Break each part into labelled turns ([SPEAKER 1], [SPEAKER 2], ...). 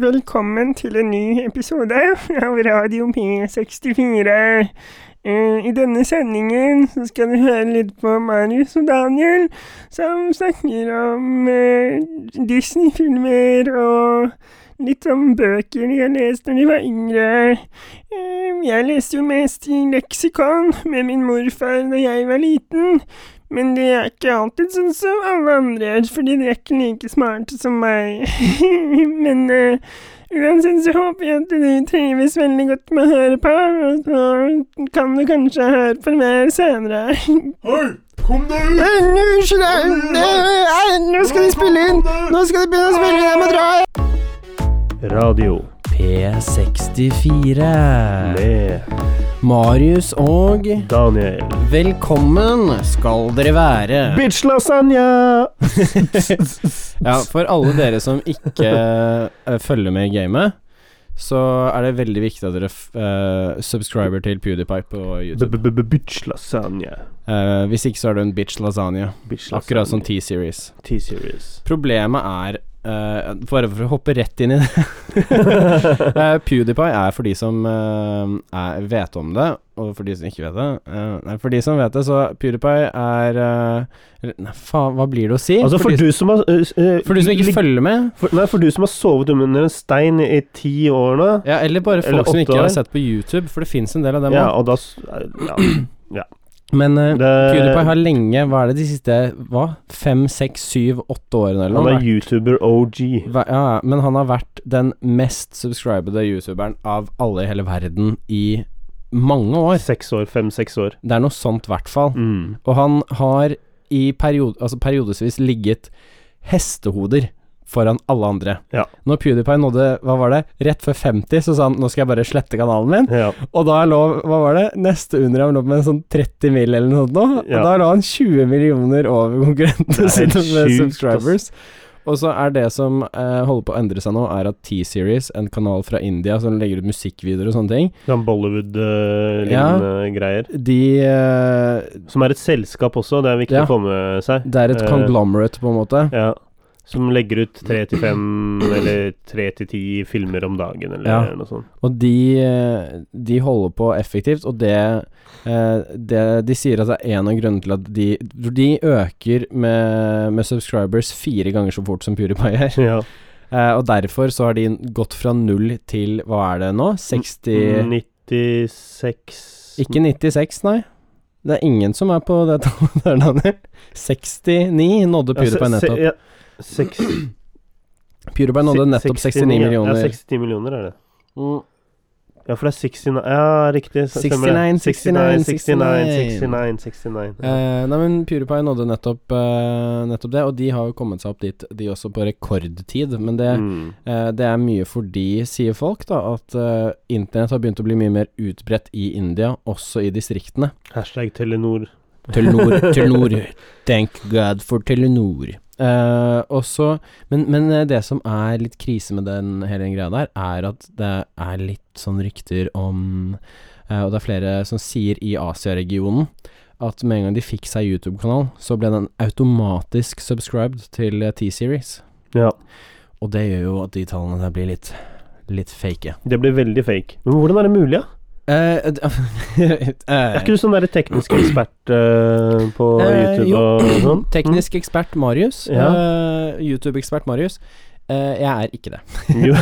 [SPEAKER 1] Velkommen til en ny episode av Radio P64. Eh, I denne sendingen så skal du høre litt på Marius og Daniel, som snakker om eh, Disney-filmer og litt om bøker de har lest når de var yngre. Eh, jeg leste jo mest i leksikon med min morfar da jeg var liten. Men det er ikke alltid sånn som alle andre er, fordi de er ikke like smarte som meg. Men eh, uansett så håper jeg at du trives veldig godt med å høre på, og så kan du kanskje høre på mer senere.
[SPEAKER 2] Hei, kom deg ut!
[SPEAKER 1] Nei, nå, Unnskyld, nei, nei, nei, nå skal de spille inn! Nå skal de begynne å spille inn, jeg må dra!
[SPEAKER 3] Radio
[SPEAKER 4] P64.
[SPEAKER 3] med
[SPEAKER 4] Marius og
[SPEAKER 3] Daniel.
[SPEAKER 4] Velkommen skal dere være.
[SPEAKER 3] Bitch lasagne!
[SPEAKER 4] Ja, for alle dere som ikke eh, følger med i gamet, så er det veldig viktig at dere f eh, subscriber til PewDiePie på YouTube.
[SPEAKER 3] B-b-b-bitch lasagne.
[SPEAKER 4] Eh, hvis ikke så er du en bitch lasagne.
[SPEAKER 3] Bitch lasagne.
[SPEAKER 4] Akkurat som T-series.
[SPEAKER 3] T-series.
[SPEAKER 4] Problemet er eh, Bare for å hoppe rett inn i det Eh, PewDiePie er for de som eh, er, vet om det, og for de som ikke vet det. eh, nei, for de som vet det, så PewDiePie er eh, Nei, faen, hva blir det å si?
[SPEAKER 3] Altså, for
[SPEAKER 4] de,
[SPEAKER 3] du som har øh, øh,
[SPEAKER 4] for de som ikke
[SPEAKER 3] lig-
[SPEAKER 4] følger med,
[SPEAKER 3] for, Nei, for du som har sovet under en stein i ti år nå.
[SPEAKER 4] ja, eller bare folk
[SPEAKER 3] Eller
[SPEAKER 4] som
[SPEAKER 3] åtte
[SPEAKER 4] ikke
[SPEAKER 3] år.
[SPEAKER 4] har sett på YouTube, for det fins en del av dem
[SPEAKER 3] Ja,
[SPEAKER 4] òg.
[SPEAKER 3] og da s- ja,
[SPEAKER 4] Men eh,
[SPEAKER 3] det-
[SPEAKER 4] PewDiePie har lenge Hva er det de siste Hva? Fem, seks, syv, åtte årene eller
[SPEAKER 3] Han
[SPEAKER 4] noe?
[SPEAKER 3] er YouTuber OG.
[SPEAKER 4] Hva- Ja, ja, men han har vært den mest subscribede youtuberen av alle i hele verden i mange år.
[SPEAKER 3] Seks år. Fem-seks år.
[SPEAKER 4] Det er noe sånt, i hvert fall.
[SPEAKER 3] Mm.
[SPEAKER 4] Og han har i periode, altså periodevis ligget hestehoder foran alle andre.
[SPEAKER 3] Ja.
[SPEAKER 4] Når PewDiePie nådde hva var det, rett før 50, så sa han nå skal jeg bare slette kanalen min.
[SPEAKER 3] Ja.
[SPEAKER 4] Og da lå hva var det, neste under han lå med en sånn 30 mil eller noe sånt nå.
[SPEAKER 3] Ja.
[SPEAKER 4] Og da lå han 20 millioner
[SPEAKER 3] Det
[SPEAKER 4] over
[SPEAKER 3] er
[SPEAKER 4] konkurrentene
[SPEAKER 3] helt
[SPEAKER 4] sine med
[SPEAKER 3] sjukt,
[SPEAKER 4] subscribers. Og så er det som eh, holder på å endre seg nå, er at T-Series, en kanal fra India som legger ut musikkvideoer og sånne ting,
[SPEAKER 3] Sånn Bollywood-lignende greier.
[SPEAKER 4] de eh,
[SPEAKER 3] Som er et selskap også, det er viktig
[SPEAKER 4] Ja.
[SPEAKER 3] å få med seg.
[SPEAKER 4] Det er et
[SPEAKER 3] Eh,
[SPEAKER 4] conglomerate, på en måte.
[SPEAKER 3] Ja. Som legger ut tre til fem eller tre til ti filmer om dagen, eller
[SPEAKER 4] Ja.
[SPEAKER 3] noe sånt.
[SPEAKER 4] Og de, eh, de holder på effektivt, og det, eh, det De sier at det er en av grunnene til at de De øker med, med subscribers fire ganger så fort som PewDiePie gjør.
[SPEAKER 3] Ja.
[SPEAKER 4] Eh, og derfor så har de gått fra null til Hva er det nå? 60
[SPEAKER 3] 96
[SPEAKER 4] Ikke 96, nei. Det er ingen som er på det tallet der, Daniel. 69 nådde PewDiePie
[SPEAKER 3] Ja, se- se-
[SPEAKER 4] nettopp.
[SPEAKER 3] ja. Seks-
[SPEAKER 4] PewDiePie nådde
[SPEAKER 3] se-
[SPEAKER 4] nettopp 69
[SPEAKER 3] ja. Ja,
[SPEAKER 4] millioner.
[SPEAKER 3] 60 millioner er det.
[SPEAKER 4] Mm.
[SPEAKER 3] Ja, for det er 69 Ja, riktig. så stemmer det.
[SPEAKER 4] 69, 69,
[SPEAKER 3] 69, 69, 69.
[SPEAKER 4] Eh, nei, men PewDiePie nådde nettopp, eh, nettopp det, og de har jo kommet seg opp dit, de også, på rekordtid. Men det,
[SPEAKER 3] Mm.
[SPEAKER 4] eh, det er mye fordi, sier folk, da, at eh, internett har begynt å bli mye mer utbredt i India, også i distriktene.
[SPEAKER 3] Hashtag Telenor.
[SPEAKER 4] Telenor, Telenor. Thank God for Telenor. Eh, også, men, men eh, det som er litt krise med den hele den greia der, er at det er litt sånn rykter om eh, Og det er flere som sier i Asia-regionen at med en gang de fikk seg YouTube-kanal, så ble den automatisk subscribed til eh, T-series.
[SPEAKER 3] Ja.
[SPEAKER 4] Og det gjør jo at de tallene der blir litt, litt fake.
[SPEAKER 3] Det blir veldig fake. Men hvordan er det mulig, da?
[SPEAKER 4] Eh, d- eh,
[SPEAKER 3] Er ikke du sånn derre teknisk ekspert eh, på
[SPEAKER 4] Eh,
[SPEAKER 3] YouTube
[SPEAKER 4] jo.
[SPEAKER 3] og sånn?
[SPEAKER 4] Teknisk ekspert Marius.
[SPEAKER 3] Ja.
[SPEAKER 4] eh, YouTube-ekspert Marius. Eh, jeg er ikke det.
[SPEAKER 3] Jo.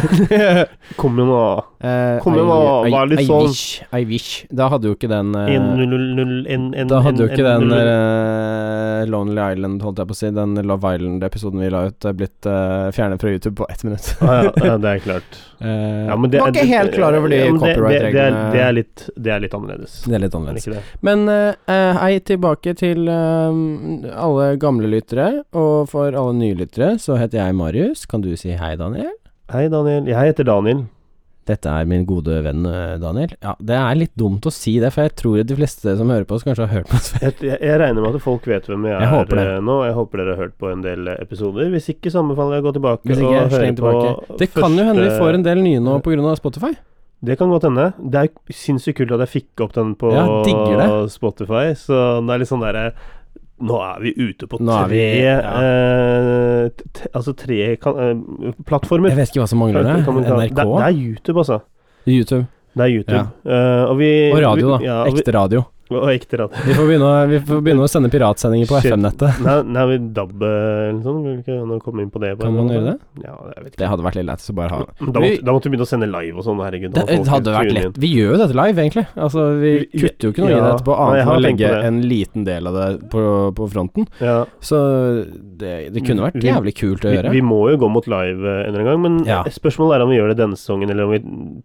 [SPEAKER 3] Kom igjen, da.
[SPEAKER 4] Eh,
[SPEAKER 3] Kom igjen, da,
[SPEAKER 4] I,
[SPEAKER 3] vær litt
[SPEAKER 4] I, I
[SPEAKER 3] sånn.
[SPEAKER 4] wish, I wish. Da hadde jo ikke den eh,
[SPEAKER 3] 1-0-0-1
[SPEAKER 4] Da hadde jo ikke den eh, Lonely Island, holdt jeg på å si, den Love Island-episoden vi la ut, eh, blitt eh, fjernet fra YouTube på ett minutt.
[SPEAKER 3] ja, ja, ja, det er klart.
[SPEAKER 4] Eh,
[SPEAKER 3] Ja, men det,
[SPEAKER 4] var
[SPEAKER 3] det-
[SPEAKER 4] ikke helt klar over de
[SPEAKER 3] ja, men det- det- det er-
[SPEAKER 4] copyright-reglene.
[SPEAKER 3] Det, er litt- det er litt annerledes.
[SPEAKER 4] det er litt
[SPEAKER 3] Er det
[SPEAKER 4] annerledes.
[SPEAKER 3] ikke det?
[SPEAKER 4] Men eh, eh, hei tilbake til eh, alle gamle lyttere, og for alle nye lyttere så heter jeg Marius. Kan du si hei, Daniel?
[SPEAKER 3] Hei, Daniel. Jeg heter Daniel.
[SPEAKER 4] Dette er min gode venn eh, Daniel. Ja, det er litt dumt å si det, for jeg tror de fleste som hører på oss, kanskje har hørt på oss før.
[SPEAKER 3] Jeg, jeg, jeg regner med at folk vet hvem jeg,
[SPEAKER 4] Jeg håper
[SPEAKER 3] er
[SPEAKER 4] det.
[SPEAKER 3] eh, nå. Jeg håper dere har hørt på en del eh, episoder. Hvis ikke, så anbefaler jeg å gå tilbake
[SPEAKER 4] Hvis ikke,
[SPEAKER 3] og høre
[SPEAKER 4] sleng tilbake.
[SPEAKER 3] på
[SPEAKER 4] Det kan jo hende vi
[SPEAKER 3] første-
[SPEAKER 4] får en del nye nå pga. Spotify.
[SPEAKER 3] Det kan godt hende. Det er jo sinnssykt kult at jeg fikk opp den på
[SPEAKER 4] Ja, digger
[SPEAKER 3] Spotify. Så det er litt sånn derre Nå er vi ute på
[SPEAKER 4] Nå er
[SPEAKER 3] tre
[SPEAKER 4] vi- ja.
[SPEAKER 3] eh, t- t- Altså tre kan, eh, plattformer.
[SPEAKER 4] Jeg vet ikke hva som mangler
[SPEAKER 3] Kan man
[SPEAKER 4] det.
[SPEAKER 3] ta-
[SPEAKER 4] NRK?
[SPEAKER 3] Det, det er YouTube, altså.
[SPEAKER 4] YouTube.
[SPEAKER 3] Det er YouTube. Eh, og, vi,
[SPEAKER 4] Og
[SPEAKER 3] vi-
[SPEAKER 4] radio, da.
[SPEAKER 3] Ja, og, vi,
[SPEAKER 4] Ekte radio.
[SPEAKER 3] og ekte radio.
[SPEAKER 4] Vi får begynne, å- vi får begynne å sende piratsendinger på
[SPEAKER 3] Shit.
[SPEAKER 4] FM-nettet.
[SPEAKER 3] Nei, nei vi DAB eller noe sånt, vil ikke han komme inn på det? på
[SPEAKER 4] Kan
[SPEAKER 3] en
[SPEAKER 4] man
[SPEAKER 3] måte?
[SPEAKER 4] gjøre det?
[SPEAKER 3] Ja, jeg vet ikke.
[SPEAKER 4] Det hadde vært litt lett. Så bare ha
[SPEAKER 3] Da måtte, da måtte vi begynne å sende live og sånn, herregud. da
[SPEAKER 4] Det,
[SPEAKER 3] må
[SPEAKER 4] det
[SPEAKER 3] folk
[SPEAKER 4] hadde vært
[SPEAKER 3] tune
[SPEAKER 4] lett. Vi gjør jo dette live, egentlig. Altså, vi
[SPEAKER 3] Vi-
[SPEAKER 4] kutter jo ikke noe i det
[SPEAKER 3] ja.
[SPEAKER 4] etterpå,
[SPEAKER 3] Nei,
[SPEAKER 4] annet
[SPEAKER 3] jeg
[SPEAKER 4] enn
[SPEAKER 3] har
[SPEAKER 4] å
[SPEAKER 3] tenkt på
[SPEAKER 4] legge
[SPEAKER 3] det.
[SPEAKER 4] en liten del av det på, på fronten.
[SPEAKER 3] inn. Ja.
[SPEAKER 4] Så det, det kunne vært
[SPEAKER 3] Mm, Vi-
[SPEAKER 4] jævlig kult å
[SPEAKER 3] Vi,
[SPEAKER 4] gjøre.
[SPEAKER 3] vi må jo gå mot live eh, en eller annen gang, men
[SPEAKER 4] Ja.
[SPEAKER 3] spørsmålet er om vi gjør det denne sesongen, eller om vi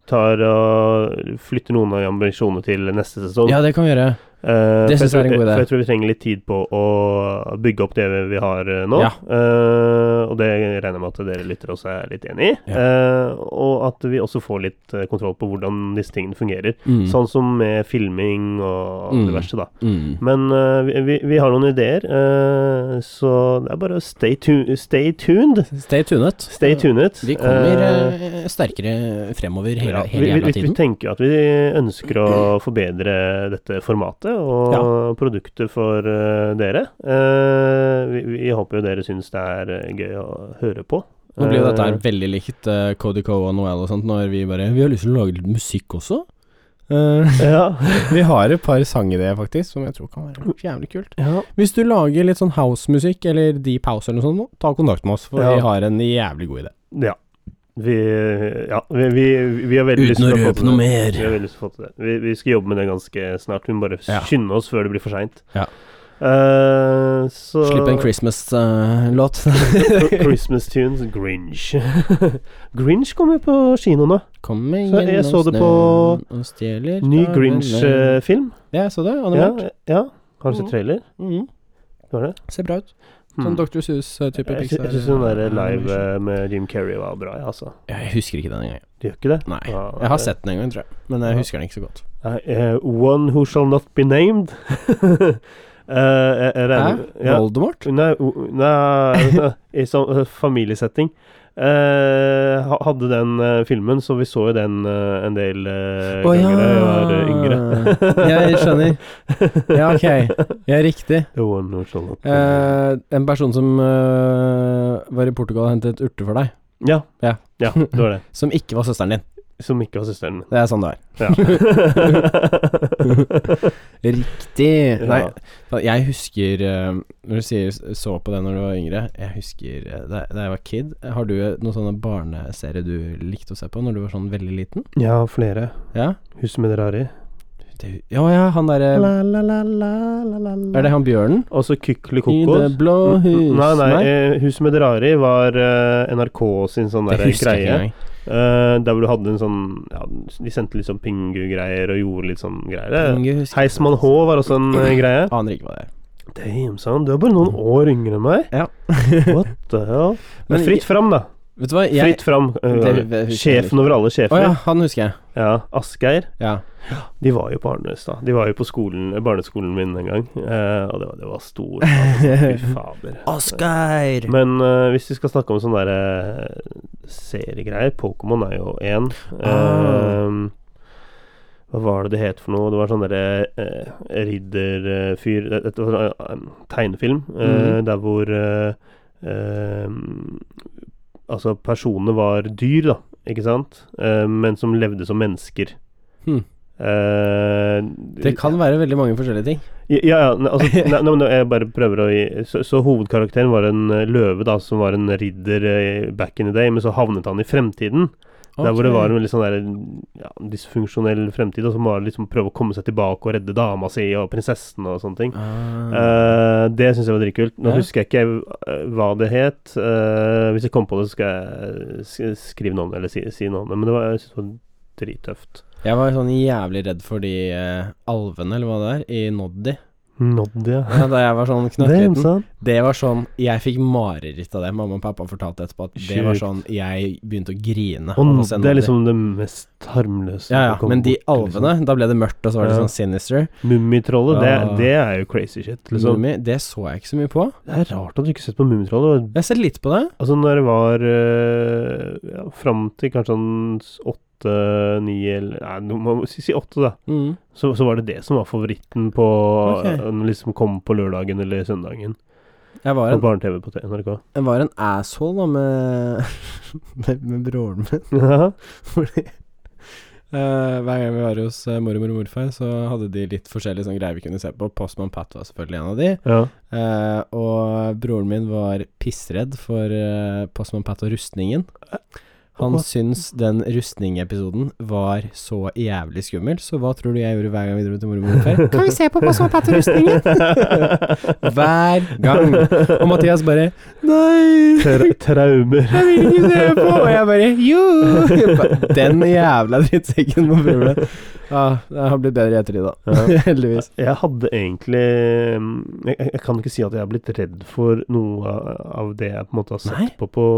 [SPEAKER 3] tar og flytter noen av ambisjonene til neste sesong.
[SPEAKER 4] Ja, det kan vi gjøre.
[SPEAKER 3] Eh,
[SPEAKER 4] det
[SPEAKER 3] for jeg
[SPEAKER 4] synes jeg er en
[SPEAKER 3] tror-
[SPEAKER 4] god idé.
[SPEAKER 3] For jeg tror vi trenger litt tid på å bygge opp det vi har eh, nå.
[SPEAKER 4] Ja.
[SPEAKER 3] Eh, og det regner jeg med at dere lyttere også er litt enig i.
[SPEAKER 4] Ja.
[SPEAKER 3] Eh, og at vi også får litt eh, kontroll på hvordan disse tingene fungerer.
[SPEAKER 4] Mm.
[SPEAKER 3] Sånn som med filming og
[SPEAKER 4] Mm.
[SPEAKER 3] det verste, da.
[SPEAKER 4] Mm.
[SPEAKER 3] Men eh, vi, vi, vi har noen ideer, eh, så det er bare å stay, tu stay tuned.
[SPEAKER 4] Stay tunet.
[SPEAKER 3] Stay tuned.
[SPEAKER 4] Vi kommer
[SPEAKER 3] Eh,
[SPEAKER 4] eh, sterkere fremover
[SPEAKER 3] ja,
[SPEAKER 4] hele,
[SPEAKER 3] vi,
[SPEAKER 4] hele
[SPEAKER 3] vi,
[SPEAKER 4] jævla
[SPEAKER 3] vi
[SPEAKER 4] tiden.
[SPEAKER 3] tenker jo at vi ønsker å forbedre dette formatet og produktet for eh, dere. Eh, vi, vi håper jo dere syns det er eh, gøy å høre på.
[SPEAKER 4] Nå blir jo dette her
[SPEAKER 3] Eh,
[SPEAKER 4] veldig likt eh, Cody Coe og Noel og sånt, når vi bare Vi har lyst til å lage litt musikk også. Eh,
[SPEAKER 3] ja.
[SPEAKER 4] vi har et par sangideer, faktisk, som jeg tror kan være jævlig kult.
[SPEAKER 3] ja.
[SPEAKER 4] Hvis du lager litt sånn housemusikk eller deep house eller noe sånt, nå, ta kontakt med oss, for
[SPEAKER 3] Ja.
[SPEAKER 4] vi har en jævlig god idé.
[SPEAKER 3] Ja. Vi, ja, vi, vi, vi har veldig lyst til å få til det.
[SPEAKER 4] mer.
[SPEAKER 3] Vi har veldig lyst til å få til det. Vi, vi skal jobbe med det ganske snart. Vi må bare
[SPEAKER 4] Ja.
[SPEAKER 3] skynde oss før det blir for seint. Eh,
[SPEAKER 4] Ja.
[SPEAKER 3] så
[SPEAKER 4] Slipp en Christmas-låt.
[SPEAKER 3] Christmas tunes, Grinch. Grinch kommer på kino nå.
[SPEAKER 4] Kommer
[SPEAKER 3] Så jeg
[SPEAKER 4] gjennom
[SPEAKER 3] så det
[SPEAKER 4] snøen
[SPEAKER 3] på
[SPEAKER 4] og stjeler
[SPEAKER 3] Ny eh,
[SPEAKER 4] fra vennene.
[SPEAKER 3] Grinch-film.
[SPEAKER 4] eh, Ja, jeg så det.
[SPEAKER 3] Ja,
[SPEAKER 4] Animert.
[SPEAKER 3] ja. Har du sett trailer?
[SPEAKER 4] Mhm.
[SPEAKER 3] Var det?
[SPEAKER 4] Ser bra ut. Sånn
[SPEAKER 3] Hmm.
[SPEAKER 4] Dr. Seuss-type
[SPEAKER 3] Jeg, sy- jeg syns den der live eh, med Jim Carrey var bra, jeg, altså.
[SPEAKER 4] Jeg husker ikke den engang.
[SPEAKER 3] Du gjør ikke det?
[SPEAKER 4] Nei.
[SPEAKER 3] Ja,
[SPEAKER 4] Jeg har
[SPEAKER 3] det-
[SPEAKER 4] sett den en gang, tror jeg. Men jeg
[SPEAKER 3] Ja.
[SPEAKER 4] husker den ikke så godt.
[SPEAKER 3] Nei, eh, one Who Shall Not Be Named. Eh, jeg, jeg regner ja.
[SPEAKER 4] Voldemort?
[SPEAKER 3] Nei, o- nei i sånn eh, familiesetting. Eh, ha- hadde den eh, filmen, så vi så jo den eh, en del eh,
[SPEAKER 4] Å,
[SPEAKER 3] ganger da jeg var eh,
[SPEAKER 4] ja.
[SPEAKER 3] yngre.
[SPEAKER 4] Jeg skjønner. Ja, ok. Ja, riktig.
[SPEAKER 3] The one who shall not be named.
[SPEAKER 4] Eh, en person som eh, var i Portugal og hentet urter for deg,
[SPEAKER 3] ja.
[SPEAKER 4] Eh, ja.
[SPEAKER 3] Ja, det var det.
[SPEAKER 4] som ikke var søsteren din.
[SPEAKER 3] Som ikke var søsteren min.
[SPEAKER 4] Det er sånn det er.
[SPEAKER 3] Ja.
[SPEAKER 4] Riktig.
[SPEAKER 3] Ja.
[SPEAKER 4] Nei, fa- jeg husker eh, Når du sier s- så på det når du var yngre Jeg husker eh, da, da jeg var kid Har du eh, noen sånne barneserier du likte å se på når du var sånn veldig liten?
[SPEAKER 3] ja, flere.
[SPEAKER 4] Ja?
[SPEAKER 3] Huset med det rare i.
[SPEAKER 4] Det, ja, ja, han derre
[SPEAKER 3] La, la, la, la, la, la, la.
[SPEAKER 4] Er det han bjørnen?
[SPEAKER 3] Og så Kykeli
[SPEAKER 4] I det
[SPEAKER 3] Kokos.
[SPEAKER 4] blå
[SPEAKER 3] Mm,
[SPEAKER 4] hus
[SPEAKER 3] mm, Nei, nei, eh, Huset med det rare i var eh, NRK sin sånn
[SPEAKER 4] Det
[SPEAKER 3] der
[SPEAKER 4] husker jeg ikke
[SPEAKER 3] greie.
[SPEAKER 4] engang.
[SPEAKER 3] Eh, der hvor du hadde en sånn ja, De sendte litt sånn pingu-greier og gjorde litt sånn greier.
[SPEAKER 4] Inge husker-
[SPEAKER 3] Heismann H var også en eh, greie.
[SPEAKER 4] Aner ikke hva det er.
[SPEAKER 3] Damn, son, du er bare noen år yngre enn meg.
[SPEAKER 4] Ja.
[SPEAKER 3] What the hell?
[SPEAKER 4] Men
[SPEAKER 3] Men fritt fram, da.
[SPEAKER 4] Vet du hva, jeg
[SPEAKER 3] Fritt fram.
[SPEAKER 4] Det-
[SPEAKER 3] eh,
[SPEAKER 4] det husker jeg
[SPEAKER 3] sjefen over alle
[SPEAKER 4] Å ja,
[SPEAKER 3] sjefer.
[SPEAKER 4] han husker jeg.
[SPEAKER 3] Ja, Asgeir.
[SPEAKER 4] Ja.
[SPEAKER 3] De var jo på Arnes, da. De var jo på skolen, barneskolen min en gang. Eh, og det var, det var stor Fy fader.
[SPEAKER 4] Asgeir!
[SPEAKER 3] Men eh, hvis vi skal snakke om sånne der, eh, seriegreier Pokémon er jo én.
[SPEAKER 4] Ah.
[SPEAKER 3] Ehm, hva var det det het for noe? Det var sånn derre eh, ridderfyr det- Dette var eh, en tegnefilm eh,
[SPEAKER 4] Mhm.
[SPEAKER 3] der hvor eh, ehm, Altså, personene var dyr, da, ikke sant? Eh, men som levde som mennesker.
[SPEAKER 4] Hmm.
[SPEAKER 3] Eh,
[SPEAKER 4] Det kan være veldig mange forskjellige ting.
[SPEAKER 3] ja, ja ne- altså, nei, nei, men jeg bare prøver å gi så, så hovedkarakteren var en eh, løve, da, som var en ridder eh, back in the day, men så havnet han i fremtiden. Der hvor det var en veldig sånn der, ja, dysfunksjonell fremtid, og som var liksom prøve å komme seg tilbake og redde dama si og prinsessen og sånne ting.
[SPEAKER 4] Ah.
[SPEAKER 3] Eh, det syns jeg var dritkult. Nå
[SPEAKER 4] Ja.
[SPEAKER 3] husker jeg ikke eh, hva det het. Eh, hvis jeg kommer på det, så skal jeg sk- skrive navnet, eller si, si navnet. Men det var, jeg synes det var drittøft.
[SPEAKER 4] Jeg var sånn jævlig redd for de eh, alvene, eller hva det er, i Noddy.
[SPEAKER 3] Noddia.
[SPEAKER 4] Ja, da jeg var sånn
[SPEAKER 3] Damn,
[SPEAKER 4] knøttliten.
[SPEAKER 3] son.
[SPEAKER 4] Det var sånn Jeg fikk mareritt av det. Mamma og pappa fortalte etterpå at det var
[SPEAKER 3] Sjukt.
[SPEAKER 4] sånn Jeg begynte å grine.
[SPEAKER 3] Og
[SPEAKER 4] av å se
[SPEAKER 3] det er
[SPEAKER 4] Noddy.
[SPEAKER 3] liksom det mest harmløse som
[SPEAKER 4] ja, ja,
[SPEAKER 3] kommer
[SPEAKER 4] men de
[SPEAKER 3] bort, liksom.
[SPEAKER 4] alvene, da ble det mørkt, og så var det
[SPEAKER 3] Ja.
[SPEAKER 4] sånn sinister.
[SPEAKER 3] Liksom. Mummitrollet, det,
[SPEAKER 4] Ah.
[SPEAKER 3] det er jo crazy shit. Liksom.
[SPEAKER 4] Lumi, det så jeg ikke så mye på.
[SPEAKER 3] Det er rart at du ikke har sett på Mummitrollet.
[SPEAKER 4] Jeg har sett litt på det.
[SPEAKER 3] eh, Altså, når det var øh, ja, fram til kanskje sånn s- åt- åtte, ni eller Nei, du må si si åtte, da.
[SPEAKER 4] Mm.
[SPEAKER 3] Så, så var det det som var favoritten på
[SPEAKER 4] Ok.
[SPEAKER 3] Når det liksom kom på lørdagen eller søndagen.
[SPEAKER 4] Jeg
[SPEAKER 3] På
[SPEAKER 4] var en,
[SPEAKER 3] barne-TV på NRK.
[SPEAKER 4] jeg var en asshole da med, med, med broren min.
[SPEAKER 3] Jaha.
[SPEAKER 4] Fordi eh, hver gang vi var hos eh, mormor og morfar, så hadde de litt forskjellige sånne greier vi kunne se på. Postman Pat var selvfølgelig en av de.
[SPEAKER 3] ja.
[SPEAKER 4] Eh, og broren min var pissredd for eh, Postman Pat og rustningen. Han
[SPEAKER 3] Hva?
[SPEAKER 4] syntes den rustningepisoden var så jævlig skummel, så hva tror du jeg gjorde hver gang vi dro til mormor og morfar? Kan vi se på Postman Pat og rustningen? hver gang. Og Mathias bare Nei,
[SPEAKER 3] Tra traumer.
[SPEAKER 4] jeg vil ikke se på! Og jeg bare jo! Den jævla drittsekken må prøve det. Ja, det har blitt bedre i ettertid, da.
[SPEAKER 3] Ja.
[SPEAKER 4] Heldigvis.
[SPEAKER 3] Jeg hadde egentlig mm, jeg, jeg kan ikke si at jeg har blitt redd for noe av- av det jeg på en måte har sett
[SPEAKER 4] Nei.
[SPEAKER 3] på på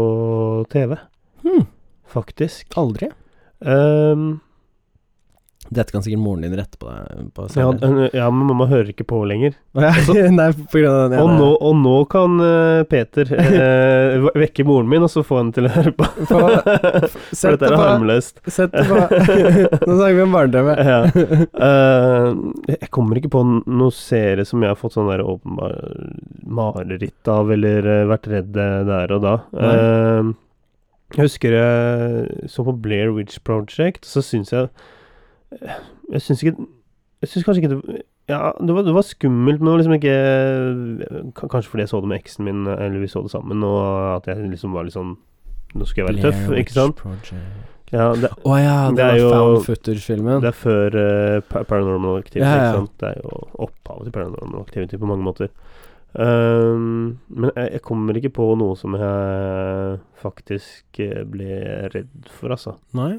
[SPEAKER 3] TV,
[SPEAKER 4] Hmm,
[SPEAKER 3] faktisk.
[SPEAKER 4] aldri.
[SPEAKER 3] Ehm,
[SPEAKER 4] Dette kan sikkert moren din rette på deg på
[SPEAKER 3] ja,
[SPEAKER 4] senere.
[SPEAKER 3] eh, ja, men mamma hører ikke på lenger.
[SPEAKER 4] Ja, Nei, på grunn av den
[SPEAKER 3] Og nå, og nå kan eh, Peter eh, v- vekke moren min, og så få henne til å høre på.
[SPEAKER 4] Få-
[SPEAKER 3] For
[SPEAKER 4] Sett
[SPEAKER 3] dette
[SPEAKER 4] det
[SPEAKER 3] er
[SPEAKER 4] på.
[SPEAKER 3] harmløst.
[SPEAKER 4] Sett det på. Nå snakker vi om barndommen.
[SPEAKER 3] Ja. Eh, jeg kommer ikke på n- noen serie som jeg har fått sånn der åpenbar mareritt av, eller eh, vært redd eh, der og da. Eh, jeg husker jeg så på Blair Witch Project, så syns jeg Jeg syns ikke Jeg syns kanskje ikke det ja, det var, det var skummelt, men det var liksom ikke k- Kanskje fordi jeg så det med eksen min, eller vi så det sammen, og at jeg liksom var litt sånn Nå skal jeg være tøff, ikke sant? Ja, det,
[SPEAKER 4] Å ja, det,
[SPEAKER 3] Det er
[SPEAKER 4] var
[SPEAKER 3] jo-
[SPEAKER 4] found footage-filmen.
[SPEAKER 3] det er før eh, Pa- Paranormal Activity,
[SPEAKER 4] Ja, ja.
[SPEAKER 3] ikke sant? Det er jo opphavet til Paranormal Activity på mange måter. Ehm, men jeg, jeg kommer ikke på noe som jeg faktisk eh, ble redd for, altså.
[SPEAKER 4] Nei?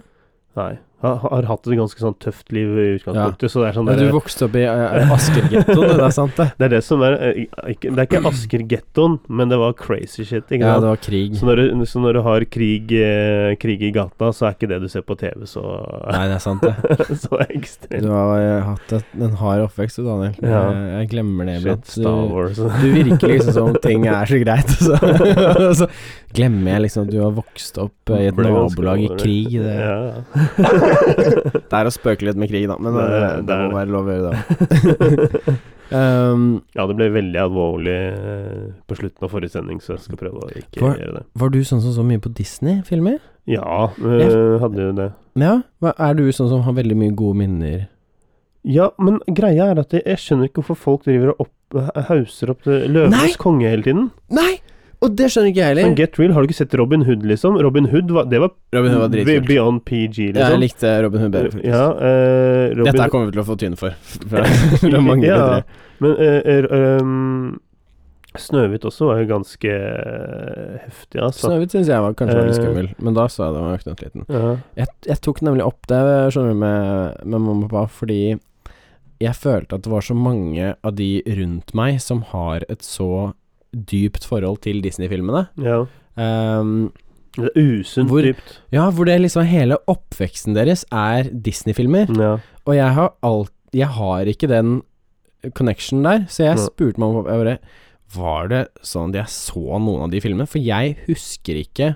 [SPEAKER 3] Nei. Har, har hatt et ganske sånn tøft liv i utgangspunktet, så det er sånn
[SPEAKER 4] Men du
[SPEAKER 3] der,
[SPEAKER 4] vokste opp i uh, Asker-gettoen, det er sant, det?
[SPEAKER 3] Det er det som er eh, ikke, Det er ikke Asker-gettoen, men det var crazy shit, ikke
[SPEAKER 4] Ja,
[SPEAKER 3] sant?
[SPEAKER 4] det var krig.
[SPEAKER 3] så, når du, så når du har krig, eh, krig i gata, så er ikke det du ser på TV, så
[SPEAKER 4] Nei, det er sant, det.
[SPEAKER 3] Så ekstremt.
[SPEAKER 4] Du har eh, hatt et, en hard oppvekst du, Daniel.
[SPEAKER 3] Ja.
[SPEAKER 4] Jeg, jeg glemmer det
[SPEAKER 3] Shit,
[SPEAKER 4] iblant.
[SPEAKER 3] Star
[SPEAKER 4] Du,
[SPEAKER 3] Wars.
[SPEAKER 4] du virker liksom som om ting er så greit, og så, og så glemmer jeg liksom at du har vokst opp eh, i et
[SPEAKER 3] Ble ganske
[SPEAKER 4] nabolag i
[SPEAKER 3] dårlig.
[SPEAKER 4] krig. Det,
[SPEAKER 3] Ja.
[SPEAKER 4] det er å spøke litt med krig, da, men det,
[SPEAKER 3] Det-
[SPEAKER 4] det,
[SPEAKER 3] det er
[SPEAKER 4] må
[SPEAKER 3] det.
[SPEAKER 4] være lov å gjøre det. Um,
[SPEAKER 3] ja, det ble veldig alvorlig eh, på slutten av forrige sending, så jeg skal prøve å ikke
[SPEAKER 4] Hva-
[SPEAKER 3] gjøre det.
[SPEAKER 4] var du sånn som så mye på Disney-filmer?
[SPEAKER 3] Ja, eh, hadde jo det.
[SPEAKER 4] Ja. Hva- Er du sånn som har veldig mye gode minner?
[SPEAKER 3] Ja, men greia er at jeg, jeg skjønner ikke hvorfor folk driver og opp, eh, hauser opp det-
[SPEAKER 4] Nei!
[SPEAKER 3] Løvenes konge hele tiden.
[SPEAKER 4] Nei! Og det skjønner ikke jeg
[SPEAKER 3] Sånn
[SPEAKER 4] heller.
[SPEAKER 3] get real, har du ikke sett Robin Hood, liksom? Robin Hood var, det var,
[SPEAKER 4] Robin Hood var
[SPEAKER 3] be-
[SPEAKER 4] dritkul.
[SPEAKER 3] beyond PG,
[SPEAKER 4] Ja, jeg
[SPEAKER 3] liksom.
[SPEAKER 4] likte Robin Hood bedre, faktisk.
[SPEAKER 3] Ja, eh, Robin
[SPEAKER 4] Dette her kommer vi til å få tyn for. Fra, fra mange
[SPEAKER 3] Ja,
[SPEAKER 4] bedre.
[SPEAKER 3] Men eh, er- ehm, Snøhvit også var jo ganske eh, heftig, altså.
[SPEAKER 4] Snøhvit syns jeg var kanskje var litt
[SPEAKER 3] Eh.
[SPEAKER 4] skummel, men da sa jeg det var knøtt liten.
[SPEAKER 3] Ja.
[SPEAKER 4] Jeg, jeg tok nemlig opp det skjønner du, med, med mamma og pappa fordi jeg følte at det var så mange av de rundt meg som har et så dypt forhold til Disney-filmene.
[SPEAKER 3] ja.
[SPEAKER 4] Ehm,
[SPEAKER 3] Det er usunt
[SPEAKER 4] Hvor-
[SPEAKER 3] dypt.
[SPEAKER 4] ja, hvor det liksom hele oppveksten deres er Disney-filmer.
[SPEAKER 3] Ja.
[SPEAKER 4] Og jeg har alt Jeg har ikke den connection der, så jeg
[SPEAKER 3] Nei.
[SPEAKER 4] spurte mamma og pappa jeg bare, Var det sånn at jeg så noen av de filmene? For jeg husker ikke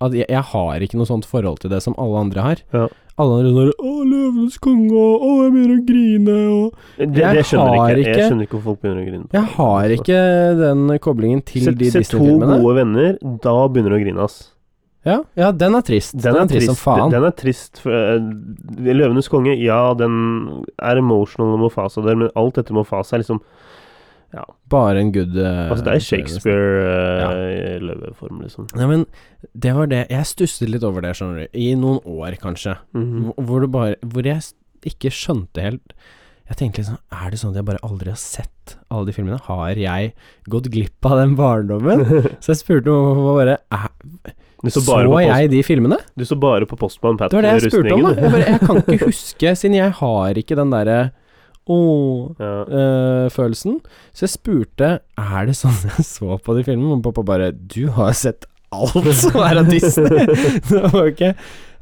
[SPEAKER 4] at jeg, jeg har ikke noe sånt forhold til det som alle andre har.
[SPEAKER 3] Ja.
[SPEAKER 4] Alle andre sånn 'Å, Løvenes konge', og 'Å, jeg begynner å grine', og
[SPEAKER 3] Det,
[SPEAKER 4] Jeg
[SPEAKER 3] det skjønner
[SPEAKER 4] har
[SPEAKER 3] ikke.
[SPEAKER 4] ikke-
[SPEAKER 3] Jeg skjønner ikke hvor folk begynner å grine. på.
[SPEAKER 4] Jeg har ikke den koblingen til
[SPEAKER 3] Se,
[SPEAKER 4] de
[SPEAKER 3] se to
[SPEAKER 4] Disney-filmene.
[SPEAKER 3] gode venner, da begynner du å grine, ass.
[SPEAKER 4] Ja, ja, den er trist. Den, er trist som faen.
[SPEAKER 3] Den er trist. For, eh, 'Løvenes konge', ja, den er emotional og Mofasa der, men alt etter Mofasa er liksom
[SPEAKER 4] Bare en good eh,
[SPEAKER 3] Altså, det er
[SPEAKER 4] Ja.
[SPEAKER 3] Shakespeare-løveform, liksom.
[SPEAKER 4] Nei, men det var det Jeg stusset litt over det, skjønner du. I noen år, kanskje.
[SPEAKER 3] Mhm.
[SPEAKER 4] Hvor- Hvor, det bare, hvor jeg s- ikke skjønte helt Jeg tenkte liksom Er det sånn at jeg bare aldri har sett alle de filmene? Har jeg gått glipp av den barndommen? Så jeg spurte mamma og pappa bare "Æ,
[SPEAKER 3] Mhm. Du
[SPEAKER 4] Så,
[SPEAKER 3] så bare på post,
[SPEAKER 4] jeg de filmene?
[SPEAKER 3] du så bare på Postman Pat
[SPEAKER 4] Det var det jeg
[SPEAKER 3] med
[SPEAKER 4] spurte om, da.
[SPEAKER 3] rustningen,
[SPEAKER 4] Jeg, bare, jeg kan ikke huske, siden jeg har ikke den
[SPEAKER 3] Ja.
[SPEAKER 4] derre Åh-følelsen. eh, Så jeg spurte Er det sånn jeg så på de filmene? Og pappa bare Du har sett alt som er av Disney! Det var jo ikke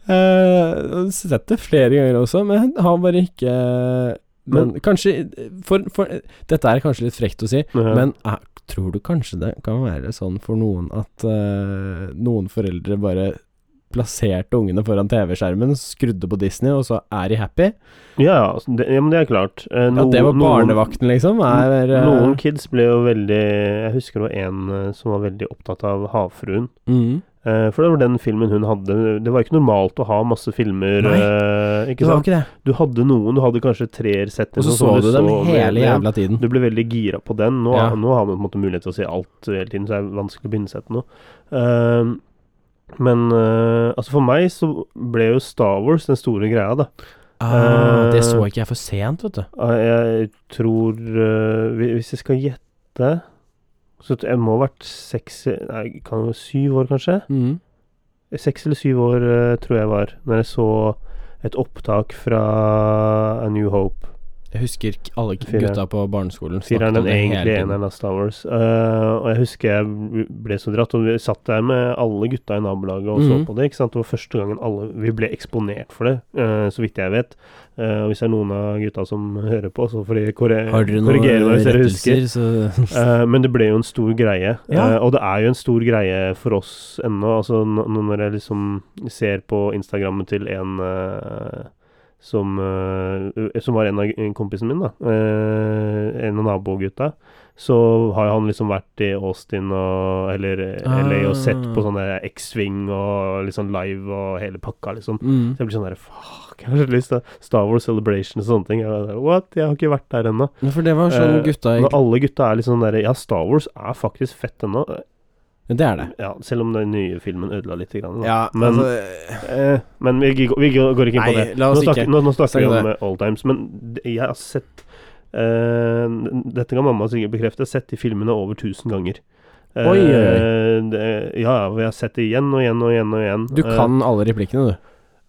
[SPEAKER 4] uh, Sett det flere ganger også, men har bare ikke men, kanskje for, for, Dette er kanskje litt frekt å si,
[SPEAKER 3] Ja.
[SPEAKER 4] men eh, tror du kanskje det kan være sånn for noen at eh, noen foreldre bare plasserte ungene foran TV-skjermen, skrudde på Disney, og så er de happy.
[SPEAKER 3] Ja, ja, altså, det, ja, men det er klart. Eh,
[SPEAKER 4] At det var
[SPEAKER 3] noen-
[SPEAKER 4] barnevakten, liksom, er eh,
[SPEAKER 3] Noen kids ble jo veldig Jeg husker det var en eh, som var veldig opptatt av Havfruen.
[SPEAKER 4] mm.
[SPEAKER 3] Eh, for det var den filmen hun hadde. Det var ikke normalt å ha masse filmer.
[SPEAKER 4] Nei,
[SPEAKER 3] eh, ikke
[SPEAKER 4] Det var
[SPEAKER 3] sant?
[SPEAKER 4] jo ikke det.
[SPEAKER 3] Du hadde noen, du hadde kanskje treer sett.
[SPEAKER 4] Og
[SPEAKER 3] eller
[SPEAKER 4] så
[SPEAKER 3] noe
[SPEAKER 4] så
[SPEAKER 3] sånt,
[SPEAKER 4] sånn du dem
[SPEAKER 3] så
[SPEAKER 4] hele
[SPEAKER 3] med-
[SPEAKER 4] jævla tiden.
[SPEAKER 3] Du ble veldig gira på den. Nå,
[SPEAKER 4] Ja.
[SPEAKER 3] nå har man på en måte mulighet til å se alt hele tiden, så det er vanskelig å begynne seg til noe. Ehm, men eh, altså for meg så ble jo Star Wars den store greia, da.
[SPEAKER 4] Ah, det så
[SPEAKER 3] Eh,
[SPEAKER 4] ikke jeg for sent, vet du.
[SPEAKER 3] Eh, Jeg tror eh, hvi- Hvis jeg skal gjette Så t- jeg må ha vært seks Nei, kan jo syv år kanskje
[SPEAKER 4] Mm.
[SPEAKER 3] Seks eller syv år eh, tror jeg var Når jeg så et opptak fra A New Hope
[SPEAKER 4] Jeg husker ikke alle k-
[SPEAKER 3] Fireren.
[SPEAKER 4] gutta på barneskolen
[SPEAKER 3] Fireren
[SPEAKER 4] snakket om
[SPEAKER 3] den
[SPEAKER 4] det hele
[SPEAKER 3] egentlige
[SPEAKER 4] tiden.
[SPEAKER 3] eneren av Star Wars Eh, Og jeg husker jeg ble så dratt Og vi satt der med alle gutta i nabolaget Og så
[SPEAKER 4] Mhm.
[SPEAKER 3] på det, ikke sant Det var første gangen alle Vi ble eksponert for det eh, Så vidt jeg vet Eh, Og hvis det er noen av gutta som hører på Så får de korre
[SPEAKER 4] Har dere
[SPEAKER 3] korrigere meg
[SPEAKER 4] noen
[SPEAKER 3] hvis dere husker
[SPEAKER 4] rettelser, så
[SPEAKER 3] Eh, men det ble jo en stor greie, eh,
[SPEAKER 4] Ja.
[SPEAKER 3] og det er jo en stor greie for oss ennå. Altså, n- nå når jeg liksom ser på Instagrammen til en eh, som, eh, som var en av g- kompisen min, da. eh, en av nabogutta. Så har jo han liksom vært i Austin og eller eh,
[SPEAKER 4] Ah.
[SPEAKER 3] LA og sett på sånn der X-Wing og liksom live og hele pakka, liksom.
[SPEAKER 4] mm.
[SPEAKER 3] Så jeg blir sånn derre Fuck, jeg har så lyst til Star Wars Celebration og sånne ting. Jeg, bare, What? Jeg har ikke vært der ennå.
[SPEAKER 4] Men For det var sånn
[SPEAKER 3] Eh,
[SPEAKER 4] gutta i
[SPEAKER 3] Når alle gutta er litt sånn derre Ja, Star Wars er faktisk fett ennå.
[SPEAKER 4] Det er det.
[SPEAKER 3] Ja, selv om den nye filmen ødela litt. Grann, da.
[SPEAKER 4] Ja,
[SPEAKER 3] men
[SPEAKER 4] altså,
[SPEAKER 3] eh, men vi, gikk- vi går ikke inn på
[SPEAKER 4] Nei,
[SPEAKER 3] det.
[SPEAKER 4] la oss
[SPEAKER 3] nå snakker,
[SPEAKER 4] ikke.
[SPEAKER 3] nå, nå snakker vi
[SPEAKER 4] Snakker
[SPEAKER 3] om eh, old times. Men det- jeg har sett eh, n- Dette kan mamma sikkert bekrefte. Jeg har sett de filmene over 1000 ganger. Eh,
[SPEAKER 4] Oi, oi,
[SPEAKER 3] det- ja, og jeg har sett det igjen og igjen og igjen. og igjen
[SPEAKER 4] Du kan alle replikkene, du.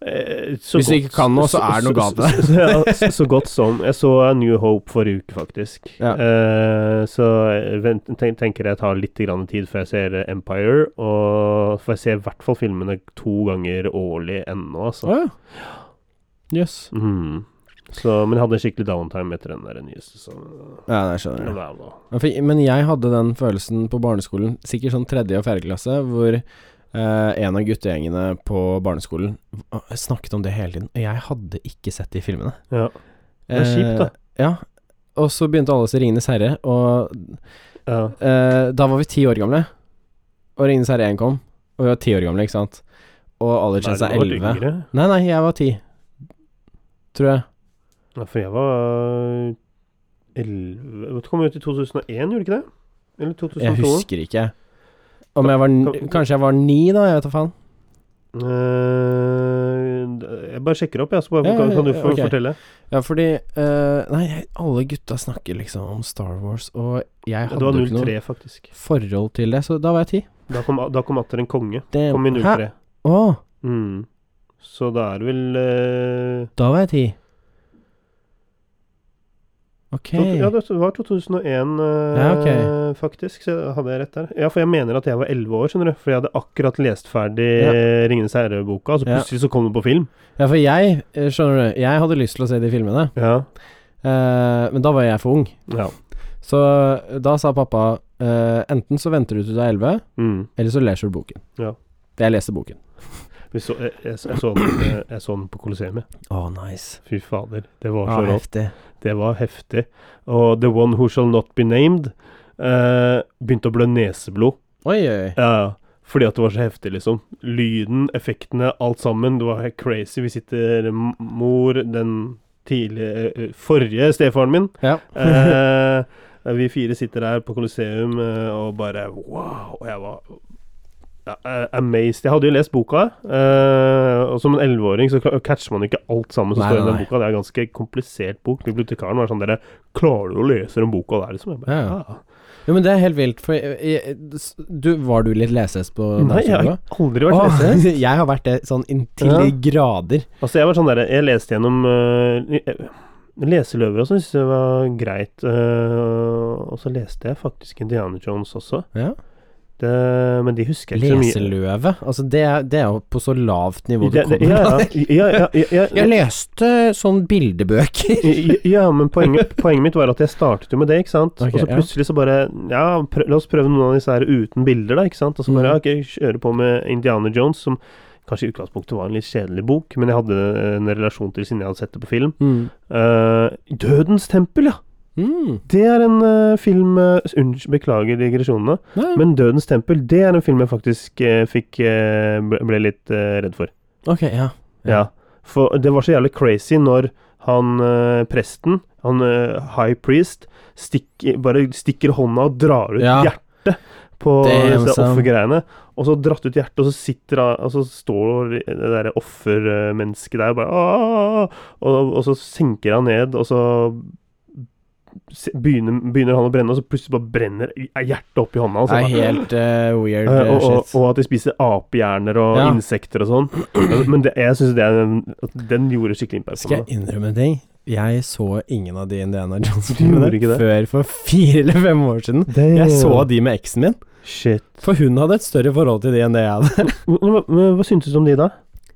[SPEAKER 3] Eh, så
[SPEAKER 4] Hvis du
[SPEAKER 3] godt-
[SPEAKER 4] ikke kan noe, så er det noe galt med deg.
[SPEAKER 3] så- ja, så- Så godt som. Jeg så New Hope forrige uke, faktisk.
[SPEAKER 4] Ja.
[SPEAKER 3] Eh, så jeg vent, ten- tenker jeg tar litt grann tid før jeg ser eh, Empire, og får jeg se i hvert fall filmene to ganger årlig ennå, altså.
[SPEAKER 4] Å ja. Jøss.
[SPEAKER 3] Mhm. Så, men jeg hadde skikkelig downtime etter den der nyeste, så
[SPEAKER 4] Ja, det skjønner jeg. Ja, for- Men jeg hadde den følelsen på barneskolen, sikkert sånn tredje og fjerde klasse, hvor eh, en av guttegjengene på barneskolen v- eh, snakket om det hele tiden, og jeg hadde ikke sett de filmene.
[SPEAKER 3] Ja. Det er kjipt, da.
[SPEAKER 4] Eh, ja. Og så begynte alle å se 'Ringenes herre', og
[SPEAKER 3] Ja.
[SPEAKER 4] eh, da var vi ti år gamle. Og 'Ringenes herre 1' kom, og vi var ti år gamle, ikke sant. Og alle
[SPEAKER 3] Nei,
[SPEAKER 4] kjente seg
[SPEAKER 3] du var
[SPEAKER 4] elleve.
[SPEAKER 3] yngre.
[SPEAKER 4] Nei, nei, jeg var ti. Tror jeg.
[SPEAKER 3] Ja, for jeg var elleve Det kom ut i 2001, gjorde det ikke det? Eller 2002?
[SPEAKER 4] Jeg husker ikke. Om jeg var n
[SPEAKER 3] Kan-
[SPEAKER 4] Kanskje jeg var ni, da? Jeg vet da faen.
[SPEAKER 3] Eh, jeg bare sjekker opp, jeg, så bare,
[SPEAKER 4] Ja,
[SPEAKER 3] kan,
[SPEAKER 4] ja,
[SPEAKER 3] kan du
[SPEAKER 4] ja,
[SPEAKER 3] få
[SPEAKER 4] ok.
[SPEAKER 3] fortelle.
[SPEAKER 4] Ja, fordi eh, Nei, jeg- alle gutta snakker liksom om Star Wars, og jeg
[SPEAKER 3] Det
[SPEAKER 4] hadde
[SPEAKER 3] var
[SPEAKER 4] jo ikke noe
[SPEAKER 3] 03, faktisk.
[SPEAKER 4] forhold til det, så da var jeg ti.
[SPEAKER 3] Da kom, da kom atter en konge.
[SPEAKER 4] Det-
[SPEAKER 3] Kom i
[SPEAKER 4] Hæ?
[SPEAKER 3] 03.
[SPEAKER 4] Å,
[SPEAKER 3] Mm. Så da er det vel eh,
[SPEAKER 4] da var jeg ti. Ok.
[SPEAKER 3] to, Ja, det var 2001, eh,
[SPEAKER 4] Ja, ok.
[SPEAKER 3] faktisk. Så hadde jeg rett der. Ja, for jeg mener at jeg var 11 år, skjønner du. For jeg hadde akkurat lest ferdig
[SPEAKER 4] Ja.
[SPEAKER 3] eh, 'Ringenes herre'-boka, og så
[SPEAKER 4] Ja.
[SPEAKER 3] plutselig så kom det på film.
[SPEAKER 4] Ja, for jeg, eh, skjønner du, jeg hadde lyst til å se de filmene,
[SPEAKER 3] Ja.
[SPEAKER 4] eh, men da var jeg for ung.
[SPEAKER 3] ja.
[SPEAKER 4] Så da sa pappa eh, enten så venter du til du er elleve,
[SPEAKER 3] Mm.
[SPEAKER 4] eller så leser du boken.
[SPEAKER 3] Ja.
[SPEAKER 4] Jeg leser boken.
[SPEAKER 3] Vi så, jeg, jeg, jeg, så den, eh, jeg så den på Colosseum. jeg.
[SPEAKER 4] Å, nice.
[SPEAKER 3] Fy fader, det var
[SPEAKER 4] Ja,
[SPEAKER 3] så rått.
[SPEAKER 4] heftig.
[SPEAKER 3] Det var heftig. Og The One Who Shall Not Be Named eh, begynte å blø neseblod.
[SPEAKER 4] Oi, oi, oi.
[SPEAKER 3] Ja, ja. Fordi at det var så heftig, liksom. Lyden, effektene, alt sammen. Det var helt crazy. Vi sitter m- mor, den tidlige eh, forrige stefaren min.
[SPEAKER 4] Ja.
[SPEAKER 3] Eh, vi fire sitter der på Colosseum eh, og bare wow. Og jeg var ja, eh, amazed. Jeg hadde jo lest boka, eh, og som en elleveåring så kla- catcher man ikke alt sammen som
[SPEAKER 4] Nei,
[SPEAKER 3] står i
[SPEAKER 4] nei,
[SPEAKER 3] den
[SPEAKER 4] nei.
[SPEAKER 3] boka. Det er en ganske komplisert bok. Bibliotekaren var sånn dere Klarer du å lese den boka der, liksom? Jeg bare,
[SPEAKER 4] Ja, ja.
[SPEAKER 3] ja.
[SPEAKER 4] Jo, men det er helt vilt, for jeg, jeg, s- du, var du litt lesehest på
[SPEAKER 3] Nei, jeg har
[SPEAKER 4] barneskolen?
[SPEAKER 3] aldri vært leser.
[SPEAKER 4] Åh, jeg har vært det sånn inntil de grader.
[SPEAKER 3] Altså, jeg var sånn der Jeg leste gjennom eh, eh, Leseløver og sånn, syntes jeg var greit. eh, og så leste jeg faktisk Indiana Jones også.
[SPEAKER 4] Ja.
[SPEAKER 3] Det, men de husker jeg ikke så mye.
[SPEAKER 4] Leseløve. Altså, det er, det er jo på så lavt nivå du
[SPEAKER 3] Det- det-
[SPEAKER 4] kommer.
[SPEAKER 3] ja, ja, ja, ja, ja, ja,
[SPEAKER 4] Jeg leste sånn bildebøker.
[SPEAKER 3] I- Ja, men poenget, poenget mitt var at jeg startet jo med det, ikke sant.
[SPEAKER 4] Ok,
[SPEAKER 3] og så
[SPEAKER 4] ja.
[SPEAKER 3] plutselig så bare Ja, prø la oss prøve noen av disse her uten bilder, da, ikke sant. Og så bare
[SPEAKER 4] Mhm.
[SPEAKER 3] ok, kjøre på med Indiana Jones, som kanskje i utgangspunktet var en litt kjedelig bok, men jeg hadde en relasjon til siden jeg hadde sett det på film.
[SPEAKER 4] Mm.
[SPEAKER 3] Eh, 'Dødens tempel', ja!
[SPEAKER 4] Mm.
[SPEAKER 3] Det er en eh, film eh, unnskyld, Beklager digresjonene.
[SPEAKER 4] Ja,
[SPEAKER 3] Men 'Dødens tempel' det er en film jeg faktisk eh, fikk eh, ble, ble litt eh, redd for.
[SPEAKER 4] ok, ja.
[SPEAKER 3] Ja. For det var så jævlig crazy når han eh, presten, han eh, high priest, stikk, bare stikker hånda og drar ut
[SPEAKER 4] Ja.
[SPEAKER 3] hjertet på
[SPEAKER 4] Damn,
[SPEAKER 3] disse
[SPEAKER 4] son.
[SPEAKER 3] offergreiene. Og så dratt ut hjertet, og så sitter han Og så står det derre offermennesket der bare «Aah!» og, og så senker han ned, og så se- begynner, begynner han å brenne, og så plutselig bare brenner hjertet opp i hånda. Og
[SPEAKER 4] Det
[SPEAKER 3] så
[SPEAKER 4] er
[SPEAKER 3] bare-
[SPEAKER 4] helt eh, weird
[SPEAKER 3] Eh,
[SPEAKER 4] eh,
[SPEAKER 3] og, og,
[SPEAKER 4] shit.
[SPEAKER 3] og at de spiser apehjerner og
[SPEAKER 4] Ja.
[SPEAKER 3] insekter og sånn. Men- Men det, jeg syns den, at den gjorde skikkelig impact på
[SPEAKER 4] Skal
[SPEAKER 3] meg.
[SPEAKER 4] jeg innrømme en ting? Jeg så ingen av de Indiana
[SPEAKER 3] Du gjorde ikke
[SPEAKER 4] Jones-filmene
[SPEAKER 3] det?
[SPEAKER 4] før for fire eller fem år siden. Jeg så de med eksen min,
[SPEAKER 3] Shit.
[SPEAKER 4] for hun hadde et større forhold til de enn det jeg hadde.
[SPEAKER 3] Men- men- men Hva syntes du om de, da?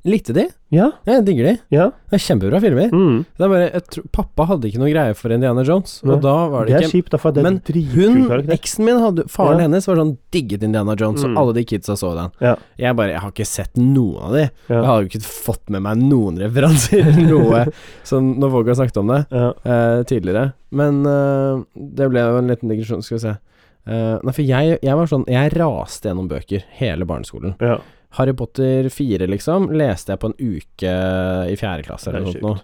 [SPEAKER 4] Likte de?
[SPEAKER 3] Ja?
[SPEAKER 4] Jeg digger de.
[SPEAKER 3] Ja?
[SPEAKER 4] Det er Kjempebra filmer.
[SPEAKER 3] Mm.
[SPEAKER 4] Det er bare, jeg tror, pappa hadde ikke noe greie for Indiana Jones,
[SPEAKER 3] Nei.
[SPEAKER 4] og da var
[SPEAKER 3] Det
[SPEAKER 4] det
[SPEAKER 3] er
[SPEAKER 4] ikke
[SPEAKER 3] kjipt, da, for det er
[SPEAKER 4] Men
[SPEAKER 3] en dritkul
[SPEAKER 4] hun,
[SPEAKER 3] karakter.
[SPEAKER 4] eksen min, hadde, faren
[SPEAKER 3] Ja.
[SPEAKER 4] hennes var sånn digget Indiana Jones,
[SPEAKER 3] Mm.
[SPEAKER 4] og alle de kidsa så den.
[SPEAKER 3] Ja.
[SPEAKER 4] Jeg bare, jeg har ikke sett noen av de. Jeg
[SPEAKER 3] Ja.
[SPEAKER 4] har jo ikke fått med meg noen referanser, eller noe, som når folk har snakket om det.
[SPEAKER 3] Ja.
[SPEAKER 4] eh, tidligere. Men eh, det ble jo en liten digresjon, skal vi se. Eh, nei, for jeg, jeg var sånn Jeg raste gjennom bøker hele barneskolen.
[SPEAKER 3] Ja.
[SPEAKER 4] Harry Potter 4, liksom, leste jeg på en uke i fjerde klasse eller noe
[SPEAKER 3] Det er
[SPEAKER 4] sånt. nå.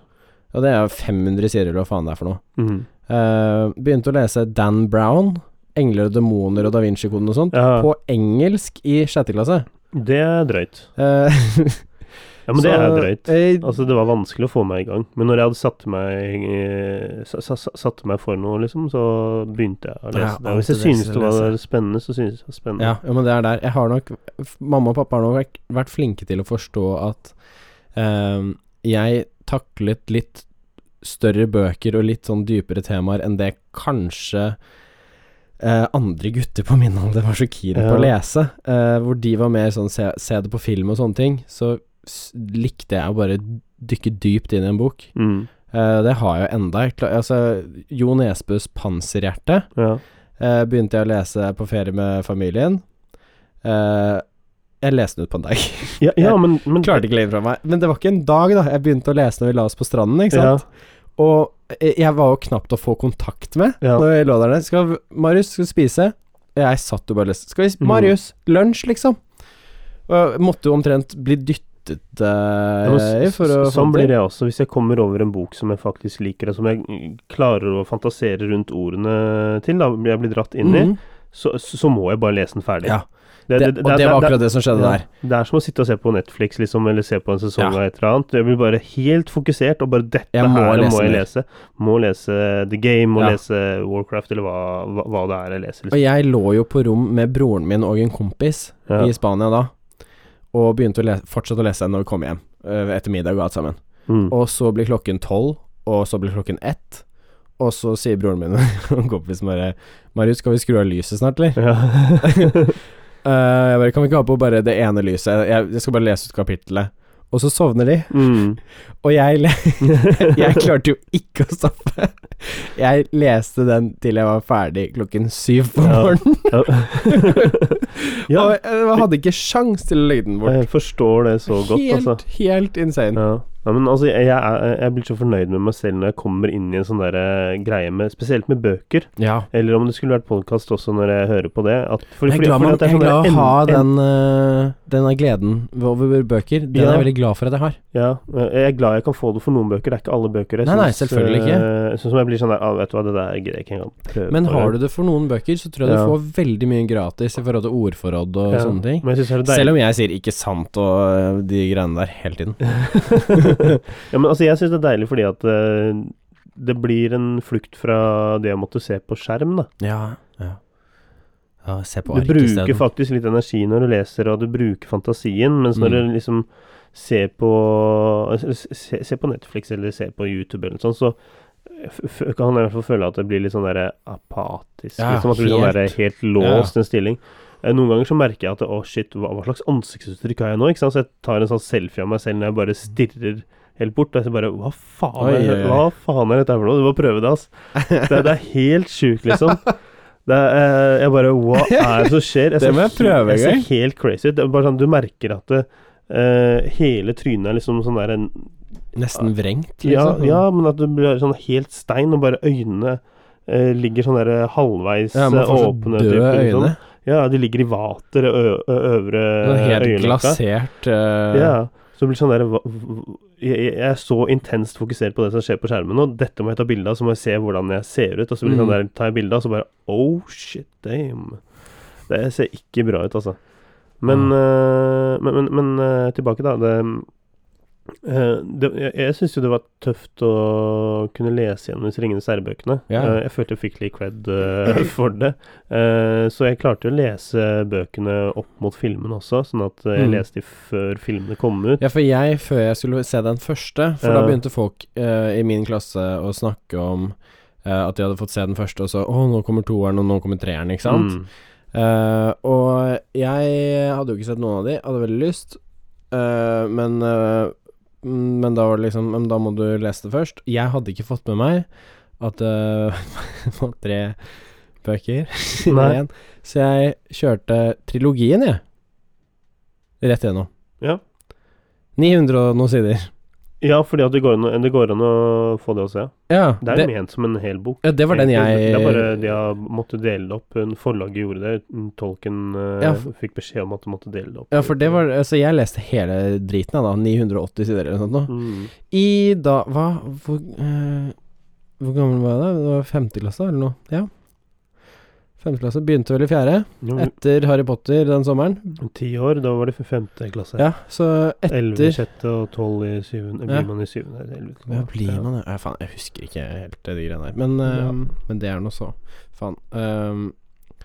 [SPEAKER 4] Og det er jo 500 sider, eller hva faen det er for noe.
[SPEAKER 3] Mm.
[SPEAKER 4] Eh, begynte å lese Dan Brown, 'Engler og demoner' og Da Vinci-koden og sånt,
[SPEAKER 3] ja.
[SPEAKER 4] på engelsk i sjette klasse.
[SPEAKER 3] Det er drøyt.
[SPEAKER 4] Eh,
[SPEAKER 3] Ja, men det
[SPEAKER 4] så,
[SPEAKER 3] er drøyt.
[SPEAKER 4] eh,
[SPEAKER 3] Altså, det var vanskelig å få meg i gang. Men når jeg hadde satt meg, eh, sa- sa- sa- satt meg for noe, liksom, så begynte jeg å
[SPEAKER 4] Ja,
[SPEAKER 3] lese det. Og hvis jeg
[SPEAKER 4] alltid lese,
[SPEAKER 3] syntes det var spennende, så syntes jeg det var spennende.
[SPEAKER 4] Ja, ja, men det er der. Jeg har nok f- Mamma og pappa har nok vært- vært flinke til å forstå at ehm, jeg taklet litt større bøker og litt sånn dypere temaer enn det kanskje eh, andre gutter på min alder var så keen på å
[SPEAKER 3] Ja.
[SPEAKER 4] lese. eh, hvor de var mer sånn se, se det på film og sånne ting. Så s likte jeg å bare dykke dypt inn i en bok.
[SPEAKER 3] Mm.
[SPEAKER 4] Eh, det har jeg jo enda. Jeg kla- Altså, Jo Nesbøs 'Panserhjerte'
[SPEAKER 3] ja.
[SPEAKER 4] Eh, begynte jeg å lese på ferie med familien. Eh, jeg leste den ut på en dag.
[SPEAKER 3] Ja, ja
[SPEAKER 4] Jeg
[SPEAKER 3] men, men
[SPEAKER 4] Klarte ikke å legge fra meg. Men det var ikke en dag, da. Jeg begynte å lese når vi la oss på stranden, ikke sant. Og eh, jeg var jo knapt å få kontakt med
[SPEAKER 3] Ja.
[SPEAKER 4] når vi lå der nede. Skal vi- Marius, skal vi spise? Jeg satt jo bare og leste. Skal vi sp-
[SPEAKER 3] Mm.
[SPEAKER 4] Marius, lunsj, liksom. Og jeg måtte jo omtrent bli dyttet
[SPEAKER 3] Ja, men
[SPEAKER 4] eh, i
[SPEAKER 3] s-
[SPEAKER 4] for å
[SPEAKER 3] s- sånn
[SPEAKER 4] få det
[SPEAKER 3] blir
[SPEAKER 4] til.
[SPEAKER 3] jeg også, hvis jeg kommer over en bok som jeg faktisk liker, og som jeg mm, klarer å fantasere rundt ordene til, da jeg blir dratt inn i,
[SPEAKER 4] Mhm.
[SPEAKER 3] så, så må jeg bare lese den ferdig.
[SPEAKER 4] Ja. Det, og det var akkurat det som skjedde der.
[SPEAKER 3] Det er som å sitte og se på Netflix, liksom, eller se på en sesong
[SPEAKER 4] Ja.
[SPEAKER 3] av et eller annet. Jeg blir bare helt fokusert, og bare 'dette
[SPEAKER 4] Jeg må
[SPEAKER 3] her
[SPEAKER 4] lese
[SPEAKER 3] må jeg
[SPEAKER 4] mer.
[SPEAKER 3] lese'. Må lese The Game, må
[SPEAKER 4] Ja.
[SPEAKER 3] lese Warcraft, eller hva, hva, hva det er jeg leser.
[SPEAKER 4] Og
[SPEAKER 3] Liksom.
[SPEAKER 4] jeg lå jo på rom med broren min og en kompis
[SPEAKER 3] Ja.
[SPEAKER 4] i Spania da, og begynte å le- fortsette å lese når vi kom hjem, eh, etter middag og alt sammen.
[SPEAKER 3] Mm.
[SPEAKER 4] Og så blir klokken tolv, og så blir klokken ett, og så sier broren min og kompisen bare 'Marius, skal vi skru av lyset snart, eller?'
[SPEAKER 3] Ja.
[SPEAKER 4] Eh, jeg bare 'Kan vi ikke ha på bare det ene lyset? Jeg, jeg skal bare lese ut kapittelet.' Og så sovner de,
[SPEAKER 3] mm.
[SPEAKER 4] og jeg, le jeg klarte jo ikke å stoppe. Jeg leste den til jeg var ferdig klokken syv på
[SPEAKER 3] Ja.
[SPEAKER 4] morgenen.
[SPEAKER 3] Ja. ja,
[SPEAKER 4] Og jeg hadde ikke sjans til å legge den bort.
[SPEAKER 3] jeg forstår det så godt,
[SPEAKER 4] helt,
[SPEAKER 3] altså.
[SPEAKER 4] helt insane.
[SPEAKER 3] Ja. ja, men altså, jeg, jeg, er, jeg blir så fornøyd med meg selv når jeg kommer inn i en sånn der eh, greie med Spesielt med bøker,
[SPEAKER 4] Ja.
[SPEAKER 3] eller om det skulle vært podkast også når jeg hører på det. At, for,
[SPEAKER 4] Jeg er
[SPEAKER 3] fordi-
[SPEAKER 4] glad,
[SPEAKER 3] fordi
[SPEAKER 4] man,
[SPEAKER 3] at det
[SPEAKER 4] jeg er glad
[SPEAKER 3] sånn
[SPEAKER 4] å
[SPEAKER 3] der
[SPEAKER 4] ha
[SPEAKER 3] en- en-
[SPEAKER 4] den, øh, denne gleden over bøker. Den
[SPEAKER 3] Ja.
[SPEAKER 4] er jeg veldig glad for at jeg har.
[SPEAKER 3] Ja, eh, jeg er glad jeg kan få det for noen bøker. Det er ikke alle bøker. Jeg
[SPEAKER 4] Nei, nei,
[SPEAKER 3] syns,
[SPEAKER 4] selvfølgelig ikke.
[SPEAKER 3] eh, Sånn som jeg blir sånn der ah, Vet du hva, det der gidder jeg ikke engang prøve
[SPEAKER 4] Men har du det for noen bøker, så tror jeg
[SPEAKER 3] Ja.
[SPEAKER 4] du får veldig mye gratis i forhold til ordforråd og sånne ting.
[SPEAKER 3] Men jeg synes det er deilig.
[SPEAKER 4] Selv om jeg sier 'ikke sant' og øh, de greiene der hele tiden.
[SPEAKER 3] ja, men altså, jeg syns det er deilig fordi at eh, det blir en flukt fra det å måtte se på skjerm, da.
[SPEAKER 4] Ja, ja. ja se på
[SPEAKER 3] Du
[SPEAKER 4] ark
[SPEAKER 3] bruker
[SPEAKER 4] isteden.
[SPEAKER 3] faktisk litt energi når du leser, og du bruker fantasien, mens når
[SPEAKER 4] Mm.
[SPEAKER 3] du liksom ser på se, se på Netflix eller ser på YouTube eller noe sånt, så f f- kan han i hvert fall føle at det blir litt sånn der apatisk.
[SPEAKER 4] Ja,
[SPEAKER 3] liksom at du blir sånn der helt låst i en stilling. Eh, Noen ganger så merker jeg at å shit, hva, hva slags ansiktsuttrykk har jeg nå? Ikke sant? Så jeg tar en sånn selfie av meg selv når jeg bare stirrer helt bort. Og jeg så bare hva faen,
[SPEAKER 4] Oi,
[SPEAKER 3] er,
[SPEAKER 4] oi, oi.
[SPEAKER 3] hva faen er dette her for noe? Du må prøve det, altså. Det, det er helt sjukt, liksom. Det er, eh, jeg bare Hva er det som skjer? Jeg
[SPEAKER 4] Det må jeg prøve en
[SPEAKER 3] Jeg
[SPEAKER 4] gang.
[SPEAKER 3] ser helt crazy ut. Det er bare sånn, du merker at det, eh, hele trynet er liksom sånn der en
[SPEAKER 4] Nesten vrengt,
[SPEAKER 3] ja,
[SPEAKER 4] liksom.
[SPEAKER 3] ja, men at du blir sånn helt stein, og bare øynene eh, ligger sånn der halvveis
[SPEAKER 4] Ja, man
[SPEAKER 3] eh,
[SPEAKER 4] får så
[SPEAKER 3] åpne.
[SPEAKER 4] døde
[SPEAKER 3] type, liksom.
[SPEAKER 4] øyne.
[SPEAKER 3] Ja, de ligger i vater, ø ø øvre
[SPEAKER 4] Noe helt
[SPEAKER 3] øyelokka.
[SPEAKER 4] glasert eh,
[SPEAKER 3] Eh, Ja. Så det blir sånn der hva- hva- jeg, jeg er så intenst fokusert på det som skjer på skjermen nå. Dette må jeg ta bilde av, så må jeg se hvordan jeg ser ut. Og så blir det sånn
[SPEAKER 4] Mm.
[SPEAKER 3] der, tar jeg bilde av, så bare Oh shit, damn. Det ser ikke bra ut, altså. Men, eh, men, men, men eh, tilbake, da. Det, eh, det, jeg jeg syns jo det var tøft å kunne lese gjennom disse Ringenes herre-bøkene.
[SPEAKER 4] Ja.
[SPEAKER 3] Eh, jeg følte jeg fikk litt cred eh, for det. Eh, så jeg klarte jo å lese bøkene opp mot filmen også, sånn at eh, jeg
[SPEAKER 4] Mm.
[SPEAKER 3] leste de før filmene kom ut.
[SPEAKER 4] Ja, for jeg, før jeg skulle se den første For da
[SPEAKER 3] Ja.
[SPEAKER 4] begynte folk eh, i min klasse å snakke om eh, at de hadde fått se den første, og så Å, nå kommer toeren, og nå kommer treeren, ikke sant?
[SPEAKER 3] Mm.
[SPEAKER 4] Eh, og jeg hadde jo ikke sett noen av de, hadde veldig lyst, eh, men eh, mm, Men da var det liksom Men da må du lese det først. Jeg hadde ikke fått med meg at eh, det var tre bøker i
[SPEAKER 3] Nei.
[SPEAKER 4] én, så jeg kjørte trilogien, jeg. Rett gjennom.
[SPEAKER 3] Ja.
[SPEAKER 4] 900 og noen sider.
[SPEAKER 3] Ja, fordi at det går, an, å- det går an å få det også, ja.
[SPEAKER 4] Ja,
[SPEAKER 3] Det er
[SPEAKER 4] det,
[SPEAKER 3] ment som en hel bok.
[SPEAKER 4] ja, det var den jeg
[SPEAKER 3] egentlig. Det er bare de har måttet dele det opp. En Forlaget gjorde det. en Tolken eh,
[SPEAKER 4] Ja, for-
[SPEAKER 3] fikk beskjed om at de måtte dele det opp.
[SPEAKER 4] Ja, for det var Altså, jeg leste hele driten, jeg, da. 980 sider eller noe sånt. nå.
[SPEAKER 3] mm.
[SPEAKER 4] I da Hva? Hvor, eh, hvor gammel var jeg da? Det var femte klasse eller noe? Ja. Femte klasse. Begynte vel i fjerde,
[SPEAKER 3] Jo,
[SPEAKER 4] etter Harry Potter den sommeren.
[SPEAKER 3] Ti år, da var det for femte klasse.
[SPEAKER 4] Ja, så etter
[SPEAKER 3] Elleve i sjette og tolv i syvende.
[SPEAKER 4] Ja.
[SPEAKER 3] Blir man i syvende eller elleve?
[SPEAKER 4] Hva blir man det? Ja, faen, jeg husker ikke helt de greiene der. Men, eh, men det er nå så. Faen. eh,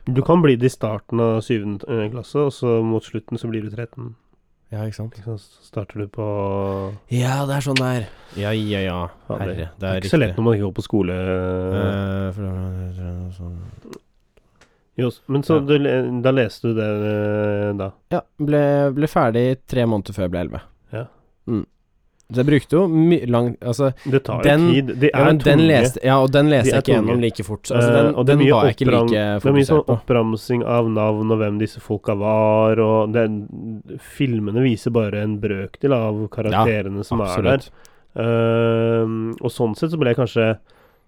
[SPEAKER 3] Du kan bli det i starten av syvende eh, klasse, og så mot slutten så blir du 13.
[SPEAKER 4] ja, ikke sant?
[SPEAKER 3] Ikke sant? Så starter du på
[SPEAKER 4] Ja, det er sånn der. Ja, ja, ja. Herre, det er
[SPEAKER 3] Ikke så lett når man ikke går på skole.
[SPEAKER 4] Eh, for det var- sånn.
[SPEAKER 3] Jo, men så
[SPEAKER 4] ja.
[SPEAKER 3] du, le- da leste du det eh, da.
[SPEAKER 4] Ja, ble, ble ferdig tre måneder før jeg ble elleve.
[SPEAKER 3] Ja.
[SPEAKER 4] Mm. Så jeg brukte jo mye lang Altså,
[SPEAKER 3] Det tar
[SPEAKER 4] Den-
[SPEAKER 3] jo tid. De er
[SPEAKER 4] Ja, men den
[SPEAKER 3] tunge.
[SPEAKER 4] leste, ja, og den
[SPEAKER 3] De
[SPEAKER 4] leste
[SPEAKER 3] er
[SPEAKER 4] jeg ikke
[SPEAKER 3] tunge.
[SPEAKER 4] gjennom like fort. Så, altså,
[SPEAKER 3] Eh,
[SPEAKER 4] den,
[SPEAKER 3] og det er
[SPEAKER 4] den
[SPEAKER 3] mye
[SPEAKER 4] var jeg ikke
[SPEAKER 3] oppram-
[SPEAKER 4] like
[SPEAKER 3] Det er mye sånn
[SPEAKER 4] fokusert på.
[SPEAKER 3] oppramsing av navn og hvem disse folka var, og det, filmene viser bare en brøkdel av karakterene som er der.
[SPEAKER 4] Absolutt.
[SPEAKER 3] Ehm, og sånn sett så ble jeg kanskje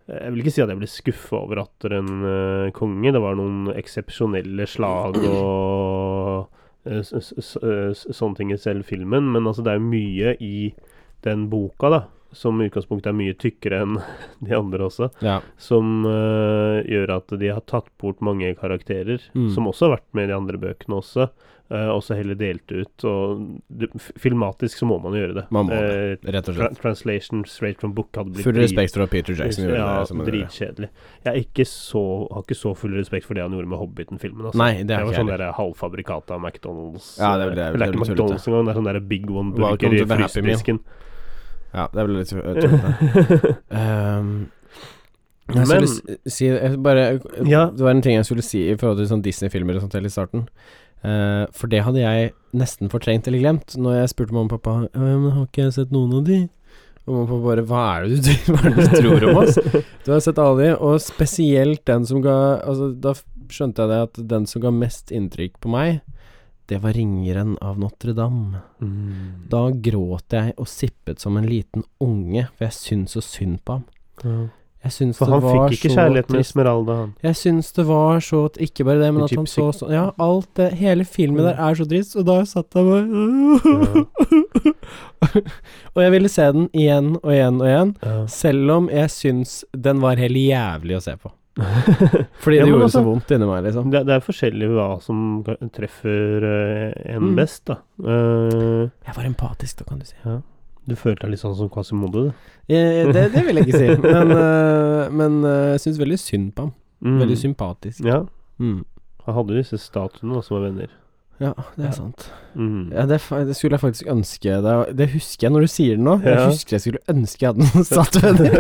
[SPEAKER 3] Jeg vil ikke si at jeg ble skuffa over atter en eh, konge. Det var noen eksepsjonelle slag og eh, s- s- s- eh, s- sånne ting i selv filmen, men altså det er jo mye i den boka, da, som i utgangspunktet er mye tykkere enn de andre også,
[SPEAKER 4] Ja.
[SPEAKER 3] som eh, gjør at de har tatt bort mange karakterer,
[SPEAKER 4] Mm.
[SPEAKER 3] som også har vært med i de andre bøkene også, eh, og så heller delt ut. Og det, f- filmatisk så må man gjøre det.
[SPEAKER 4] Man må
[SPEAKER 3] Eh,
[SPEAKER 4] Rett og
[SPEAKER 3] Tra
[SPEAKER 4] slett.
[SPEAKER 3] translation straight from book hadde blitt
[SPEAKER 4] Full
[SPEAKER 3] drit-
[SPEAKER 4] respekt for at Peter Jackson gjorde
[SPEAKER 3] ja,
[SPEAKER 4] det. Som han gjorde.
[SPEAKER 3] dritkjedelig. Jeg er ikke så, har ikke så full respekt for det han gjorde med Hobbiten-filmen. Altså.
[SPEAKER 4] Nei, det
[SPEAKER 3] det
[SPEAKER 4] er
[SPEAKER 3] var
[SPEAKER 4] ikke
[SPEAKER 3] sånn
[SPEAKER 4] jeg.
[SPEAKER 3] der halvfabrikat av McDonald's.
[SPEAKER 4] Ja, det er- det er-
[SPEAKER 3] Eller
[SPEAKER 4] det er
[SPEAKER 3] ikke
[SPEAKER 4] litt
[SPEAKER 3] McDonald's engang, det er sånn der Big One
[SPEAKER 4] Welcome
[SPEAKER 3] burger i
[SPEAKER 4] to the Happy Meal.
[SPEAKER 3] frysedisken.
[SPEAKER 4] Ja, det ble litt øh, tullete. Ehm, jeg
[SPEAKER 3] Men-
[SPEAKER 4] skulle si- si jeg bare, eh,
[SPEAKER 3] Ja.
[SPEAKER 4] Det var en ting jeg skulle si i forhold til sånn Disney-filmer og sånt helt i starten. Eh, for det hadde jeg nesten fortrengt eller glemt når jeg spurte mamma og pappa «Ja, Men har ikke jeg sett noen av de. Og mamma og pappa bare Hva er det du, hva er det du tror om oss? Du har sett alle de, og spesielt den som ga Altså, da f- skjønte jeg det at den som ga mest inntrykk på meg, det var Ringeren av Notre-Dame.
[SPEAKER 3] Mm.
[SPEAKER 4] Da gråt jeg og sippet som en liten unge, for jeg syns så synd på ham. Jeg syns
[SPEAKER 3] For
[SPEAKER 4] det
[SPEAKER 3] han
[SPEAKER 4] var
[SPEAKER 3] fikk ikke
[SPEAKER 4] så
[SPEAKER 3] kjærlighet med
[SPEAKER 4] trist.
[SPEAKER 3] Esmeralda, han.
[SPEAKER 4] Jeg syns det var så at Ikke bare det, men at han så
[SPEAKER 3] Gypsy.
[SPEAKER 4] sånn Ja, alt det Hele filmen der er så trist, og da satt jeg
[SPEAKER 3] Ja.
[SPEAKER 4] bare Og jeg ville se den igjen og igjen og igjen,
[SPEAKER 3] Ja.
[SPEAKER 4] selv om jeg syns den var helt jævlig å se på. Fordi
[SPEAKER 3] Ja,
[SPEAKER 4] det
[SPEAKER 3] men
[SPEAKER 4] gjorde
[SPEAKER 3] altså-
[SPEAKER 4] så vondt inni meg, liksom.
[SPEAKER 3] Det, det er forskjellig hva som ka- treffer eh, en
[SPEAKER 4] Mm.
[SPEAKER 3] best, da. Eh,
[SPEAKER 4] Jeg var empatisk, da kan du si.
[SPEAKER 3] du følte deg litt sånn som Quasimodo, du.
[SPEAKER 4] Eh, Det, det vil jeg ikke si, men, eh, men eh, jeg syns veldig synd på ham.
[SPEAKER 3] Mm.
[SPEAKER 4] Veldig sympatisk.
[SPEAKER 3] Ja.
[SPEAKER 4] Mm.
[SPEAKER 3] Han hadde disse statuene da, som var venner.
[SPEAKER 4] Ja, det
[SPEAKER 3] Ja.
[SPEAKER 4] er sant.
[SPEAKER 3] Mm.
[SPEAKER 4] Ja, det, fa- det skulle jeg faktisk ønske Det, det husker jeg når du sier det nå.
[SPEAKER 3] Ja.
[SPEAKER 4] Jeg husker jeg skulle ønske jeg hadde noen satt venner.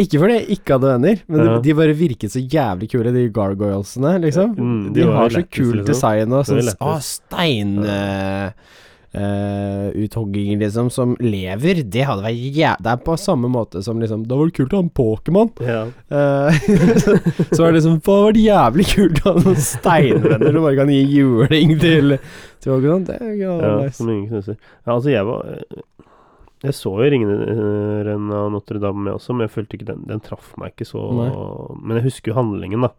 [SPEAKER 4] ikke fordi jeg ikke hadde venner, men
[SPEAKER 3] Ja.
[SPEAKER 4] de, de bare virket så jævlig kule, de gargoylesene, liksom.
[SPEAKER 3] Mm, de
[SPEAKER 4] de
[SPEAKER 3] var
[SPEAKER 4] har
[SPEAKER 3] jo
[SPEAKER 4] så
[SPEAKER 3] lættis,
[SPEAKER 4] kult
[SPEAKER 3] liksom.
[SPEAKER 4] design og
[SPEAKER 3] Det var jo
[SPEAKER 4] sånn Å,
[SPEAKER 3] lættis.
[SPEAKER 4] stein...
[SPEAKER 3] Ja.
[SPEAKER 4] eh, eh, uthogginger, liksom, som lever, det hadde vært jæ... Det er på samme måte som liksom Det var kult å ha en Pokémon.
[SPEAKER 3] Ja.
[SPEAKER 4] Eh, så, så var det liksom Faen, var det jævlig kult å ha noen steinvenner som bare kan gi juling til til Pokémon. Det er
[SPEAKER 3] Ja,
[SPEAKER 4] jo
[SPEAKER 3] sånn,
[SPEAKER 4] nice.
[SPEAKER 3] som ingen knuser. Ja, altså, jeg var Jeg så jo 'Ringeren av Notre-Dame' også, men jeg følte ikke den Den traff meg ikke så Men jeg husker jo handlingen, da.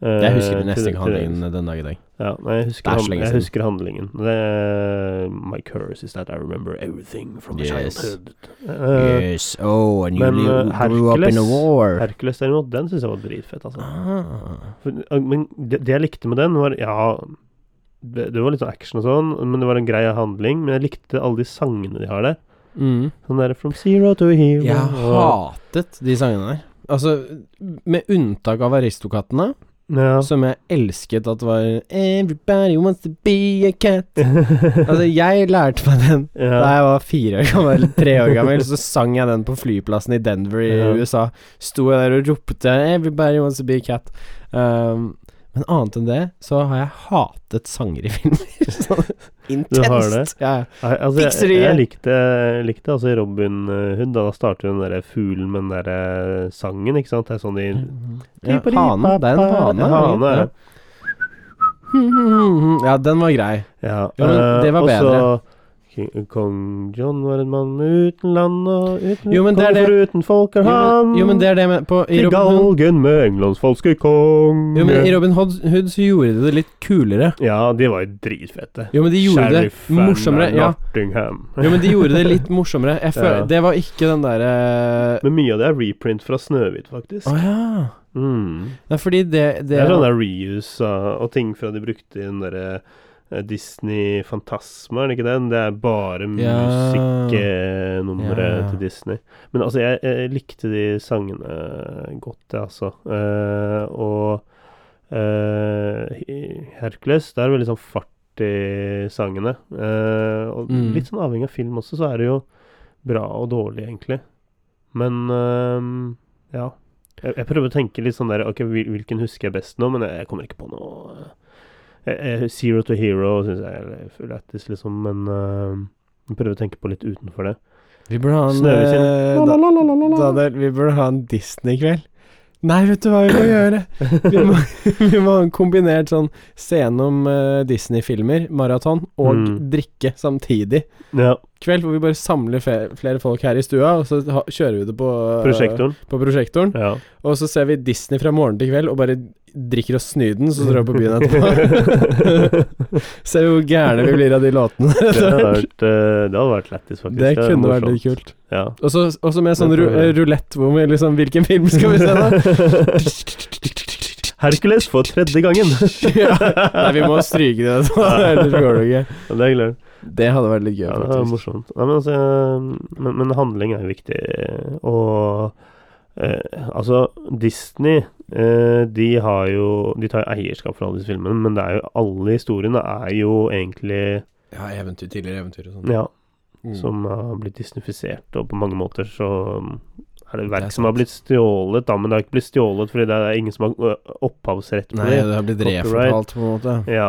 [SPEAKER 3] Eh,
[SPEAKER 4] Jeg husker
[SPEAKER 3] til-
[SPEAKER 4] nesten
[SPEAKER 3] til-
[SPEAKER 4] ikke handlingen den dag i dag.
[SPEAKER 3] Ja, nei, jeg husker,
[SPEAKER 4] Det er så
[SPEAKER 3] han,
[SPEAKER 4] lenge
[SPEAKER 3] jeg
[SPEAKER 4] siden.
[SPEAKER 3] husker handlingen. Det er, My curse is that I remember everything from my
[SPEAKER 4] Yes.
[SPEAKER 3] childhood. Eh,
[SPEAKER 4] yes. Oh, and you
[SPEAKER 3] men,
[SPEAKER 4] live-
[SPEAKER 3] eh,
[SPEAKER 4] grew up in a
[SPEAKER 3] Hercules-
[SPEAKER 4] war.
[SPEAKER 3] Hercules derimot, den syns jeg var dritfett, altså.
[SPEAKER 4] Ah.
[SPEAKER 3] For, men det, det jeg likte med den, var Ja, det, det var litt sånn action og sånn, men det var en grei handling. Men jeg likte alle de sangene de har der.
[SPEAKER 4] Mm.
[SPEAKER 3] Sånn der From Zero to Hero.
[SPEAKER 4] Jeg
[SPEAKER 3] og-
[SPEAKER 4] hatet de sangene der. Altså, med unntak av Aristokattene,
[SPEAKER 3] ja.
[SPEAKER 4] som jeg elsket at var Everybody wants to be a cat. Altså, jeg lærte meg den da
[SPEAKER 3] ja.
[SPEAKER 4] jeg var fire år gammel, tre år gammel, så sang jeg den på flyplassen i Denver i
[SPEAKER 3] Ja.
[SPEAKER 4] USA. Sto jeg der og ropte 'Everybody wants to be a cat'. Um, men annet enn det, så har jeg hatet sanger i filmer. Sånn
[SPEAKER 3] Du har det?
[SPEAKER 4] intenst. Ja, ja.
[SPEAKER 3] Nei, Altså, jeg,
[SPEAKER 4] Fikser det
[SPEAKER 3] jeg
[SPEAKER 4] igjen.
[SPEAKER 3] likte, likte altså i Robin Hood. Da starter jo den derre fuglen med den derre sangen, ikke sant. Det er sånn de
[SPEAKER 4] Ja, hanen. Det er en hane.
[SPEAKER 3] Hane, ja.
[SPEAKER 4] Ja. ja, den var grei.
[SPEAKER 3] Ja,
[SPEAKER 4] Ja, men
[SPEAKER 3] eh,
[SPEAKER 4] det var
[SPEAKER 3] og så
[SPEAKER 4] bedre.
[SPEAKER 3] King- Kong John var en mann uten land og uten
[SPEAKER 4] Jo, men det er
[SPEAKER 3] kong
[SPEAKER 4] det-
[SPEAKER 3] foruten folk er
[SPEAKER 4] Jo,
[SPEAKER 3] han.
[SPEAKER 4] men- Jo, men det er det med på, i
[SPEAKER 3] I
[SPEAKER 4] Robin Hood
[SPEAKER 3] galgen med Englands falske konge.
[SPEAKER 4] Jo, men i Robin Hood Hood så gjorde de det litt kulere.
[SPEAKER 3] ja, de var jo dritfette.
[SPEAKER 4] Jo, men de gjorde
[SPEAKER 3] Sheriff
[SPEAKER 4] det morsommere.
[SPEAKER 3] and
[SPEAKER 4] Ja.
[SPEAKER 3] Nottingham.
[SPEAKER 4] Jo, men de gjorde det litt morsommere. Jeg føler,
[SPEAKER 3] Ja.
[SPEAKER 4] Det var ikke den eh, derre
[SPEAKER 3] Men mye av det er reprint fra Snøhvit, faktisk.
[SPEAKER 4] Å ja.
[SPEAKER 3] Mm.
[SPEAKER 4] Nei, fordi
[SPEAKER 3] Det
[SPEAKER 4] det, det
[SPEAKER 3] er sånn der reuse og, og ting fra de brukte i den derre eh, Disney Fantasma, er det ikke den? Det er bare
[SPEAKER 4] Ja.
[SPEAKER 3] musikknummeret
[SPEAKER 4] Ja.
[SPEAKER 3] til Disney. Men altså, jeg, jeg likte de sangene godt, jeg, altså. Eh, og eh, i Hercules, der er det veldig sånn fart i sangene. Eh, og
[SPEAKER 4] Mm.
[SPEAKER 3] litt sånn avhengig av film også, så er det jo bra og dårlig, egentlig. Men eh, ja. Jeg, jeg prøver å tenke litt sånn der Ok, hvil- hvilken husker jeg best nå? Men jeg, jeg kommer ikke på noe eh, eh, Zero to Hero syns jeg er lættis, liksom, men eh, jeg prøver å tenke på litt utenfor det.
[SPEAKER 4] Vi burde ha en
[SPEAKER 3] Snøhvit sin.
[SPEAKER 4] eh,
[SPEAKER 3] La, la, la, la, la,
[SPEAKER 4] da-
[SPEAKER 3] la.
[SPEAKER 4] Daniel, vi burde ha en Disney-kveld. Nei, vet du hva vi må gjøre? Vi må, vi må ha en kombinert sånn scene om eh, Disney-filmer, maraton, og
[SPEAKER 3] Mm.
[SPEAKER 4] drikke samtidig.
[SPEAKER 3] Ja,
[SPEAKER 4] Kveld hvor vi bare samler fe- flere folk her i stua, og så ha, kjører vi det på, eh,
[SPEAKER 3] prosjektoren.
[SPEAKER 4] på prosjektoren.
[SPEAKER 3] Ja.
[SPEAKER 4] Og så ser vi Disney fra morgen til kveld og bare drikker oss snyden, så drar vi på byen etterpå. ser vi hvor gærne vi blir av de låtene.
[SPEAKER 3] Det hadde vært, eh, det hadde vært lættis, faktisk.
[SPEAKER 4] Det
[SPEAKER 3] hadde
[SPEAKER 4] kunne vært
[SPEAKER 3] morsomt.
[SPEAKER 4] litt kult.
[SPEAKER 3] Ja.
[SPEAKER 4] Og så og så med sånn
[SPEAKER 3] Det
[SPEAKER 4] ru
[SPEAKER 3] tror jeg.
[SPEAKER 4] rulett hvor vi liksom Hvilken film skal vi se, da?
[SPEAKER 3] Hercules for tredje gangen.
[SPEAKER 4] ja. Nei, vi må stryke det. da. Ellers går det ikke.
[SPEAKER 3] Ja, det er glad.
[SPEAKER 4] Det hadde vært litt gøy,
[SPEAKER 3] Ja, det er
[SPEAKER 4] faktisk.
[SPEAKER 3] morsomt. Nei, men, altså, eh, men, men handling er jo viktig, eh, og eh, altså, Disney eh, De har jo De tar jo eierskap for alle disse filmene, men det er jo alle historiene er jo egentlig
[SPEAKER 4] Ja, eventyr, tidligere eventyr og
[SPEAKER 3] Ja,
[SPEAKER 4] Mm.
[SPEAKER 3] som har blitt disnifisert, og på mange måter så um, er det
[SPEAKER 4] Det er
[SPEAKER 3] verk som har
[SPEAKER 4] sant.
[SPEAKER 3] blitt stjålet, da, men det har ikke blitt stjålet fordi det er ingen som har ø, opphavsrett på
[SPEAKER 4] Nei,
[SPEAKER 3] det.
[SPEAKER 4] det har blitt
[SPEAKER 3] Copyright.
[SPEAKER 4] refortalt, på en måte.
[SPEAKER 3] Ja.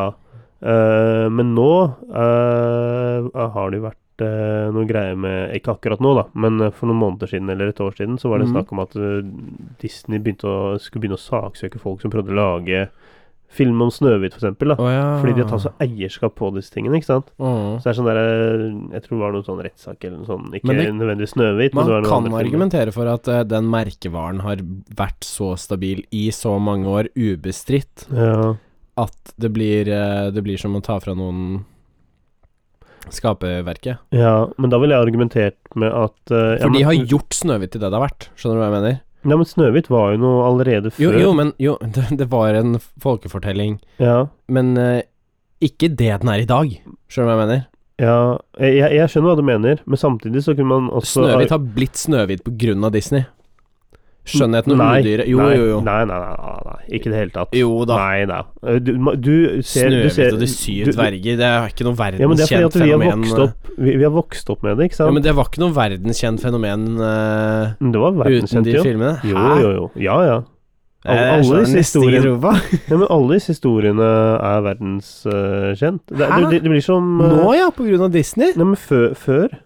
[SPEAKER 3] Eh, men nå eh, har det jo vært eh, noe greier med Ikke akkurat nå, da, men eh, for noen måneder siden eller et år siden så var det
[SPEAKER 4] Mhm.
[SPEAKER 3] snakk om at eh, Disney begynte å, skulle begynne å saksøke folk som prøvde å lage film om Snøhvit, for eksempel, da.
[SPEAKER 4] Å ja.
[SPEAKER 3] Fordi de har tatt så eierskap på disse tingene, ikke sant. Så
[SPEAKER 4] Åh.
[SPEAKER 3] det er sånn der eh, Jeg tror det var noen sånn rettssak eller noe sånt. Ikke
[SPEAKER 4] Men det-
[SPEAKER 3] nødvendigvis Snøhvit, men
[SPEAKER 4] Man
[SPEAKER 3] det var noen
[SPEAKER 4] kan
[SPEAKER 3] andre filmer.
[SPEAKER 4] argumentere for at eh, den merkevaren har vært så stabil i så mange år, ubestridt,
[SPEAKER 3] Ja.
[SPEAKER 4] at det blir, eh, det blir som å ta fra noen skaperverket.
[SPEAKER 3] ja, men da ville jeg argumentert med at eh, ja,
[SPEAKER 4] For de
[SPEAKER 3] men-
[SPEAKER 4] har gjort Snøhvit til det det har vært, skjønner du hva jeg mener?
[SPEAKER 3] Nei, men Snøhvit var jo noe allerede
[SPEAKER 4] Jo,
[SPEAKER 3] før.
[SPEAKER 4] jo men jo, det, det var en folkefortelling,
[SPEAKER 3] Ja.
[SPEAKER 4] men eh, ikke det den er i dag, skjønner du hva jeg mener?
[SPEAKER 3] Ja, jeg, jeg- jeg skjønner hva du mener, men samtidig så kunne man også
[SPEAKER 4] Snøhvit har blitt Snøhvit på grunn av Disney. Skjønnheten og
[SPEAKER 3] Nei,
[SPEAKER 4] udyret Jo,
[SPEAKER 3] nei,
[SPEAKER 4] jo, jo.
[SPEAKER 3] Nei, nei, nei, nei, nei, ikke i det hele tatt.
[SPEAKER 4] Jo da.
[SPEAKER 3] Nei da. Du, ma- du ser du
[SPEAKER 4] Snøhvit
[SPEAKER 3] ser-
[SPEAKER 4] og de syv
[SPEAKER 3] du- du-
[SPEAKER 4] dverger, det er ikke noe
[SPEAKER 3] Ja, men det er fordi
[SPEAKER 4] verdenskjent
[SPEAKER 3] at vi har
[SPEAKER 4] fenomen. eh.
[SPEAKER 3] vokst opp vi, vi har vokst opp med det, ikke sant?
[SPEAKER 4] Ja, men
[SPEAKER 3] det,
[SPEAKER 4] det var ikke noe verdenskjent fenomen eh,
[SPEAKER 3] det var
[SPEAKER 4] uten
[SPEAKER 3] verdenskjent,
[SPEAKER 4] de
[SPEAKER 3] jo.
[SPEAKER 4] filmene.
[SPEAKER 3] Jo,
[SPEAKER 4] Hæ?
[SPEAKER 3] jo, jo. Ja, ja. Alle- alle
[SPEAKER 4] slår
[SPEAKER 3] disse
[SPEAKER 4] nesten i
[SPEAKER 3] historiene-
[SPEAKER 4] rumpa.
[SPEAKER 3] Ja, men alle disse historiene er verdenskjent. det,
[SPEAKER 4] Hæ?
[SPEAKER 3] det, det blir som eh,
[SPEAKER 4] Nå, ja, på grunn av Disney?
[SPEAKER 3] Nei, men før, før?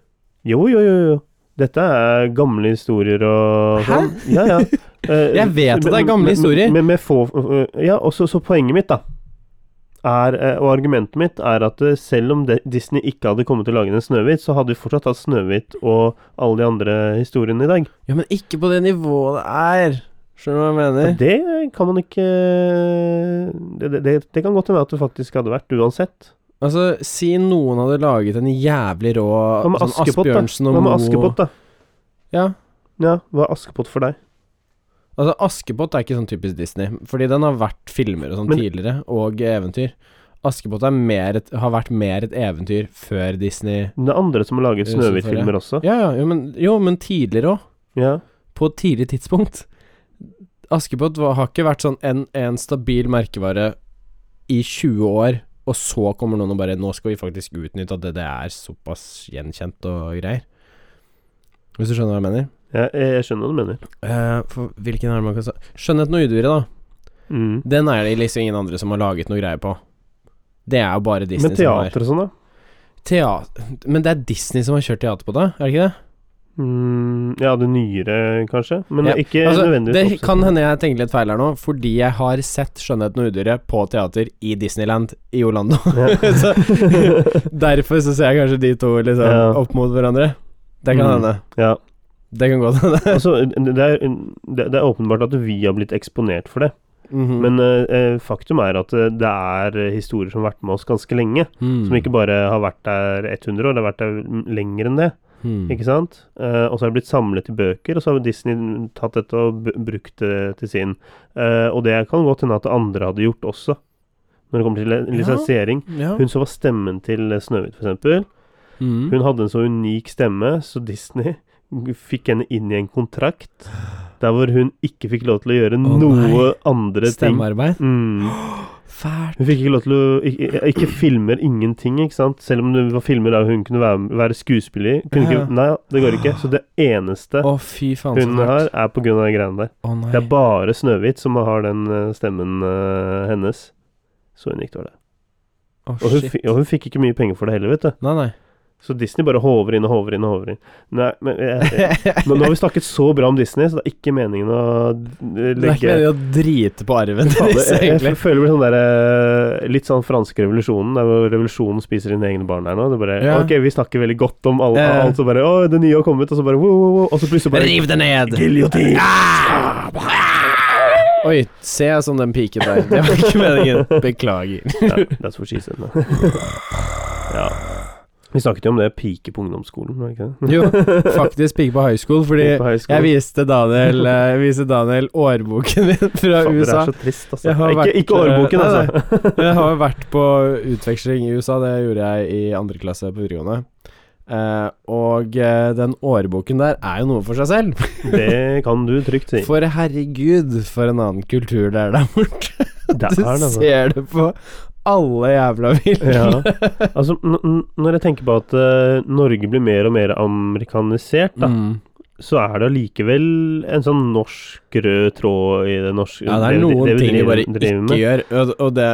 [SPEAKER 3] Jo, jo, jo, jo. Dette er gamle historier og
[SPEAKER 4] Hæ?
[SPEAKER 3] sånn. Ja, ja. Eh,
[SPEAKER 4] Jeg vet at det er gamle
[SPEAKER 3] men-
[SPEAKER 4] historier.
[SPEAKER 3] Men, men med få eh, Ja, og så så poenget mitt, da, er, eh, og argumentet mitt, er at eh, selv om det, Disney ikke hadde kommet til å lage en Snøhvit, så hadde vi fortsatt hatt Snøhvit og alle de andre historiene i dag.
[SPEAKER 4] Ja, men ikke på det nivået det er. Skjønner du hva jeg mener?
[SPEAKER 3] Og det kan man ikke Det, det- det, det kan godt hende at det faktisk hadde vært, uansett.
[SPEAKER 4] Altså, si noen hadde laget en jævlig rå
[SPEAKER 3] Hva med
[SPEAKER 4] sånn
[SPEAKER 3] Askepott, da?
[SPEAKER 4] Asbjørnsen og
[SPEAKER 3] Hva med
[SPEAKER 4] Moe-
[SPEAKER 3] Askepott, da?
[SPEAKER 4] Ja.
[SPEAKER 3] Ja, hva er Askepott for deg?
[SPEAKER 4] Altså, Askepott er ikke sånn typisk Disney, fordi den har vært filmer og sånn
[SPEAKER 3] Men-
[SPEAKER 4] tidligere, og eventyr. Askepott er mer et, har vært mer et eventyr før Disney
[SPEAKER 3] Men Det er andre som har laget
[SPEAKER 4] Eh,
[SPEAKER 3] Snøhvit-filmer også.
[SPEAKER 4] Ja, ja, jo, men, jo, men tidligere òg.
[SPEAKER 3] Ja.
[SPEAKER 4] På et tidlig tidspunkt. Askepott var, har ikke vært sånn en, en stabil merkevare i 20 år, og så kommer noen og bare Nå skal vi faktisk utnytte at det, det er såpass gjenkjent og greier. Hvis du skjønner hva jeg mener?
[SPEAKER 3] Jeg, jeg skjønner hva du mener.
[SPEAKER 4] Eh, for hvilken er det man kan sa- Skjønnheten og udyret, da.
[SPEAKER 3] Mm.
[SPEAKER 4] Den er det liksom ingen andre som har laget noe greier på. Det er jo bare Disney
[SPEAKER 3] Men teater og sånn, da?
[SPEAKER 4] som har Teater Men det er Disney som har kjørt teater på det, er det ikke det?
[SPEAKER 3] Mm, ja, det nyere, kanskje. Men
[SPEAKER 4] Ja,
[SPEAKER 3] ikke
[SPEAKER 4] Altså,
[SPEAKER 3] nødvendigvis.
[SPEAKER 4] det
[SPEAKER 3] oppsett.
[SPEAKER 4] kan hende jeg tenker litt feil her nå, fordi jeg har sett 'Skjønnheten og udyret' på teater i Disneyland i Orlando. så, derfor så ser jeg kanskje de to liksom
[SPEAKER 3] Ja.
[SPEAKER 4] opp mot hverandre. Det kan
[SPEAKER 3] Mm.
[SPEAKER 4] hende.
[SPEAKER 3] Ja.
[SPEAKER 4] Det kan godt hende.
[SPEAKER 3] Altså, det er, det, det er åpenbart at vi har blitt eksponert for det.
[SPEAKER 4] Mhm.
[SPEAKER 3] Men eh, eh, faktum er at eh, det er eh, historier som har vært med oss ganske lenge.
[SPEAKER 4] Mm.
[SPEAKER 3] Som ikke bare har vært der 100 år, det har vært der mm, lenger enn det.
[SPEAKER 4] Mm.
[SPEAKER 3] Ikke sant? Eh, og så har det blitt samlet i bøker, og så har Disney tatt dette og b brukt det til sin. Eh, og det kan godt hende at andre hadde gjort også, når det kommer til li-
[SPEAKER 4] Ja.
[SPEAKER 3] lisensiering.
[SPEAKER 4] Ja.
[SPEAKER 3] Hun som var stemmen til eh, Snøhvit, f.eks.
[SPEAKER 4] Mm.
[SPEAKER 3] Hun hadde en så unik stemme, så Disney fikk henne inn i en kontrakt der hvor hun ikke fikk lov til å gjøre
[SPEAKER 4] Å,
[SPEAKER 3] noe
[SPEAKER 4] nei.
[SPEAKER 3] andre ting.
[SPEAKER 4] Stemmearbeid.
[SPEAKER 3] Mm.
[SPEAKER 4] Fælt.
[SPEAKER 3] Hun fikk ikke lov til å Ikke, ikke filmer, ingenting, ikke sant? Selv om det var filmer der hun kunne være, være skuespiller i. Kunne
[SPEAKER 4] Ja.
[SPEAKER 3] ikke Nei, det går ikke. Så det eneste
[SPEAKER 4] Å, fy faen, så
[SPEAKER 3] hun har,
[SPEAKER 4] fælt.
[SPEAKER 3] er på grunn av de greiene der.
[SPEAKER 4] Å, nei.
[SPEAKER 3] Det er bare Snøhvit som har den eh, stemmen eh, hennes. Så unikt var det.
[SPEAKER 4] Å,
[SPEAKER 3] Og hun,
[SPEAKER 4] shit.
[SPEAKER 3] fi- og hun fikk ikke mye penger for det heller, vet du.
[SPEAKER 4] Nei, nei.
[SPEAKER 3] Så Disney bare håver inn og håver inn og håver inn. Nei, men jeg, jeg, men nå har vi snakket så bra om Disney, så det er ikke meningen å eh,
[SPEAKER 4] Det er ikke
[SPEAKER 3] legge
[SPEAKER 4] meningen å drite på arven
[SPEAKER 3] Fader,
[SPEAKER 4] deres,
[SPEAKER 3] jeg, jeg
[SPEAKER 4] egentlig.
[SPEAKER 3] føler det blir sånn der, eh, litt sånn franske revolusjonen, der hvor revolusjonen spiser sine egne barn her nå. Det er bare,
[SPEAKER 4] Ja.
[SPEAKER 3] Ok, vi snakker veldig godt om alle,
[SPEAKER 4] Ja.
[SPEAKER 3] alt, så bare Å, det nye har kommet, og så bare wow, wow, wow, Og så plutselig bare
[SPEAKER 4] Riv det ned!
[SPEAKER 3] Giljotin!
[SPEAKER 4] Oi, se som den piken der. Det var ikke meningen. Beklager.
[SPEAKER 3] Ja, that's what she said. ja. Vi snakket jo om det piket på ungdomsskolen, var det ikke det?
[SPEAKER 4] Jo, faktisk pike på high school, fordi
[SPEAKER 3] På høyskolen.
[SPEAKER 4] jeg viste Daniel, eh, jeg viste Daniel årboken min fra
[SPEAKER 3] Fader, Det
[SPEAKER 4] USA.
[SPEAKER 3] er så trist, altså.
[SPEAKER 4] Jeg har
[SPEAKER 3] Ikke,
[SPEAKER 4] vært,
[SPEAKER 3] ikke årboken,
[SPEAKER 4] eh, nei,
[SPEAKER 3] altså.
[SPEAKER 4] Jeg har jo vært på utveksling i USA, det gjorde jeg i andre klasse på videregående. Eh, og eh, den årboken der er jo noe for seg selv.
[SPEAKER 3] det kan du trygt si.
[SPEAKER 4] For herregud, for en annen kultur det er der borte.
[SPEAKER 3] Det
[SPEAKER 4] Du
[SPEAKER 3] er det, altså.
[SPEAKER 4] ser det på alle jævla ville.
[SPEAKER 3] Ja. Altså, n- n- når jeg tenker på at eh, Norge blir mer og mer amerikanisert, da,
[SPEAKER 4] Mm.
[SPEAKER 3] så er det allikevel en sånn norsk rød tråd i det norske
[SPEAKER 4] Ja, det er
[SPEAKER 3] vi-
[SPEAKER 4] noen
[SPEAKER 3] vi
[SPEAKER 4] ting vi
[SPEAKER 3] driver-
[SPEAKER 4] bare
[SPEAKER 3] driver med.
[SPEAKER 4] ikke gjør, og, og det,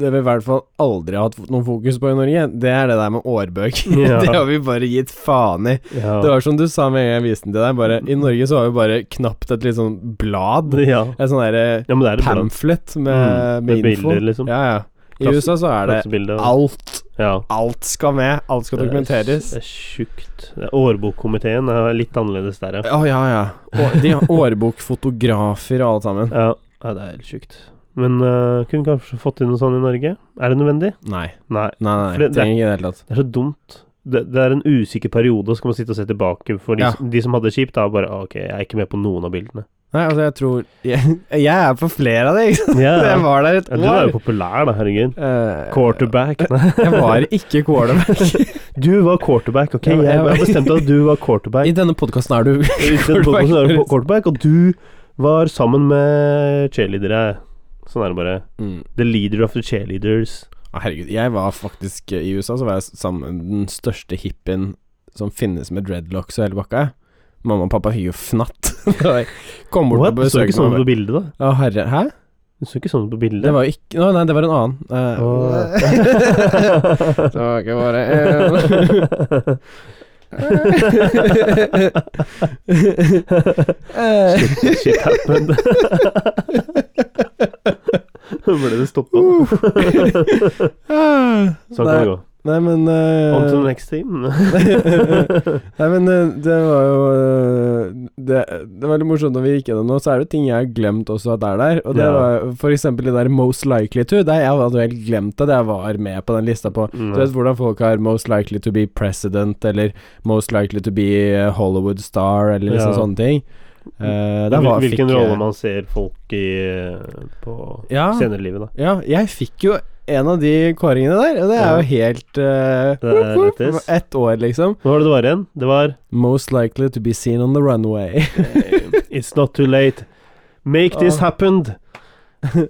[SPEAKER 4] det vi i hvert fall aldri har hatt noe fokus på i Norge, det er det der med årbøker.
[SPEAKER 3] Ja.
[SPEAKER 4] Det har vi bare gitt faen i.
[SPEAKER 3] Ja.
[SPEAKER 4] Det var som du sa med en gang jeg viste den til deg, bare i Norge så har vi bare knapt et litt sånn blad.
[SPEAKER 3] ja.
[SPEAKER 4] Et sånn derre
[SPEAKER 3] ja, men det er et bra
[SPEAKER 4] pamflett med,
[SPEAKER 3] Mm,
[SPEAKER 4] med,
[SPEAKER 3] med
[SPEAKER 4] info.
[SPEAKER 3] bilder, liksom.
[SPEAKER 4] Ja, ja. I
[SPEAKER 3] Klasse-
[SPEAKER 4] USA så er det
[SPEAKER 3] klassebilde. og-
[SPEAKER 4] alt.
[SPEAKER 3] Ja.
[SPEAKER 4] Alt skal med. Alt skal
[SPEAKER 3] Det er-
[SPEAKER 4] dokumenteres.
[SPEAKER 3] Det er tjukt. Det er Årbokkomiteen er litt annerledes der, ja.
[SPEAKER 4] Å, ja, ja. Og de har årbokfotografer og alt sammen.
[SPEAKER 3] Ja, ja det er helt tjukt. Men eh, kunne kanskje fått inn noe sånt i Norge? Er det nødvendig?
[SPEAKER 4] Nei.
[SPEAKER 3] Nei.
[SPEAKER 4] Nei, nei,
[SPEAKER 3] For
[SPEAKER 4] nei.
[SPEAKER 3] det- det er-
[SPEAKER 4] trenger ikke i det hele tatt.
[SPEAKER 3] Det er så dumt. Det, det er en usikker periode, og så kan man sitte og se tilbake. For de,
[SPEAKER 4] Ja.
[SPEAKER 3] de som hadde det kjipt, da bare Ok, jeg er ikke med på noen av bildene.
[SPEAKER 4] Nei, altså, jeg tror Jeg, jeg er på flere av de, ikke sant?
[SPEAKER 3] Ja,
[SPEAKER 4] Jeg
[SPEAKER 3] ja.
[SPEAKER 4] var der et
[SPEAKER 3] ja, du er
[SPEAKER 4] år.
[SPEAKER 3] jo populær, da, herregud.
[SPEAKER 4] Eh,
[SPEAKER 3] Quarterback. Nei.
[SPEAKER 4] Jeg var ikke quarterback.
[SPEAKER 3] Du var quarterback, ok?
[SPEAKER 4] Jeg var-
[SPEAKER 3] Jeg,
[SPEAKER 4] jeg var-
[SPEAKER 3] jeg bestemte at du var quarterback.
[SPEAKER 4] I denne podkasten er du
[SPEAKER 3] I stedet for å være på quarterback, og du var sammen med cheerleadere. Sånn er det bare.
[SPEAKER 4] Mm.
[SPEAKER 3] The leader of the cheerleaders.
[SPEAKER 4] Å, Herregud, jeg var faktisk eh, I USA så var jeg sammen med den største hippien som finnes med dreadlocks og hele bakka. jeg. Mamma og pappa hyr jo fnatt. da jeg Kom bort
[SPEAKER 3] What?
[SPEAKER 4] og
[SPEAKER 3] Du så
[SPEAKER 4] besøkte
[SPEAKER 3] ikke sånn ut
[SPEAKER 4] meg.
[SPEAKER 3] på bildet, da?
[SPEAKER 4] Å, herre Hæ?
[SPEAKER 3] Du så ikke sånn ut på bildet?
[SPEAKER 4] Det var jo ikke Å, nei, det var en annen. Eh,
[SPEAKER 3] Åh.
[SPEAKER 4] det var ikke bare en Eh,
[SPEAKER 3] shit, shit happened. Ble det stoppa?
[SPEAKER 4] ah,
[SPEAKER 3] Sånn kan det gå.
[SPEAKER 4] Nei, men eh,
[SPEAKER 3] On to the next team.
[SPEAKER 4] Nei, men eh, det var jo eh, det, det var litt morsomt når vi gikk gjennom nå, så er det ting jeg har glemt også at er der. Og det
[SPEAKER 3] Ja.
[SPEAKER 4] var for eksempel det der Most Likely To. Det, jeg hadde jo helt glemt det, det jeg var med på den lista på. Du vet hvordan folk har Most Likely To Be President, eller Most Likely To Be eh, Hollywood Star, eller liksom
[SPEAKER 3] Ja.
[SPEAKER 4] sånne ting. Eh, der
[SPEAKER 3] Hvil-
[SPEAKER 4] var-
[SPEAKER 3] Hvilken
[SPEAKER 4] fikk jeg-
[SPEAKER 3] rolle man ser folk i eh, på
[SPEAKER 4] Ja.
[SPEAKER 3] senere i livet, da.
[SPEAKER 4] Ja, jeg fikk jo en av de kåringene der, og det er
[SPEAKER 3] Ja.
[SPEAKER 4] jo helt eh,
[SPEAKER 3] Det er
[SPEAKER 4] whoop, whoop,
[SPEAKER 3] lættis.
[SPEAKER 4] Ett år, liksom.
[SPEAKER 3] Hva var det det var igjen? Det var
[SPEAKER 4] Most likely to be seen on the runway.
[SPEAKER 3] It's not too late. Make this
[SPEAKER 4] Ah.
[SPEAKER 3] happen.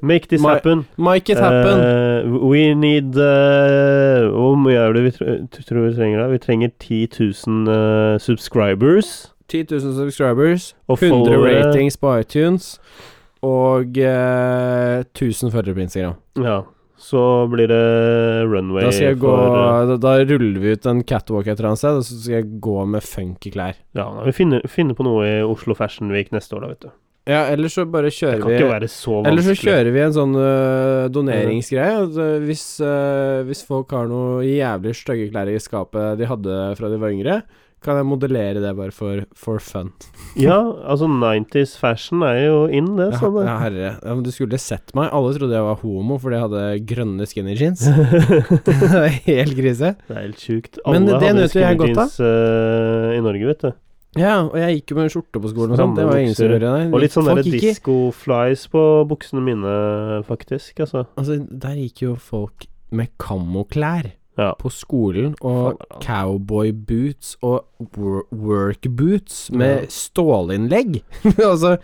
[SPEAKER 3] Make this
[SPEAKER 4] My-
[SPEAKER 3] happen.
[SPEAKER 4] Make it happen.
[SPEAKER 3] Eh, we need eh, Hvor mye er det vi tr tror vi trenger da? Vi trenger 10 000 eh, subscribers.
[SPEAKER 4] 10 000 subscribers,
[SPEAKER 3] Og
[SPEAKER 4] 100
[SPEAKER 3] followere.
[SPEAKER 4] ratings på iTunes og eh, 1000 følgere på Instagram.
[SPEAKER 3] Ja. Så blir det runway
[SPEAKER 4] Da skal jeg gå
[SPEAKER 3] for eh,
[SPEAKER 4] da, da ruller vi ut en catwalk et eller annet sted, og så skal jeg gå med funky klær.
[SPEAKER 3] Ja, vi finner, finner på noe i Oslo Fashion Week neste år, da, vet du.
[SPEAKER 4] Ja, eller så bare
[SPEAKER 3] Det
[SPEAKER 4] kjører
[SPEAKER 3] kan ikke
[SPEAKER 4] vi
[SPEAKER 3] være så vanskelig.
[SPEAKER 4] eller så kjører vi en sånn eh, doneringsgreie. at, eh, hvis, eh, hvis folk har noe jævlig stygge klær i skapet de hadde fra de var yngre, kan jeg modellere det bare for, for fun.
[SPEAKER 3] Ja, altså 90s fashion er jo in, det.
[SPEAKER 4] Ja,
[SPEAKER 3] sånn det.
[SPEAKER 4] ja, herre. Ja, men du skulle sett meg. Alle trodde jeg var homo fordi jeg hadde grønne skinny jeans. Det var Helt krise.
[SPEAKER 3] det er helt sjukt. Alle
[SPEAKER 4] Men det
[SPEAKER 3] hadde
[SPEAKER 4] nøt jo jeg
[SPEAKER 3] skinny
[SPEAKER 4] godt
[SPEAKER 3] jeans,
[SPEAKER 4] av.
[SPEAKER 3] eh, i Norge, vet du.
[SPEAKER 4] Ja, og jeg gikk jo med skjorte på skolen og sånt. Det var ingen som
[SPEAKER 3] Stramme
[SPEAKER 4] gjorde det.
[SPEAKER 3] Og litt sånn
[SPEAKER 4] Folk
[SPEAKER 3] der
[SPEAKER 4] gikk i-
[SPEAKER 3] disco-flies på buksene mine, faktisk. Altså.
[SPEAKER 4] Altså, der gikk jo folk med kamoklær
[SPEAKER 3] Ja.
[SPEAKER 4] på skolen, og
[SPEAKER 3] Faen, altså.
[SPEAKER 4] cowboy boots og wor work boots med
[SPEAKER 3] Ja.
[SPEAKER 4] stålinnlegg. altså,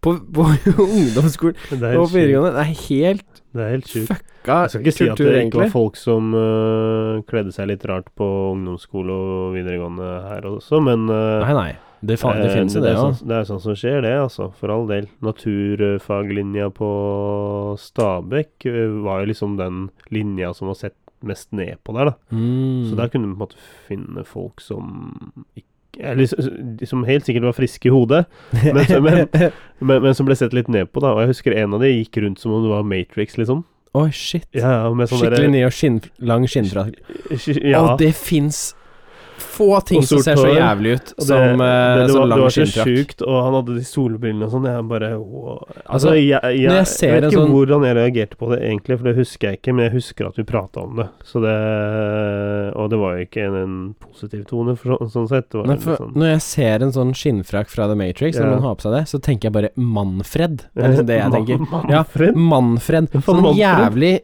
[SPEAKER 4] på, på ungdomsskolen
[SPEAKER 3] Det er helt
[SPEAKER 4] og på
[SPEAKER 3] sjukt.
[SPEAKER 4] videregående. Det er helt
[SPEAKER 3] Det er helt sjukt.
[SPEAKER 4] fucka
[SPEAKER 3] Jeg skal ikke si at
[SPEAKER 4] kultur,
[SPEAKER 3] det ikke var
[SPEAKER 4] egentlig.
[SPEAKER 3] folk som øh, kledde seg litt rart på ungdomsskole og videregående her også, men øh,
[SPEAKER 4] Nei, nei. Det, fa det
[SPEAKER 3] eh,
[SPEAKER 4] finnes jo
[SPEAKER 3] det,
[SPEAKER 4] det
[SPEAKER 3] er
[SPEAKER 4] òg.
[SPEAKER 3] sånn, det er sånn som skjer, det, altså. For all del. Naturfaglinja på Stabekk øh, var jo liksom den linja som var sett mest ned på der, da.
[SPEAKER 4] Mm.
[SPEAKER 3] Så der kunne vi på en måte finne folk som ikke eller, s- s- som helt sikkert var friske i hodet, men, men, men, men som ble sett litt ned på, da. Og jeg husker en av de gikk rundt som om det var Matrix, liksom.
[SPEAKER 4] Oi, shit.
[SPEAKER 3] Ja, ja, med sånn
[SPEAKER 4] Skikkelig
[SPEAKER 3] derre-
[SPEAKER 4] ny og skinn, lang skinnfrakk.
[SPEAKER 3] Sk- ja.
[SPEAKER 4] Og det fins få ting
[SPEAKER 3] Og
[SPEAKER 4] som
[SPEAKER 3] sort
[SPEAKER 4] ser så
[SPEAKER 3] hår.
[SPEAKER 4] jævlig ut
[SPEAKER 3] Og
[SPEAKER 4] som, eh,
[SPEAKER 3] det,
[SPEAKER 4] som
[SPEAKER 3] var, det
[SPEAKER 4] lang
[SPEAKER 3] var så
[SPEAKER 4] skinnfrakk.
[SPEAKER 3] sjukt, og han hadde de solbrillene og sånn. Jeg bare wow.
[SPEAKER 4] Altså,
[SPEAKER 3] Altså, jeg, jeg,
[SPEAKER 4] når jeg
[SPEAKER 3] jeg,
[SPEAKER 4] ser
[SPEAKER 3] vet
[SPEAKER 4] en
[SPEAKER 3] ikke
[SPEAKER 4] sånn-
[SPEAKER 3] hvordan jeg reagerte på det egentlig, for det husker jeg ikke, men jeg husker at vi prata om det. Så det Og det var jo ikke en, en positiv tone, for så, sånn sett. Det var
[SPEAKER 4] Nei,
[SPEAKER 3] en
[SPEAKER 4] for
[SPEAKER 3] sånn,
[SPEAKER 4] når jeg ser en sånn skinnfrakk fra The Matrix,
[SPEAKER 3] Ja.
[SPEAKER 4] når man har på seg det, så tenker jeg bare Manfred. Det er liksom det jeg
[SPEAKER 3] Man-
[SPEAKER 4] tenker. Ja,
[SPEAKER 3] Manfred?
[SPEAKER 4] Manfred.
[SPEAKER 3] Hva faen,
[SPEAKER 4] Sånn
[SPEAKER 3] Manfred?
[SPEAKER 4] jævlig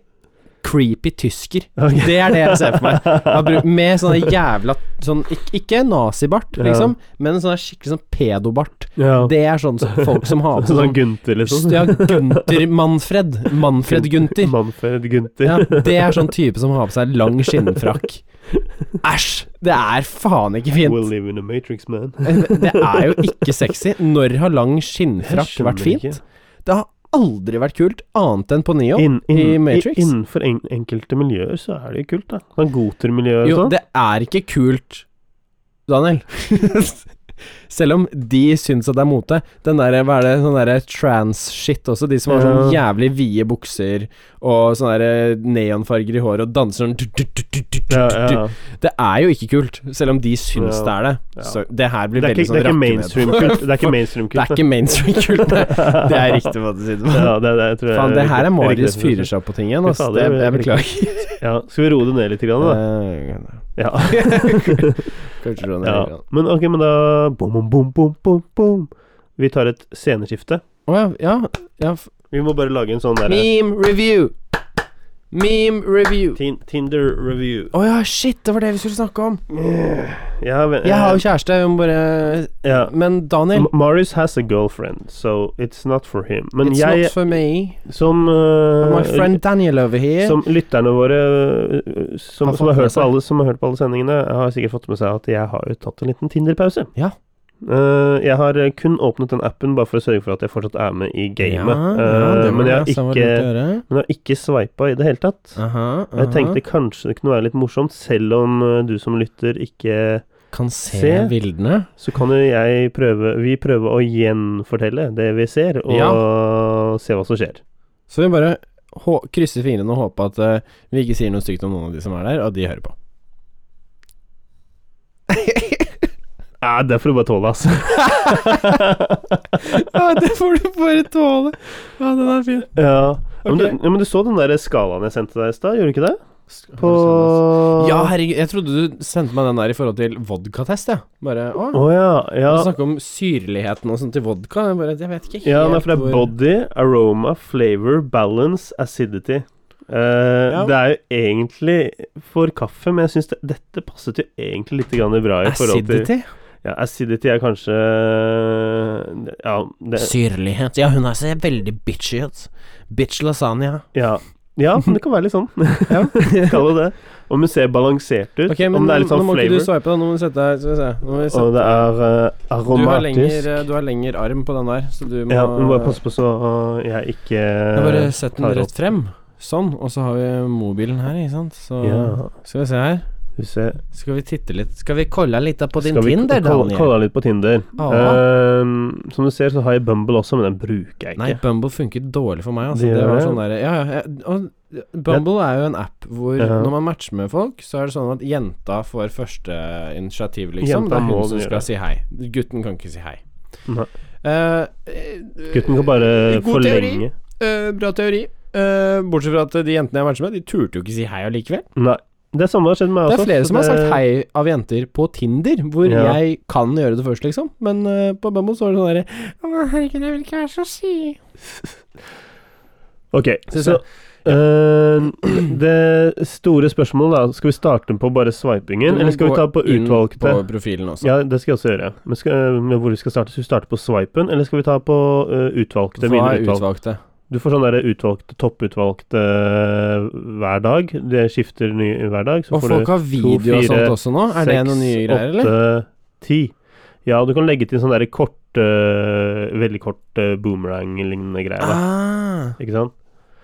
[SPEAKER 4] creepy tysker.
[SPEAKER 3] Ok.
[SPEAKER 4] Det er det jeg ser for meg. Han bruk- Med sånn jævla sånn, ik- Ikke nazibart,
[SPEAKER 3] Ja.
[SPEAKER 4] liksom, men en sånn skikkelig sånn pedobart.
[SPEAKER 3] Ja.
[SPEAKER 4] Det er sånn som folk som har på
[SPEAKER 3] sånn,
[SPEAKER 4] seg sånn
[SPEAKER 3] Gunther, liksom.
[SPEAKER 4] Ja, Gunther Manfred. Manfred Gunther.
[SPEAKER 3] Manfred Gunther.
[SPEAKER 4] Ja, det er sånn type som har på seg lang skinnfrakk. Æsj! Det er faen ikke
[SPEAKER 3] We'll
[SPEAKER 4] fint. Eh,
[SPEAKER 3] live in a matrix, man.
[SPEAKER 4] Det er jo ikke sexy. Når har lang skinnfrakk
[SPEAKER 3] Jeg skjønner
[SPEAKER 4] vært fint?
[SPEAKER 3] ikke.
[SPEAKER 4] Det har aldri vært kult, annet enn på Neo.
[SPEAKER 3] Inn- inn-
[SPEAKER 4] i Matrix.
[SPEAKER 3] i- Innenfor en, enkelte miljøer så er det jo kult, da. Sånn gotermiljøet og
[SPEAKER 4] Jo,
[SPEAKER 3] sånn.
[SPEAKER 4] det er ikke kult, Daniel. Selv om de syns at det er mote. Den derre, hva er det, sånn derre trans-shit også. De som har sånn jævlig vide bukser og sånne derre neonfarger i håret og danser sånn
[SPEAKER 3] Ja, ja.
[SPEAKER 4] Det er jo ikke kult, selv om de syns
[SPEAKER 3] Ja.
[SPEAKER 4] det er det.
[SPEAKER 3] Ja.
[SPEAKER 4] Så det her blir
[SPEAKER 3] Det er
[SPEAKER 4] veldig
[SPEAKER 3] ikke, det er
[SPEAKER 4] sånn
[SPEAKER 3] ikke
[SPEAKER 4] rakkened.
[SPEAKER 3] mainstream-kult. Det er ikke mainstream-kult.
[SPEAKER 4] Det er ikke mainstream-kult, nei. Det er riktig måte å si det på.
[SPEAKER 3] Ja, det, det, jeg tror jeg
[SPEAKER 4] Faen, det her er
[SPEAKER 3] riktig-
[SPEAKER 4] Marius
[SPEAKER 3] riktig-
[SPEAKER 4] fyrer seg på ting igjen,
[SPEAKER 3] Fy
[SPEAKER 4] ass.
[SPEAKER 3] faen,
[SPEAKER 4] Det,
[SPEAKER 3] det er
[SPEAKER 4] jeg
[SPEAKER 3] riktig.
[SPEAKER 4] beklager.
[SPEAKER 3] Ja, skal vi roe det ned litt, grann, da?
[SPEAKER 4] Eh,
[SPEAKER 3] Ja.
[SPEAKER 4] Kanskje du
[SPEAKER 3] ja.
[SPEAKER 4] har
[SPEAKER 3] Men ok, men da bom, bom, bom, bom, bom, bom. Vi tar et sceneskifte.
[SPEAKER 4] Å ja, ja, ja. f-
[SPEAKER 3] Vi må bare lage en sånn derre
[SPEAKER 4] Meme review. Meme review.
[SPEAKER 3] eh, Tin Tinder review.
[SPEAKER 4] Å ja, shit, det var det vi skulle snakke om.
[SPEAKER 3] Ja, men,
[SPEAKER 4] Jeg har jo kjæreste, vi må bare
[SPEAKER 3] ja.
[SPEAKER 4] Men
[SPEAKER 3] M-
[SPEAKER 4] Daniel,
[SPEAKER 3] Marius has a girlfriend, so it's not for him. Men
[SPEAKER 4] it's
[SPEAKER 3] jeg
[SPEAKER 4] not for me.
[SPEAKER 3] som eh,
[SPEAKER 4] My friend Daniel over here.
[SPEAKER 3] Som lytterne våre eh, som,
[SPEAKER 4] Har fått
[SPEAKER 3] som, har
[SPEAKER 4] med
[SPEAKER 3] hørt
[SPEAKER 4] seg.
[SPEAKER 3] på alle, som har hørt på alle sendingene, har sikkert fått med seg at jeg har jo tatt en liten Tinder-pause.
[SPEAKER 4] Ja.
[SPEAKER 3] Eh, jeg har eh, kun åpnet den appen bare for å sørge for at jeg fortsatt er med i gamet. Eh,
[SPEAKER 4] det var
[SPEAKER 3] men, jeg har
[SPEAKER 4] det som var lurt å
[SPEAKER 3] ikke,
[SPEAKER 4] gjøre.
[SPEAKER 3] men jeg har ikke sveipa i det hele tatt.
[SPEAKER 4] Aha, eh, aha.
[SPEAKER 3] Jeg tenkte kanskje det kunne være litt morsomt, selv om eh, du som lytter ikke
[SPEAKER 4] Kan se,
[SPEAKER 3] Se.
[SPEAKER 4] bildene.
[SPEAKER 3] Så kan jo jeg prøve Vi prøver å gjenfortelle det vi ser, og se hva som skjer.
[SPEAKER 4] Så vi bare hå krysser fingrene og håper at eh, vi ikke sier noe stygt om noen av de som er der, og at de hører på.
[SPEAKER 3] Ja, det får du bare tåle, altså.
[SPEAKER 4] Ja, det får du bare tåle. Ja, den er fin.
[SPEAKER 3] ja. Ja, Men, du,
[SPEAKER 4] Ok.
[SPEAKER 3] ja, men du så den der skalaen jeg sendte deg i stad, gjorde du ikke det? På
[SPEAKER 4] Ja, herregud, jeg trodde du sendte meg den der i forhold til vodkatest, jeg. Bare å,
[SPEAKER 3] Å ja. Ja,
[SPEAKER 4] Du snakker om syrligheten og sånt til vodka. Jeg, bare, jeg vet ikke helt
[SPEAKER 3] ja nei, for det er
[SPEAKER 4] hvor-
[SPEAKER 3] body, aroma, flavor, balance, acidity. Eh,
[SPEAKER 4] Ja.
[SPEAKER 3] Det er jo egentlig for kaffe, men jeg syns det, dette passet jo egentlig litt grann bra i forhold til
[SPEAKER 4] Acidity?
[SPEAKER 3] Ja, acidity er kanskje Ja, det,
[SPEAKER 4] Syrlighet. Ja, hun her ser veldig bitchy ut. Bitch lasagna.
[SPEAKER 3] ja. ja men det kan være litt sånn. Kall det det. Om hun ser balansert ut,
[SPEAKER 4] Ok, men
[SPEAKER 3] om det er litt
[SPEAKER 4] nå
[SPEAKER 3] sånn
[SPEAKER 4] må ikke du
[SPEAKER 3] flavor,
[SPEAKER 4] swipe, da. Nå må du sette deg Skal vi se. Nå må vi sette
[SPEAKER 3] og det er eh,
[SPEAKER 4] du har,
[SPEAKER 3] aromatisk
[SPEAKER 4] lenger, eh, du har lenger arm på den der, så du må
[SPEAKER 3] Ja, du må bare passe på så eh, jeg ikke
[SPEAKER 4] Jeg bare sett den
[SPEAKER 3] tar opp.
[SPEAKER 4] rett frem. Sånn. Og så har vi mobilen her, ikke sant. Så
[SPEAKER 3] Ja,
[SPEAKER 4] skal vi se her.
[SPEAKER 3] vi ser.
[SPEAKER 4] Skal vi titte litt Skal vi kolla litt på din
[SPEAKER 3] Skal vi
[SPEAKER 4] Tinder,
[SPEAKER 3] kolla-
[SPEAKER 4] Daniel?
[SPEAKER 3] kolla litt på Tinder.
[SPEAKER 4] Ja.
[SPEAKER 3] Eh, som du ser, så har jeg Bumble også, men den bruker jeg
[SPEAKER 4] Nei,
[SPEAKER 3] ikke.
[SPEAKER 4] Bumble funket dårlig for meg. Altså.
[SPEAKER 3] Det
[SPEAKER 4] Det,
[SPEAKER 3] gjør
[SPEAKER 4] var
[SPEAKER 3] det.
[SPEAKER 4] sånn der, ja, ja, jeg- og Bumble er jo en app hvor
[SPEAKER 3] Ja.
[SPEAKER 4] når man matcher med folk, så er det sånn at jenta får første initiativ, liksom.
[SPEAKER 3] Jenta
[SPEAKER 4] det er hun
[SPEAKER 3] må
[SPEAKER 4] som
[SPEAKER 3] gjøre
[SPEAKER 4] skal
[SPEAKER 3] det.
[SPEAKER 4] si hei. Gutten kan ikke si hei.
[SPEAKER 3] Nei.
[SPEAKER 4] Eh,
[SPEAKER 3] Gutten kan bare
[SPEAKER 4] God teori.
[SPEAKER 3] forlenge.
[SPEAKER 4] eh, bra teori. Eh, bortsett fra at de jentene jeg matcher med, de turte jo ikke si hei allikevel.
[SPEAKER 3] Nei. Det er samme har skjedd med meg
[SPEAKER 4] Det
[SPEAKER 3] også.
[SPEAKER 4] er flere
[SPEAKER 3] Altså, så
[SPEAKER 4] som har
[SPEAKER 3] det-
[SPEAKER 4] sagt hei av jenter på Tinder, hvor
[SPEAKER 3] Ja.
[SPEAKER 4] jeg kan gjøre det først, liksom. Men eh, på Bumble så er det sånn derre Å, herregud, jeg vil ikke være så si.
[SPEAKER 3] Ok,
[SPEAKER 4] Synes
[SPEAKER 3] så eh, Det store spørsmålet, da Skal vi starte på bare
[SPEAKER 4] Du
[SPEAKER 3] swipingen,
[SPEAKER 4] må
[SPEAKER 3] eller skal vi
[SPEAKER 4] gå
[SPEAKER 3] ta på
[SPEAKER 4] inn
[SPEAKER 3] utvalgte?
[SPEAKER 4] På profilen også.
[SPEAKER 3] Ja, det skal jeg også gjøre. Men skal, eh, med hvor vi skal starte? Skal vi starte på swipen, eller skal vi ta på eh, utvalgte?
[SPEAKER 4] Hva
[SPEAKER 3] mine
[SPEAKER 4] er
[SPEAKER 3] utvalg-
[SPEAKER 4] utvalgte?
[SPEAKER 3] Du får sånn derre utvalgte, topputvalgte eh, hver dag. Det skifter ny hver dag. Så
[SPEAKER 4] Og
[SPEAKER 3] får
[SPEAKER 4] folk
[SPEAKER 3] du
[SPEAKER 4] har video og
[SPEAKER 3] fire,
[SPEAKER 4] sånt også nå? Er det noen nye greier, eller?
[SPEAKER 3] Åtte, ti. Ja, du kan legge til sånne derre korte, veldig korte boomerang-lignende greier. Da.
[SPEAKER 4] Ah,
[SPEAKER 3] Ikke sant?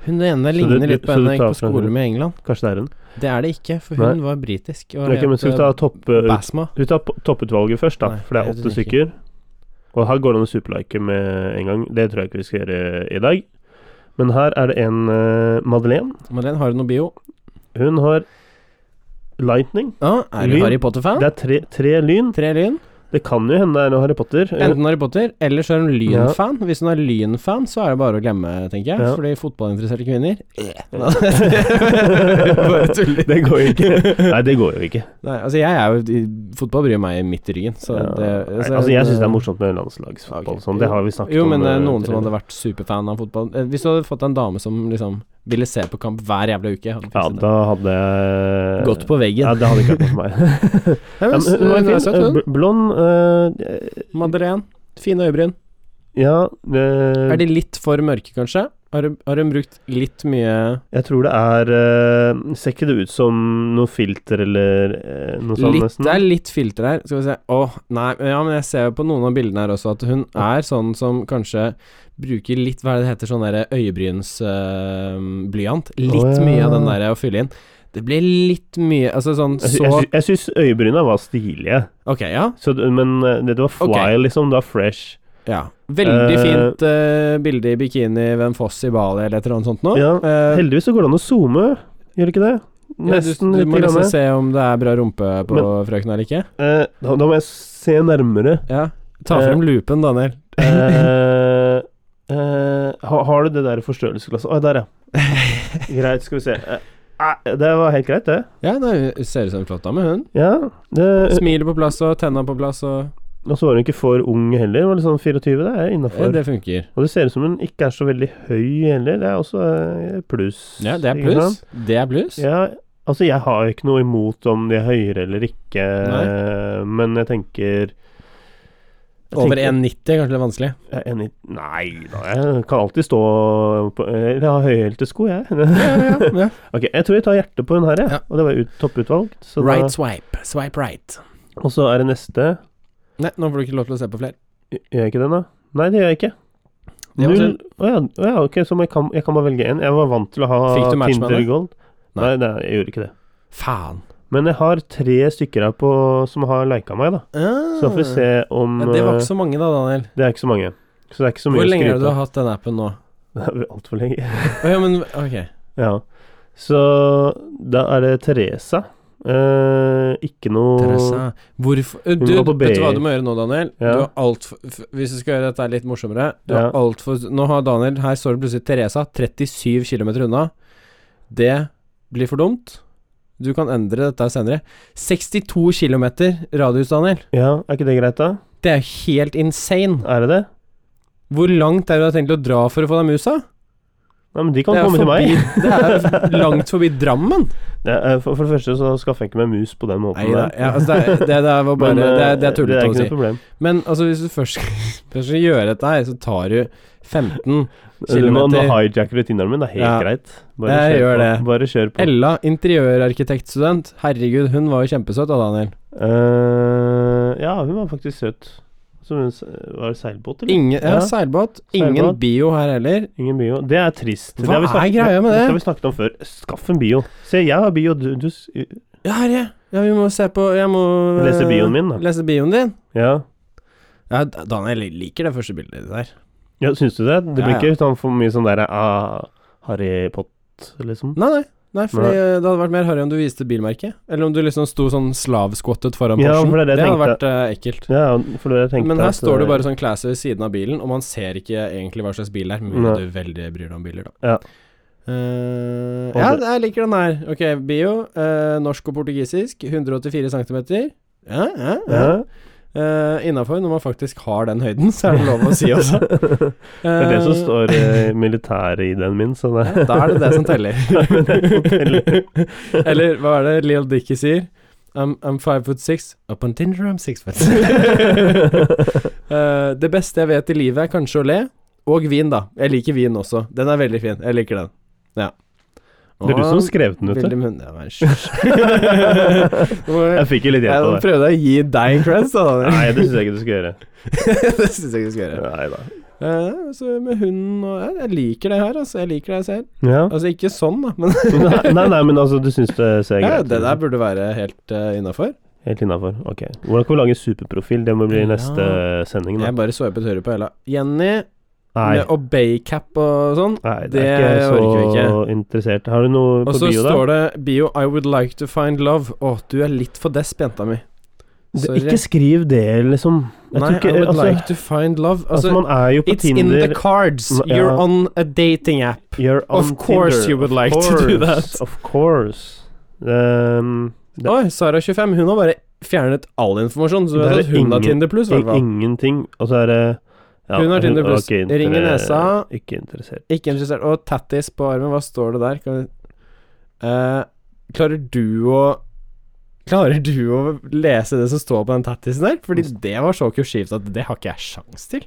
[SPEAKER 4] hun ene
[SPEAKER 3] du-
[SPEAKER 4] ligner
[SPEAKER 3] du-
[SPEAKER 4] litt på
[SPEAKER 3] så du
[SPEAKER 4] henne jeg
[SPEAKER 3] tar
[SPEAKER 4] gikk på
[SPEAKER 3] fra
[SPEAKER 4] skole
[SPEAKER 3] hun?
[SPEAKER 4] med i England.
[SPEAKER 3] Kanskje det er en.
[SPEAKER 4] Det er det ikke, for
[SPEAKER 3] Nei.
[SPEAKER 4] hun var britisk. Og
[SPEAKER 3] Ok, men skal vi ta
[SPEAKER 4] eh,
[SPEAKER 3] topp... eh,
[SPEAKER 4] Basma?
[SPEAKER 3] Vi tar po- topputvalget først, da,
[SPEAKER 4] Nei,
[SPEAKER 3] for det er
[SPEAKER 4] jeg
[SPEAKER 3] åtte
[SPEAKER 4] vet ikke.
[SPEAKER 3] stykker. Og her går det an å superlike med en gang. Det tror jeg ikke vi skal gjøre i dag. Men her er det en eh, Madeleine.
[SPEAKER 4] Madeleine, har du noe bio?
[SPEAKER 3] Hun har Lightning.
[SPEAKER 4] Ah, er du
[SPEAKER 3] Lyn.
[SPEAKER 4] Harry Potter-fan?
[SPEAKER 3] Det er tre, tre lyn.
[SPEAKER 4] Tre lyn.
[SPEAKER 3] Det kan jo hende det er noe Harry Potter. Eh,
[SPEAKER 4] Enten Harry Potter, eller så er hun
[SPEAKER 3] Ja.
[SPEAKER 4] Lyn-fan. Hvis hun er Lyn-fan, så er det bare å glemme, tenker jeg.
[SPEAKER 3] Ja.
[SPEAKER 4] Fordi fotballinteresserte kvinner eh. Bare tuller.
[SPEAKER 3] Det går jo ikke. Nei, det går jo ikke.
[SPEAKER 4] Nei, altså jeg er jo Fotball bryr meg midt i ryggen, så
[SPEAKER 3] Ja.
[SPEAKER 4] det
[SPEAKER 3] Nei, altså, jeg syns det er morsomt med landslagsfotball.
[SPEAKER 4] Ok.
[SPEAKER 3] Sånn. Det har vi snakket
[SPEAKER 4] Jo,
[SPEAKER 3] om.
[SPEAKER 4] men eh,
[SPEAKER 3] eh,
[SPEAKER 4] noen som
[SPEAKER 3] tidligere.
[SPEAKER 4] hadde vært superfan av fotball eh, Hvis du hadde fått en dame som liksom ville se på kamp hver jævla uke hadde
[SPEAKER 3] Ja,
[SPEAKER 4] fikset det.
[SPEAKER 3] da hadde jeg
[SPEAKER 4] Gått liksom på veggen.
[SPEAKER 3] Ja, det hadde ikke vært noe for meg.
[SPEAKER 4] Ja,
[SPEAKER 3] Ja,
[SPEAKER 4] men,
[SPEAKER 3] men hun
[SPEAKER 4] hun er
[SPEAKER 3] var
[SPEAKER 4] søt,
[SPEAKER 3] fin.
[SPEAKER 4] hun.
[SPEAKER 3] eh, bl- Blond. eh,
[SPEAKER 4] Madeleine. Fine øyebryn.
[SPEAKER 3] Ja, eh, det,
[SPEAKER 4] Er de litt for mørke, kanskje? Har hun, har hun brukt litt mye
[SPEAKER 3] jeg tror det er eh, Ser ikke det ut som noe filter eller eh, noe sånt,
[SPEAKER 4] litt,
[SPEAKER 3] nesten?
[SPEAKER 4] Det er litt filter her. Skal vi se Å, nei. men Ja, men jeg ser jo på noen av bildene her også at hun er sånn som kanskje bruker litt Hva er det det heter? Sånn derre øyebrynsblyant. litt
[SPEAKER 3] Å, ja.
[SPEAKER 4] mye av den derre å fylle inn. Det blir litt mye Altså sånn
[SPEAKER 3] Jeg, sy-
[SPEAKER 4] så
[SPEAKER 3] jeg, sy- jeg syns øyebryna var stilige,
[SPEAKER 4] Ok, ja.
[SPEAKER 3] så, det- men eh, det, det var fly,
[SPEAKER 4] Ok.
[SPEAKER 3] liksom. Det var fresh.
[SPEAKER 4] Ja. Veldig
[SPEAKER 3] Eh,
[SPEAKER 4] fint eh, bilde i bikini ved en foss i Bali eller et eller annet sånt nå.
[SPEAKER 3] Ja,
[SPEAKER 4] Eh,
[SPEAKER 3] Heldigvis så går det an å zoome, gjør det ikke det?
[SPEAKER 4] ja,
[SPEAKER 3] Nesten
[SPEAKER 4] du, du
[SPEAKER 3] litt.
[SPEAKER 4] må nesten
[SPEAKER 3] grann.
[SPEAKER 4] se om det er bra rumpe på
[SPEAKER 3] Men-
[SPEAKER 4] frøken eller ikke.
[SPEAKER 3] Eh, da, da må jeg se nærmere.
[SPEAKER 4] Ja. Ta frem loopen, Daniel.
[SPEAKER 3] Eh, eh, ha, har du det der forstørrelsesglasset Å, der, ja. Greit, skal vi se. Eh, eh, det var helt greit, det.
[SPEAKER 4] Ja, nei, ser ut som en flott dame, hun.
[SPEAKER 3] Ja. Det,
[SPEAKER 4] Smilet på plass og tenna på plass og
[SPEAKER 3] Og så var hun ikke for ung heller. Var litt sånn 24, det er
[SPEAKER 4] ja,
[SPEAKER 3] innafor.
[SPEAKER 4] Det funker.
[SPEAKER 3] Og det ser ut som hun ikke er så veldig høy heller. Det er også eh, pluss.
[SPEAKER 4] Ja, det er
[SPEAKER 3] ikke
[SPEAKER 4] pluss.
[SPEAKER 3] sant?
[SPEAKER 4] Det er pluss.
[SPEAKER 3] Ja, altså jeg har jo ikke noe imot om de er høyere eller ikke, eh, men jeg tenker jeg
[SPEAKER 4] Over
[SPEAKER 3] tenker-
[SPEAKER 4] 1,90 er kanskje litt vanskelig.
[SPEAKER 3] Jeg er enig- Nei da, jeg kan alltid stå på Eller jeg har høyhælte sko, jeg. ok, jeg tror jeg tar hjertet på hun her, jeg.
[SPEAKER 4] Ja.
[SPEAKER 3] Og det var ut, topputvalgt. Så da-
[SPEAKER 4] Right swipe. Swipe right.
[SPEAKER 3] Og så er det neste.
[SPEAKER 4] Nei, nå får du ikke lov til å se på flere.
[SPEAKER 3] Gjør jeg ikke det, da? Nei, det gjør jeg ikke.
[SPEAKER 4] Det var
[SPEAKER 3] Null
[SPEAKER 4] sånn- synd.
[SPEAKER 3] Å ja, å ja, ok, så må jeg kan, jeg kan bare velge én. Jeg var vant til å ha
[SPEAKER 4] Fikk du match med
[SPEAKER 3] Tinder
[SPEAKER 4] det?
[SPEAKER 3] Gold. Nei.
[SPEAKER 4] Nei.
[SPEAKER 3] nei, jeg gjorde ikke det.
[SPEAKER 4] Faen.
[SPEAKER 3] Men jeg har tre stykker her på, som har lika meg, da. Så
[SPEAKER 4] Ah.
[SPEAKER 3] får vi se om
[SPEAKER 4] Ja, det var
[SPEAKER 3] eh,
[SPEAKER 4] ikke så mange, da, Daniel.
[SPEAKER 3] Det er ikke så mange. Så det er ikke så mye
[SPEAKER 4] Hvor
[SPEAKER 3] å
[SPEAKER 4] lenge har du
[SPEAKER 3] skryte av.
[SPEAKER 4] hatt den appen nå?
[SPEAKER 3] Det er Altfor lenge.
[SPEAKER 4] Å ja, men ok.
[SPEAKER 3] Ja. Så da er det Teresa. Eh, ikke noe
[SPEAKER 4] Teresa. Hvorfor Ø, eh, Du,
[SPEAKER 3] går på
[SPEAKER 4] vet du hva
[SPEAKER 3] BI.
[SPEAKER 4] du må gjøre nå, Daniel?
[SPEAKER 3] Ja.
[SPEAKER 4] Du har alt for, f- hvis du skal gjøre dette litt morsommere Du har
[SPEAKER 3] Ja.
[SPEAKER 4] alt for, Nå har Daniel Her står det plutselig Teresa, 37 km unna. Det blir for dumt. Du kan endre dette senere. 62 km radius, Daniel.
[SPEAKER 3] Ja, er ikke det greit, da?
[SPEAKER 4] Det er jo helt insane.
[SPEAKER 3] Er det det?
[SPEAKER 4] Hvor langt er det du har tenkt å dra for å få deg musa?
[SPEAKER 3] Nei, men de kan
[SPEAKER 4] Det er,
[SPEAKER 3] komme til meg.
[SPEAKER 4] forbi- det er langt forbi Drammen.
[SPEAKER 3] Det er- for, for det første så skaffer jeg ikke meg mus på den måten.
[SPEAKER 4] Nei da.
[SPEAKER 3] der.
[SPEAKER 4] Ja, altså det, er- det, der var bare
[SPEAKER 3] Men, eh,
[SPEAKER 4] Det, er- det er
[SPEAKER 3] det
[SPEAKER 4] tullete
[SPEAKER 3] er
[SPEAKER 4] å
[SPEAKER 3] ikke
[SPEAKER 4] si.
[SPEAKER 3] noe problem.
[SPEAKER 4] Men altså, hvis du først, først skal gjøre dette her, så tar du 15
[SPEAKER 3] Nå, nå
[SPEAKER 4] kilometer.
[SPEAKER 3] hijacker du Tinderen min, det er helt
[SPEAKER 4] Ja.
[SPEAKER 3] greit.
[SPEAKER 4] Jeg
[SPEAKER 3] kjør
[SPEAKER 4] gjør
[SPEAKER 3] på.
[SPEAKER 4] det.
[SPEAKER 3] Bare kjør på.
[SPEAKER 4] Ella, interiørarkitektstudent. Herregud, hun var jo kjempesøt da, Daniel.
[SPEAKER 3] Eh, ja, hun var faktisk søt. Som hun s- var det seilbåt, eller?
[SPEAKER 4] Ingen, ja,
[SPEAKER 3] Ja.
[SPEAKER 4] seilbåt. Ingen
[SPEAKER 3] Seilbåt.
[SPEAKER 4] bio her heller.
[SPEAKER 3] Ingen bio. Det er trist. det
[SPEAKER 4] Hva
[SPEAKER 3] har vi
[SPEAKER 4] er
[SPEAKER 3] snakket-
[SPEAKER 4] greia med det?
[SPEAKER 3] Dette har vi snakket om før. Skaff en bio. Se, jeg har bio. Du, du
[SPEAKER 4] Eh,
[SPEAKER 3] s-
[SPEAKER 4] Ja, herre. Ja, vi må se på Jeg må eh,
[SPEAKER 3] leser bioen min, da.
[SPEAKER 4] Lese bioen din.
[SPEAKER 3] Ja.
[SPEAKER 4] Ja, D- Daniel jeg liker det første bildet ditt der.
[SPEAKER 3] ja syns du det? Det
[SPEAKER 4] Ja,
[SPEAKER 3] blir
[SPEAKER 4] ja.
[SPEAKER 3] ikke sånn for mye sånn derre ah, Harry Pott, liksom.
[SPEAKER 4] Nei, nei. Nei, fordi
[SPEAKER 3] Nei.
[SPEAKER 4] eh, Det hadde vært mer harry om du viste bilmerket. Eller om du liksom sto sånn slavskvottet foran
[SPEAKER 3] Ja,
[SPEAKER 4] Porschen.
[SPEAKER 3] for det er det jeg
[SPEAKER 4] hadde
[SPEAKER 3] tenkte.
[SPEAKER 4] vært eh, ekkelt.
[SPEAKER 3] Ja, for det jeg tenkte
[SPEAKER 4] Men her
[SPEAKER 3] at,
[SPEAKER 4] står det
[SPEAKER 3] eh,
[SPEAKER 4] bare sånn classy ved siden av bilen, og man ser ikke egentlig hva slags bil det er. Men
[SPEAKER 3] Nei.
[SPEAKER 4] du veldig bryr deg om biler, da.
[SPEAKER 3] Ja.
[SPEAKER 4] Eh,
[SPEAKER 3] Og
[SPEAKER 4] ja,
[SPEAKER 3] det-
[SPEAKER 4] jeg liker den her. Ok, bio. eh, norsk og portugisisk. 184 cm. Ja, ja, ja.
[SPEAKER 3] ja.
[SPEAKER 4] Innafor, når man faktisk har den høyden, så er det lov å si også.
[SPEAKER 3] Det er det som
[SPEAKER 4] Eh,
[SPEAKER 3] står eh, militæret i den min, så det
[SPEAKER 4] ja, Da er det det som teller. Eller hva er det Lil Dicky sier? I'm, I'm five foot six. Up on Tinder, I'm six foot Eh, det beste jeg vet i livet, er kanskje å le. Og vin, da. Jeg liker vin også. Den er veldig fin. Jeg liker den. Ja.
[SPEAKER 3] Det er du som har skrevet den ut,
[SPEAKER 4] Veldig
[SPEAKER 3] det.
[SPEAKER 4] munn... Ja, men hysj. Nå må
[SPEAKER 3] Jeg
[SPEAKER 4] jeg-
[SPEAKER 3] fikk jo litt
[SPEAKER 4] Jeg
[SPEAKER 3] hjelp av det.
[SPEAKER 4] prøvde å gi deg en creds, da.
[SPEAKER 3] Nei, det syns jeg ikke du skal gjøre.
[SPEAKER 4] det syns jeg ikke du skal gjøre.
[SPEAKER 3] Nei da.
[SPEAKER 4] Eh, så med hunden og jeg, jeg liker det her, altså. Jeg liker det jeg ser.
[SPEAKER 3] Ja.
[SPEAKER 4] Altså ikke sånn, da, men
[SPEAKER 3] Nei, nei, nei, men altså, du syns det ser
[SPEAKER 4] ja,
[SPEAKER 3] greit
[SPEAKER 4] det der
[SPEAKER 3] ut?
[SPEAKER 4] burde være helt uh, innafor.
[SPEAKER 3] Helt innafor. Ok. Hvordan kan vi lage en superprofil? Det må bli
[SPEAKER 4] Ja.
[SPEAKER 3] neste sending, da.
[SPEAKER 4] Jeg bare sveipet høyre på Ella. Jenny
[SPEAKER 3] Nei.
[SPEAKER 4] med obey-cap og sånn.
[SPEAKER 3] Nei, det,
[SPEAKER 4] det
[SPEAKER 3] er ikke så
[SPEAKER 4] orker vi ikke.
[SPEAKER 3] interessert. Har du noe
[SPEAKER 4] Og
[SPEAKER 3] på
[SPEAKER 4] så
[SPEAKER 3] bio, da?
[SPEAKER 4] står det bio 'I would like to find love'. Å, du er litt for desp, jenta mi.
[SPEAKER 3] Det,
[SPEAKER 4] Sorry.
[SPEAKER 3] ikke skriv det, liksom. Jeg
[SPEAKER 4] Nei,
[SPEAKER 3] tror ikke,
[SPEAKER 4] I would
[SPEAKER 3] altså,
[SPEAKER 4] like to find love.
[SPEAKER 3] altså,
[SPEAKER 4] Altså,
[SPEAKER 3] man er jo på
[SPEAKER 4] it's in the
[SPEAKER 3] Tinder
[SPEAKER 4] cards.
[SPEAKER 3] Ja.
[SPEAKER 4] You're on a dating app.
[SPEAKER 3] You're on
[SPEAKER 4] Of course
[SPEAKER 3] Tinder.
[SPEAKER 4] you would
[SPEAKER 3] Of
[SPEAKER 4] like to do
[SPEAKER 3] course,
[SPEAKER 4] that.
[SPEAKER 3] Of course. Um, Det-
[SPEAKER 4] Oi, Sara25, hun har bare fjernet all informasjon. Så
[SPEAKER 3] Det
[SPEAKER 4] hun
[SPEAKER 3] er
[SPEAKER 4] vet at hun har
[SPEAKER 3] ingen-
[SPEAKER 4] Tinder pluss, i hvert fall.
[SPEAKER 3] ingenting. Og så er det ja,
[SPEAKER 4] Hun har Tinder Plus.
[SPEAKER 3] ikke
[SPEAKER 4] Ring i nesa.
[SPEAKER 3] Ikke interessert.
[SPEAKER 4] Ikke interessert. Og tattis på armen, hva står det der? Kan vi, Eh, klarer du å Klarer du å lese det som står på den tattisen der? Fordi det var så kursivt at det har ikke jeg sjans til.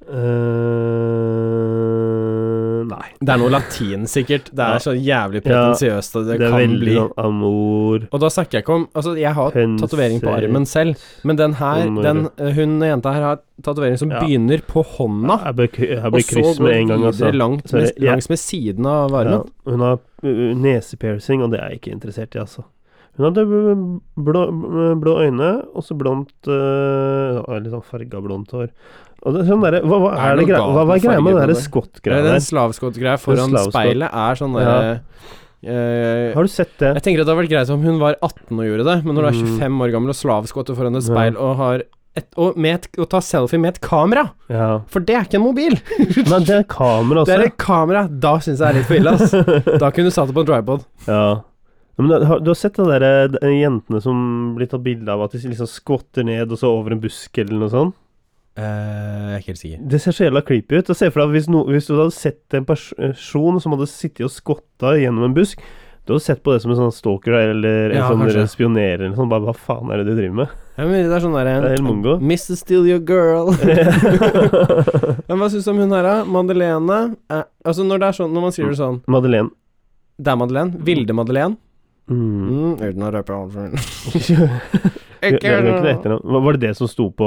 [SPEAKER 3] Eh, nei.
[SPEAKER 4] Det er noe latin, sikkert. Det
[SPEAKER 3] Ja.
[SPEAKER 4] er så jævlig
[SPEAKER 3] Ja,
[SPEAKER 4] pretensiøst at det,
[SPEAKER 3] Det er
[SPEAKER 4] kan
[SPEAKER 3] veldig
[SPEAKER 4] bli
[SPEAKER 3] sånn amor
[SPEAKER 4] Og da snakker jeg ikke om Altså, jeg har
[SPEAKER 3] Hense-
[SPEAKER 4] tatovering på armen selv, men den her
[SPEAKER 3] Om-
[SPEAKER 4] den, eh, Hun jenta her har tatovering som
[SPEAKER 3] Ja.
[SPEAKER 4] begynner på hånda,
[SPEAKER 3] Jeg ble, jeg ble
[SPEAKER 4] og så
[SPEAKER 3] kryss
[SPEAKER 4] går
[SPEAKER 3] med en gang,
[SPEAKER 4] videre
[SPEAKER 3] altså.
[SPEAKER 4] langt
[SPEAKER 3] Sorry,
[SPEAKER 4] med,
[SPEAKER 3] jeg-
[SPEAKER 4] langs med siden av armen.
[SPEAKER 3] Ja, hun har uh, nesepiercing, og det er jeg ikke interessert i, altså. Hun hadde bl- blå, eh, blå øyne, og så blondt uh, Litt sånn farga blondt hår. Og det, er sånn derre hva, hva
[SPEAKER 4] Er
[SPEAKER 3] er
[SPEAKER 4] det
[SPEAKER 3] det grei-
[SPEAKER 4] noe
[SPEAKER 3] hva, hva
[SPEAKER 4] galt
[SPEAKER 3] er
[SPEAKER 4] med
[SPEAKER 3] greia med den
[SPEAKER 4] fargen på
[SPEAKER 3] derre
[SPEAKER 4] det?
[SPEAKER 3] skott-greia
[SPEAKER 4] Eller Den
[SPEAKER 3] der?
[SPEAKER 4] slavskottgreia foran
[SPEAKER 3] slavskott.
[SPEAKER 4] speilet er sånn derre eh,
[SPEAKER 3] Har du sett det?
[SPEAKER 4] Jeg tenker at det hadde vært greit om hun var 18 og gjorde det, men når du er
[SPEAKER 3] Mm.
[SPEAKER 4] 25 år gammel og slavskotter foran et
[SPEAKER 3] Ja.
[SPEAKER 4] speil og har et, og med et, å ta selfie med et kamera,
[SPEAKER 3] Ja.
[SPEAKER 4] for det er ikke en mobil!
[SPEAKER 3] Nei, det er kamera
[SPEAKER 4] Det
[SPEAKER 3] også.
[SPEAKER 4] er et kamera! Da syns jeg det er litt for ille, ass. Da kunne du satt det på en tripod.
[SPEAKER 3] Ja. Ja, Men da- har- du har sett de der eh, de jentene som blir tatt bilde av at de liksom skvatter ned og så over en busk eller noe sånt?
[SPEAKER 4] Eh, jeg er ikke helt sikker.
[SPEAKER 3] Det ser så jævla creepy ut. Og Se for deg at hvis, no, hvis du hadde sett en pers person som hadde sittet og skvatta gjennom en busk Du hadde sett på det som en sånn stalker eller en
[SPEAKER 4] Ja,
[SPEAKER 3] sånn
[SPEAKER 4] kanskje.
[SPEAKER 3] spionerer eller sånn. Bare hva faen er det du driver med?
[SPEAKER 4] Ja, men det er sånn
[SPEAKER 3] Det er helt
[SPEAKER 4] derre
[SPEAKER 3] mongo.
[SPEAKER 4] Mr. Steal Your Girl. men hva syns du om hun her, da? Madeleine? Eh, altså, når det er sånn Når man
[SPEAKER 3] Mm.
[SPEAKER 4] skriver sånn
[SPEAKER 3] Madeleine.
[SPEAKER 4] Det er Madeleine. Vilde Madeleine.
[SPEAKER 3] Mm.
[SPEAKER 4] Mm, uten å røpe alt for
[SPEAKER 3] Vi, vi har jo ikke noe etternavn. Hva- Var det det som sto på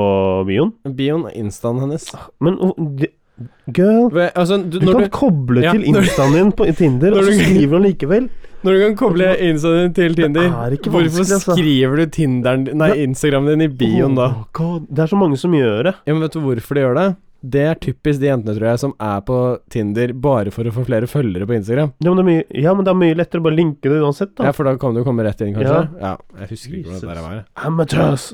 [SPEAKER 3] bioen?
[SPEAKER 4] Bioen er instaen hennes.
[SPEAKER 3] Men oh, det- Girl,
[SPEAKER 4] Ve- Altså, du,
[SPEAKER 3] du
[SPEAKER 4] når,
[SPEAKER 3] kan
[SPEAKER 4] du,
[SPEAKER 3] koble
[SPEAKER 4] Ja,
[SPEAKER 3] til
[SPEAKER 4] når du-
[SPEAKER 3] instaen din på Tinder, og
[SPEAKER 4] Når
[SPEAKER 3] så
[SPEAKER 4] du-
[SPEAKER 3] skriver hun likevel.
[SPEAKER 4] når du kan koble instaen din til Tinder,
[SPEAKER 3] er ikke
[SPEAKER 4] hvorfor
[SPEAKER 3] vanskelig, altså.
[SPEAKER 4] skriver du Tinderen din- Nei, Instagramen din i bioen da?
[SPEAKER 3] Oh God, det er så mange som gjør det.
[SPEAKER 4] Ja, men Vet du hvorfor de gjør det? Det er typisk de jentene tror jeg som er på Tinder bare for å få flere følgere på Instagram.
[SPEAKER 3] Ja, men det er mye, ja, men det er mye lettere å bare linke det uansett, da.
[SPEAKER 4] Ja, For da kan du komme rett inn, kanskje? Ja, Jeg husker ikke hvordan det der var.
[SPEAKER 3] Amateurs.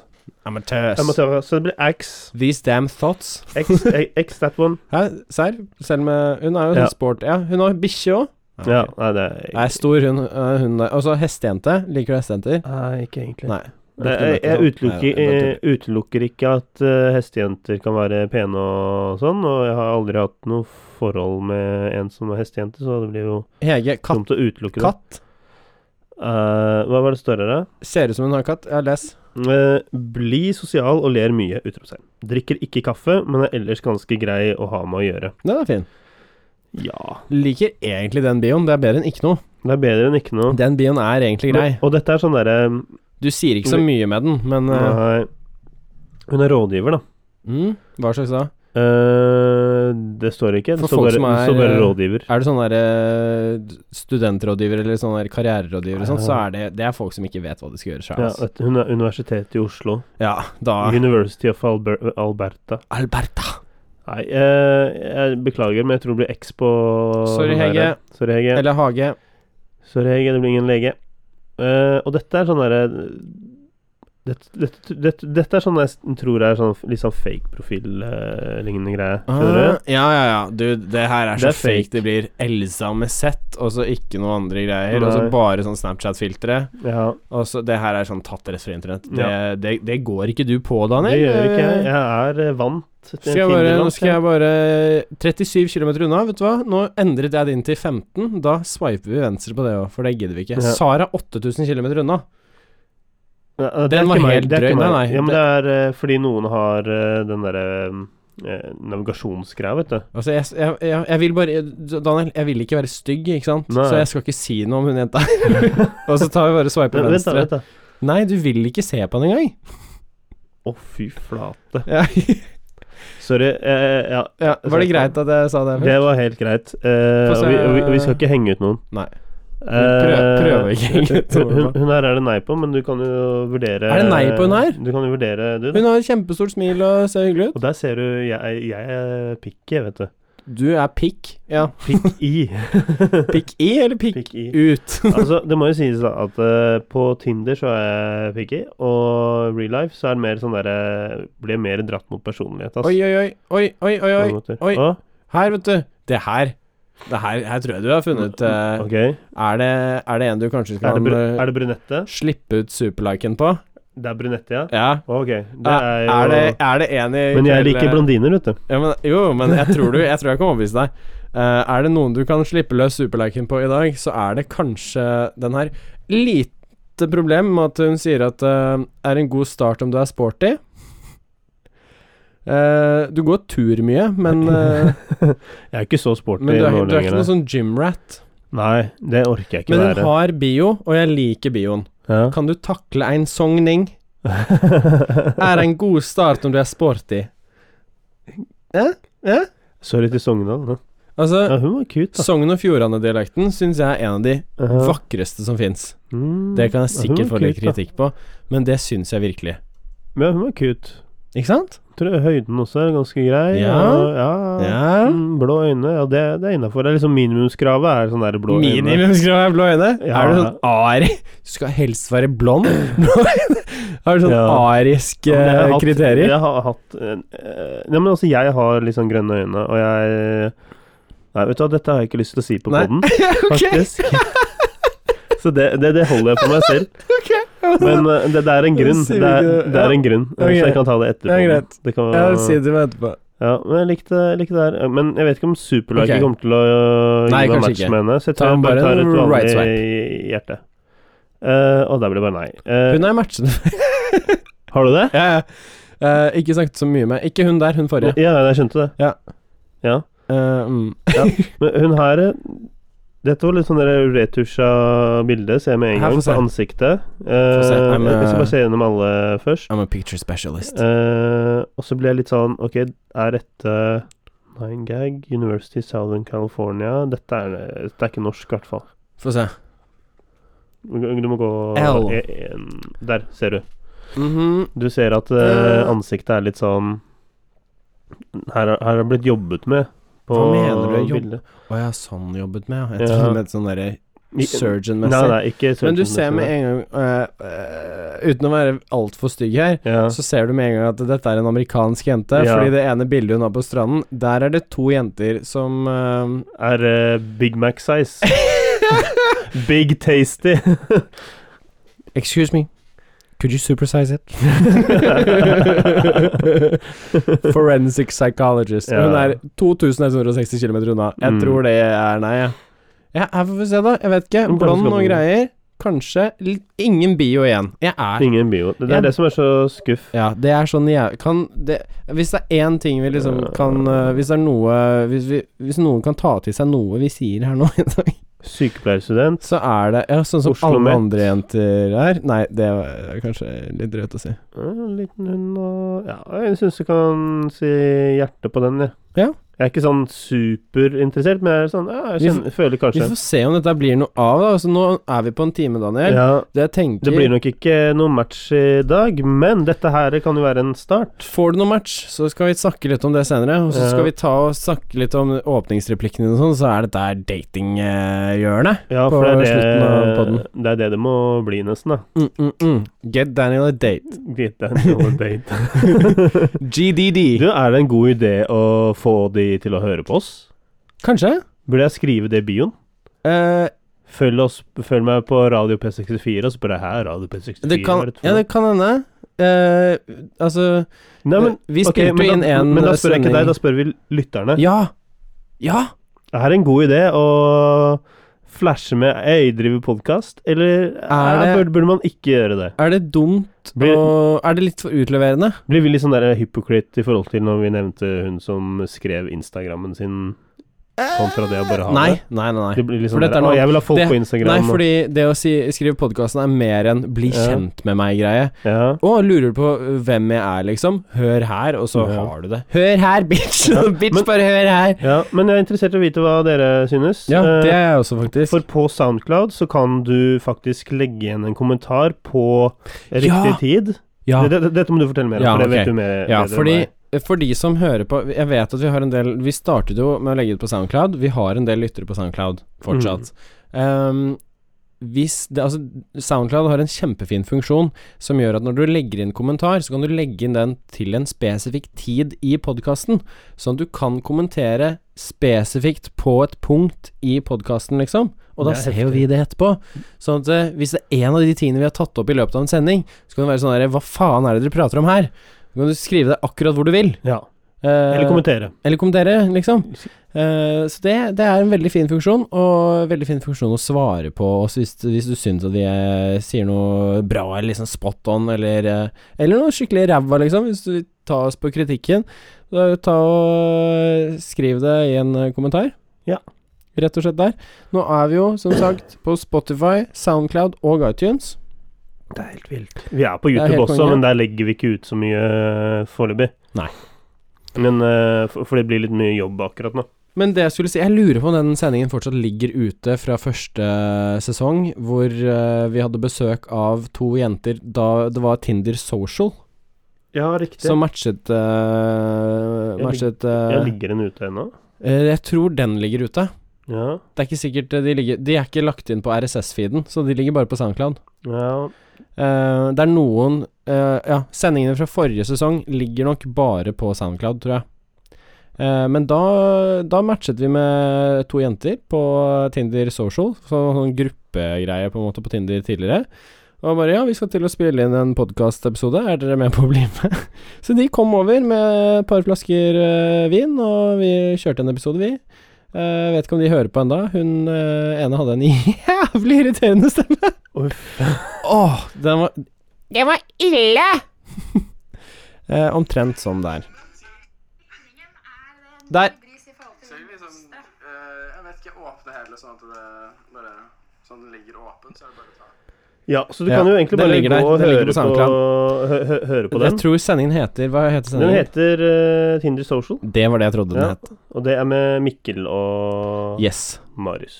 [SPEAKER 4] Amatørs.
[SPEAKER 3] Amatører. Så det blir X.
[SPEAKER 4] These damn thoughts.
[SPEAKER 3] X, A- X that one.
[SPEAKER 4] Hæ, serr? Selv med Hun er jo
[SPEAKER 3] Ja.
[SPEAKER 4] sånn sport... Ja, hun har bikkje òg.
[SPEAKER 3] Ja, nei, det er
[SPEAKER 4] Ah, Nei, stor hun, øh, hun er Altså, hestejente. Liker du hestejenter?
[SPEAKER 3] Nei, ikke egentlig.
[SPEAKER 4] Nei.
[SPEAKER 3] Nei, jeg, eh, jeg utelukker, eh, utelukker ikke at eh, hestejenter kan være pene og sånn, og jeg har aldri hatt noe forhold med en som er hestejente, så det blir jo
[SPEAKER 4] Hege, katt.
[SPEAKER 3] dumt å utelukke det.
[SPEAKER 4] Katt.
[SPEAKER 3] Eh, hva var det større da?
[SPEAKER 4] Ser ut som hun har katt. Ja, les.
[SPEAKER 3] Eh, bli sosial og ler mye, utropstegn. Drikker ikke kaffe, men er ellers ganske grei å ha med å gjøre.
[SPEAKER 4] Den er fin.
[SPEAKER 3] Ja.
[SPEAKER 4] Liker egentlig den bioen. Det er bedre enn ikke noe.
[SPEAKER 3] Det er bedre enn ikke noe.
[SPEAKER 4] Den bioen er egentlig grei.
[SPEAKER 3] Og, og dette er sånn derre
[SPEAKER 4] Du sier ikke så mye med den, men øh,
[SPEAKER 3] Nei. Hun er rådgiver, da.
[SPEAKER 4] mm, Hva slags da?
[SPEAKER 3] Eh, det står ikke.
[SPEAKER 4] For
[SPEAKER 3] Det står
[SPEAKER 4] folk
[SPEAKER 3] bare,
[SPEAKER 4] som
[SPEAKER 3] det
[SPEAKER 4] er,
[SPEAKER 3] står bare
[SPEAKER 4] eh,
[SPEAKER 3] rådgiver.
[SPEAKER 4] Er du sånn der øh, studentrådgiver eller sånn der karriererådgiver og sånn, så er det Det er folk som ikke vet hva de skal gjøre sjøl.
[SPEAKER 3] Ja,
[SPEAKER 4] Ja, altså. Ah.
[SPEAKER 3] vet du, hun er Universitetet i Oslo.
[SPEAKER 4] ja, da
[SPEAKER 3] University of Alber Alberta.
[SPEAKER 4] Alberta.
[SPEAKER 3] Nei, eh, jeg beklager, men jeg tror det blir X på
[SPEAKER 4] Sorry,
[SPEAKER 3] den her.
[SPEAKER 4] Hege.
[SPEAKER 3] Sorry, Hege.
[SPEAKER 4] Eller Hage.
[SPEAKER 3] Sorry, Hege. Det blir ingen lege. Eh, og dette er sånn derre dette, dette, dette, dette er sånn jeg s- tror er sånn litt sånn fake profil-lignende greie. Skjønner
[SPEAKER 4] Ah, ja, ja, ja. Du, det her er
[SPEAKER 3] Det
[SPEAKER 4] så
[SPEAKER 3] er
[SPEAKER 4] fake.
[SPEAKER 3] fake.
[SPEAKER 4] det blir. Elsa med Z, og så ikke noe andre greier. Og så
[SPEAKER 3] Nei.
[SPEAKER 4] bare sånn Snapchat-filtre.
[SPEAKER 3] du? Ja,
[SPEAKER 4] Og så Det her er sånn tatt rett fra internett. Det,
[SPEAKER 3] Ja.
[SPEAKER 4] det, det går ikke du på, Daniel.
[SPEAKER 3] det gjør ikke jeg. Jeg er eh, vant til
[SPEAKER 4] Ah, Skal jeg bare, nå
[SPEAKER 3] Tinder-land,
[SPEAKER 4] skal jeg bare 37 km unna, vet du hva. Nå endret jeg din til 15. Da swiper vi venstre på det òg, for det gidder vi ikke.
[SPEAKER 3] Ja.
[SPEAKER 4] Sara 8000 km unna.
[SPEAKER 3] Ja, det
[SPEAKER 4] Den
[SPEAKER 3] er
[SPEAKER 4] var
[SPEAKER 3] ikke meg,
[SPEAKER 4] helt
[SPEAKER 3] det er
[SPEAKER 4] drøy.
[SPEAKER 3] ikke meg.
[SPEAKER 4] Nei, nei,
[SPEAKER 3] Ja, men det er eh, fordi noen har eh, den derre eh, navigasjonsgreia, vet du.
[SPEAKER 4] Altså, jeg, jeg, jeg, jeg vil bare Daniel, jeg vil ikke være stygg, ikke sant?
[SPEAKER 3] Nei.
[SPEAKER 4] Så jeg skal ikke si noe om hun jenta. og så tar vi
[SPEAKER 3] Men,
[SPEAKER 4] bare swiper
[SPEAKER 3] vent, da.
[SPEAKER 4] venstre.
[SPEAKER 3] vent da Å,
[SPEAKER 4] Nei, du vil ikke se på den engang.
[SPEAKER 3] fy flate.
[SPEAKER 4] Ja.
[SPEAKER 3] Sorry. eh, ja,
[SPEAKER 4] ja, var det greit at jeg sa det?
[SPEAKER 3] det var helt greit. Eh,
[SPEAKER 4] Få
[SPEAKER 3] og,
[SPEAKER 4] se.
[SPEAKER 3] vi, og, vi, og vi skal ikke henge ut noen.
[SPEAKER 4] Nei.
[SPEAKER 3] Eh,
[SPEAKER 4] prøver ikke å henge ut noen.
[SPEAKER 3] Hun, hun her er det nei på, men du kan jo vurdere
[SPEAKER 4] Er det nei på hun her?
[SPEAKER 3] Du kan jo vurdere, du. Da.
[SPEAKER 4] Hun har et kjempestort smil og ser hyggelig ut.
[SPEAKER 3] Og der ser du Jeg, jeg er picky, vet du.
[SPEAKER 4] Du er pikk. Ja.
[SPEAKER 3] Pikk i.
[SPEAKER 4] Pikk i eller pikk,
[SPEAKER 3] Pikk i.
[SPEAKER 4] ut?
[SPEAKER 3] altså, det må jo sies da at eh, på Tinder så er jeg picky, og real life så er det mer sånn derre Blir mer dratt mot personlighet, ass.
[SPEAKER 4] Oi, oi, oi. Oi, oi, oi.
[SPEAKER 3] På
[SPEAKER 4] oi.
[SPEAKER 3] mange måter.
[SPEAKER 4] oi.
[SPEAKER 3] Å,
[SPEAKER 4] Her, vet du. Det her. Det her, her tror jeg du har funnet eh,
[SPEAKER 3] Mm, ok.
[SPEAKER 4] er, det, er det en du
[SPEAKER 3] Er
[SPEAKER 4] kanskje
[SPEAKER 3] det,
[SPEAKER 4] kan
[SPEAKER 3] br
[SPEAKER 4] eh,
[SPEAKER 3] er det brunette?
[SPEAKER 4] slippe ut superliken på?
[SPEAKER 3] Det er brunette, ja.
[SPEAKER 4] Ja.
[SPEAKER 3] Ok. Det er
[SPEAKER 4] Er,
[SPEAKER 3] jo
[SPEAKER 4] er, det, eh, er det en i
[SPEAKER 3] Men jeg liker
[SPEAKER 4] kveld-
[SPEAKER 3] blondiner, vet du.
[SPEAKER 4] Ja, men, jo, men jeg tror, du, jeg tror jeg kan overbevise deg. Eh, er det noen du kan slippe løs superliken på i dag, så er det kanskje den her. Lite problem med at hun sier at det er en god start om du er sporty. Eh, du går tur mye, men, eh,
[SPEAKER 3] Jeg er ikke så sporty
[SPEAKER 4] men du, er,
[SPEAKER 3] nå
[SPEAKER 4] du er ikke
[SPEAKER 3] lenger.
[SPEAKER 4] noen sånn gymrat.
[SPEAKER 3] Nei, det orker jeg ikke
[SPEAKER 4] Men hun
[SPEAKER 3] være.
[SPEAKER 4] har bio, og jeg liker bioen.
[SPEAKER 3] Ja.
[SPEAKER 4] Kan du takle en sogning? Er en god start om du er sporty.
[SPEAKER 3] Sorry til Sogndal. da.
[SPEAKER 4] Altså,
[SPEAKER 3] Ja, hun var cute, da.
[SPEAKER 4] Sogn og Fjordane-dialekten syns jeg er en av de
[SPEAKER 3] Ja.
[SPEAKER 4] vakreste som fins.
[SPEAKER 3] Mm.
[SPEAKER 4] Det kan
[SPEAKER 3] Ja,
[SPEAKER 4] jeg
[SPEAKER 3] hun
[SPEAKER 4] sikkert
[SPEAKER 3] var
[SPEAKER 4] få litt
[SPEAKER 3] cute, da.
[SPEAKER 4] kritikk på, men det syns jeg virkelig.
[SPEAKER 3] Ja, hun var cute.
[SPEAKER 4] Ikke sant?
[SPEAKER 3] Tror jeg høyden også er ganske grei.
[SPEAKER 4] Ja.
[SPEAKER 3] og- ja.
[SPEAKER 4] Ja.
[SPEAKER 3] Mm, Blå øyne, ja, det, det er innafor. Liksom minimumskravet er sånn der blå øyne.
[SPEAKER 4] Minimumskrav er blå øyne.
[SPEAKER 3] Ja.
[SPEAKER 4] Er du sånn ari Du skal helst være blond. Blå øyne. Har du sånn
[SPEAKER 3] Ja.
[SPEAKER 4] ariske
[SPEAKER 3] Ja, men jeg har hatt-
[SPEAKER 4] kriterier?
[SPEAKER 3] Jeg har hatt eh, Ja, men altså, jeg har litt sånn grønne øyne, og jeg Nei, vet du hva, dette har jeg ikke lyst til å si på
[SPEAKER 4] Nei.
[SPEAKER 3] poden,
[SPEAKER 4] Ok.
[SPEAKER 3] faktisk. Så det, det, det holder jeg for meg selv. Men eh, det, det er en grunn.
[SPEAKER 4] Sier
[SPEAKER 3] Det
[SPEAKER 4] vi
[SPEAKER 3] er,
[SPEAKER 4] ikke det?
[SPEAKER 3] det er en grunn, eh,
[SPEAKER 4] Ok.
[SPEAKER 3] så jeg kan ta det etterpå.
[SPEAKER 4] Ja, greit.
[SPEAKER 3] Det kan,
[SPEAKER 4] Ja, si det til meg etterpå.
[SPEAKER 3] ja, men jeg likte, likte det her. Men jeg vet ikke om Superlike
[SPEAKER 4] Ok.
[SPEAKER 3] kommer til å øh,
[SPEAKER 4] Nei,
[SPEAKER 3] gi meg
[SPEAKER 4] kanskje
[SPEAKER 3] match
[SPEAKER 4] ikke.
[SPEAKER 3] med henne, så jeg
[SPEAKER 4] Ta
[SPEAKER 3] tror jeg bare
[SPEAKER 4] bare
[SPEAKER 3] tar
[SPEAKER 4] en
[SPEAKER 3] et
[SPEAKER 4] right
[SPEAKER 3] vanlig
[SPEAKER 4] swipe.
[SPEAKER 3] hjerte. Eh, og der blir det bare nei. Eh,
[SPEAKER 4] Hun er matchende.
[SPEAKER 3] har du det?
[SPEAKER 4] ja, ja. Eh, ikke snakket så mye med Ikke hun der, hun forrige.
[SPEAKER 3] Ja, jeg skjønte det.
[SPEAKER 4] Ja.
[SPEAKER 3] Ja.
[SPEAKER 4] Eh, mm.
[SPEAKER 3] Men hun her eh, Dette var litt sånn der retusja bilde, ser jeg med en
[SPEAKER 4] Her,
[SPEAKER 3] gang,
[SPEAKER 4] få se.
[SPEAKER 3] på ansiktet. Eh,
[SPEAKER 4] se. Nei, men,
[SPEAKER 3] jeg skal
[SPEAKER 4] eh,
[SPEAKER 3] bare se gjennom alle først.
[SPEAKER 4] I'm a picture specialist.
[SPEAKER 3] Eh, og så blir jeg litt sånn Ok, er dette Nine Gag, University of Southern California Dette er, dette er ikke norsk, i hvert fall.
[SPEAKER 4] Få se.
[SPEAKER 3] Du du må gå
[SPEAKER 4] L.
[SPEAKER 3] e- en- Der, ser du.
[SPEAKER 4] Mhm.
[SPEAKER 3] Du ser at eh,
[SPEAKER 4] Eh.
[SPEAKER 3] ansiktet er litt sånn Her har- her har det blitt jobbet med. På
[SPEAKER 4] Hva mener du, jobb-
[SPEAKER 3] bildet.
[SPEAKER 4] Å ja, sånn jobbet med, ja. Jeg
[SPEAKER 3] Ja.
[SPEAKER 4] tror det er sånn derre
[SPEAKER 3] I- Nei,
[SPEAKER 4] surgeon-messig.
[SPEAKER 3] nei, ikke
[SPEAKER 4] Men du
[SPEAKER 3] surgeon-messig,
[SPEAKER 4] ser med
[SPEAKER 3] nei.
[SPEAKER 4] en gang eh, eh, Uten å være altfor stygg her,
[SPEAKER 3] ja.
[SPEAKER 4] så ser du med en gang at dette er en amerikansk jente.
[SPEAKER 3] Ja.
[SPEAKER 4] Fordi det ene bildet hun har på stranden, der er det to jenter som eh,
[SPEAKER 3] Er eh, Big Mac size. Big tasty.
[SPEAKER 4] Excuse me, could you supersize it? Forensic psychologist.
[SPEAKER 3] Ja.
[SPEAKER 4] Hun er 2160 km unna. Jeg
[SPEAKER 3] Mm.
[SPEAKER 4] tror det er nei. jeg. Ja, her får vi se, da. Jeg vet ikke.
[SPEAKER 3] Men kanskje
[SPEAKER 4] Blond
[SPEAKER 3] skal
[SPEAKER 4] og
[SPEAKER 3] bo-
[SPEAKER 4] greier. Kanskje litt, ingen bio igjen. Jeg er
[SPEAKER 3] Ingen bio. Det er
[SPEAKER 4] Ja.
[SPEAKER 3] det som er så skuff.
[SPEAKER 4] Ja, det er sånn jeg kan det, Hvis det er én ting vi liksom kan eh, Hvis det er noe hvis, vi, hvis noen kan ta til seg noe vi sier her nå i dag,
[SPEAKER 3] Sykepleierstudent.
[SPEAKER 4] så er det ja, sånn som
[SPEAKER 3] Oslo
[SPEAKER 4] alle
[SPEAKER 3] Met.
[SPEAKER 4] andre jenter er Nei, det er kanskje litt drøyt å si.
[SPEAKER 3] Eh, En liten hund og Ja, jeg syns du kan si hjerte på den, jeg.
[SPEAKER 4] Ja.
[SPEAKER 3] Jeg er ikke sånn superinteressert, men jeg, er sånn, ja, jeg
[SPEAKER 4] Vi
[SPEAKER 3] kjenner, føler
[SPEAKER 4] Vi
[SPEAKER 3] kanskje
[SPEAKER 4] får se om dette blir noe av, da. Altså, nå er vi på en time, Daniel.
[SPEAKER 3] ja,
[SPEAKER 4] Det jeg tenker
[SPEAKER 3] Det blir nok ikke noe match i dag, men dette her kan jo være en start.
[SPEAKER 4] Får du noe match, så skal vi snakke litt om det senere. Og så
[SPEAKER 3] Ja.
[SPEAKER 4] skal vi ta og snakke litt om åpningsreplikkene dine og sånn, så er dette her datinghjørnet.
[SPEAKER 3] Ja,
[SPEAKER 4] På
[SPEAKER 3] for det er
[SPEAKER 4] slutten av podden.
[SPEAKER 3] det, det er det det må bli, nesten, da.
[SPEAKER 4] Mm, mm, mm. Get Daniel a date.
[SPEAKER 3] Get that on a date.
[SPEAKER 4] GDD.
[SPEAKER 3] Du, er det en god idé å få de til å høre på oss?
[SPEAKER 4] Kanskje?
[SPEAKER 3] Burde jeg skrive det i bioen?
[SPEAKER 4] Eh,
[SPEAKER 3] Følg, oss, følg meg på Radio P64, og så bare her, Radio P64
[SPEAKER 4] det
[SPEAKER 3] hva
[SPEAKER 4] kan,
[SPEAKER 3] er dette for
[SPEAKER 4] ja,
[SPEAKER 3] noe?
[SPEAKER 4] det kan hende. Eh, altså
[SPEAKER 3] Nei, men,
[SPEAKER 4] Vi
[SPEAKER 3] ok,
[SPEAKER 4] spilte
[SPEAKER 3] men
[SPEAKER 4] jo inn
[SPEAKER 3] da,
[SPEAKER 4] en
[SPEAKER 3] Men da spør jeg ikke
[SPEAKER 4] sending.
[SPEAKER 3] deg, da spør vi lytterne.
[SPEAKER 4] Ja! Ja!
[SPEAKER 3] Er det en god idé å flashe med Jeg driver podkast, eller
[SPEAKER 4] Er
[SPEAKER 3] eh,
[SPEAKER 4] det-
[SPEAKER 3] burde, burde man ikke gjøre det?
[SPEAKER 4] Er det dumt
[SPEAKER 3] Blir-
[SPEAKER 4] og Er det litt for utleverende?
[SPEAKER 3] Blir vi litt sånn der hypocrite i forhold til når vi nevnte hun som skrev Instagrammen sin kontra det å bare ha
[SPEAKER 4] Nei,
[SPEAKER 3] det?
[SPEAKER 4] nei, nei.
[SPEAKER 3] Det
[SPEAKER 4] nei.
[SPEAKER 3] blir litt sånn
[SPEAKER 4] For dette er
[SPEAKER 3] der,
[SPEAKER 4] noe-
[SPEAKER 3] Å, jeg vil ha folk
[SPEAKER 4] det-
[SPEAKER 3] på
[SPEAKER 4] Nei,
[SPEAKER 3] Instagram. og-
[SPEAKER 4] fordi det å si, skrive podkasten er mer enn 'bli
[SPEAKER 3] Ja.
[SPEAKER 4] kjent med meg'-greie.
[SPEAKER 3] ja.
[SPEAKER 4] Å, lurer du på øh, hvem jeg er, liksom? Hør her, og så
[SPEAKER 3] Ja.
[SPEAKER 4] har du det. Hør her, bitch! bitch,
[SPEAKER 3] men-
[SPEAKER 4] bare hør her!
[SPEAKER 3] ja, men jeg er interessert i å vite hva dere synes.
[SPEAKER 4] Ja,
[SPEAKER 3] Eh,
[SPEAKER 4] det er jeg også, faktisk.
[SPEAKER 3] For på Soundcloud så kan du faktisk legge igjen en kommentar på riktig
[SPEAKER 4] Ja!
[SPEAKER 3] tid.
[SPEAKER 4] ja.
[SPEAKER 3] Det- det- Dette må du fortelle mer om,
[SPEAKER 4] Ja,
[SPEAKER 3] for det
[SPEAKER 4] ok.
[SPEAKER 3] vet du mer
[SPEAKER 4] Ja,
[SPEAKER 3] bedre enn
[SPEAKER 4] fordi øh,
[SPEAKER 3] meg.
[SPEAKER 4] for de som hører på Jeg vet at vi har en del Vi startet jo med å legge det på SoundCloud. Vi har en del lyttere på SoundCloud
[SPEAKER 3] Mm.
[SPEAKER 4] fortsatt. Ehm, hvis det, altså, SoundCloud har en kjempefin funksjon som gjør at når du legger inn kommentar, så kan du legge inn den til en spesifikk tid i podkasten. Sånn at du kan kommentere spesifikt på et punkt i podkasten, liksom. Og da
[SPEAKER 3] Det er
[SPEAKER 4] ser jo
[SPEAKER 3] heftig.
[SPEAKER 4] vi det etterpå. Sånn at eh, hvis det er en av de tingene vi har tatt opp i løpet av en sending, så kan det være sånn her Hva faen er det dere prater om her? Så kan du skrive det akkurat hvor du vil.
[SPEAKER 3] Ja.
[SPEAKER 4] Eh,
[SPEAKER 3] Eller kommentere.
[SPEAKER 4] eller kommentere, liksom. Eh, så det, det er en veldig fin funksjon, og veldig fin funksjon å svare på også hvis, hvis du syns at vi eh, sier noe bra eller liksom spot on, eller, eh, eller noe skikkelig ræva, liksom. Hvis du vil ta oss på kritikken, så ta og skriv det i en eh, kommentar.
[SPEAKER 3] Ja.
[SPEAKER 4] Rett og slett der. Nå er vi jo, som sagt, på Spotify, Soundcloud og iTunes.
[SPEAKER 3] Det er helt vilt. Vi er på
[SPEAKER 4] er
[SPEAKER 3] YouTube
[SPEAKER 4] helt
[SPEAKER 3] også,
[SPEAKER 4] konge.
[SPEAKER 3] men der legger vi ikke ut så mye øh, foreløpig.
[SPEAKER 4] Nei.
[SPEAKER 3] Men øh, for, for det blir litt mye jobb akkurat nå.
[SPEAKER 4] Men det jeg skulle si, jeg lurer på om den sendingen fortsatt ligger ute fra første sesong, hvor eh, vi hadde besøk av to jenter da det var Tinder Social
[SPEAKER 3] Ja, riktig.
[SPEAKER 4] som matchet eh,
[SPEAKER 3] Jeg
[SPEAKER 4] Matchet
[SPEAKER 3] ja,
[SPEAKER 4] eh,
[SPEAKER 3] ligger den ute ennå?
[SPEAKER 4] eh, Jeg tror den ligger ute.
[SPEAKER 3] Ja.
[SPEAKER 4] Det er ikke sikkert eh, de ligger De er ikke lagt inn på RSS-feeden, så de ligger bare på SoundCloud.
[SPEAKER 3] ja.
[SPEAKER 4] Eh, det er noen eh, Ja, sendingene fra forrige sesong ligger nok bare på SoundCloud, tror jeg. Eh, men da, da matchet vi med to jenter på Tinder Social, så, sånn gruppegreie på en måte på Tinder tidligere. Og bare ja, vi skal til å spille inn en podkastepisode, er dere med på å bli med? Så de kom over med et par flasker eh, vin, og vi kjørte en episode, vi. Eh, vet ikke om de hører på ennå. Hun eh, ene hadde en jævlig irriterende stemme. Åh, den var Den var ille! eh, omtrent sånn der. Der.
[SPEAKER 5] Skal vi liksom eh, Jeg vet ikke, åpne hele sånn at det bare Sånn at den ligger åpen, så er det bare å ta.
[SPEAKER 3] Ja, så du
[SPEAKER 4] Ja,
[SPEAKER 3] kan jo egentlig
[SPEAKER 4] den
[SPEAKER 3] bare
[SPEAKER 4] ligger
[SPEAKER 3] gå
[SPEAKER 4] der.
[SPEAKER 3] og
[SPEAKER 4] Den ligger
[SPEAKER 3] høre
[SPEAKER 4] på
[SPEAKER 3] på,
[SPEAKER 4] SoundCloud.
[SPEAKER 3] hø hø høre på
[SPEAKER 4] Jeg
[SPEAKER 3] den.
[SPEAKER 4] tror sendingen heter Hva heter
[SPEAKER 3] Den
[SPEAKER 4] sendingen?
[SPEAKER 3] heter eh, Tinder Social,
[SPEAKER 4] Det var det jeg trodde den
[SPEAKER 3] Ja.
[SPEAKER 4] het.
[SPEAKER 3] og det er med Mikkel og
[SPEAKER 4] Yes.
[SPEAKER 3] Marius.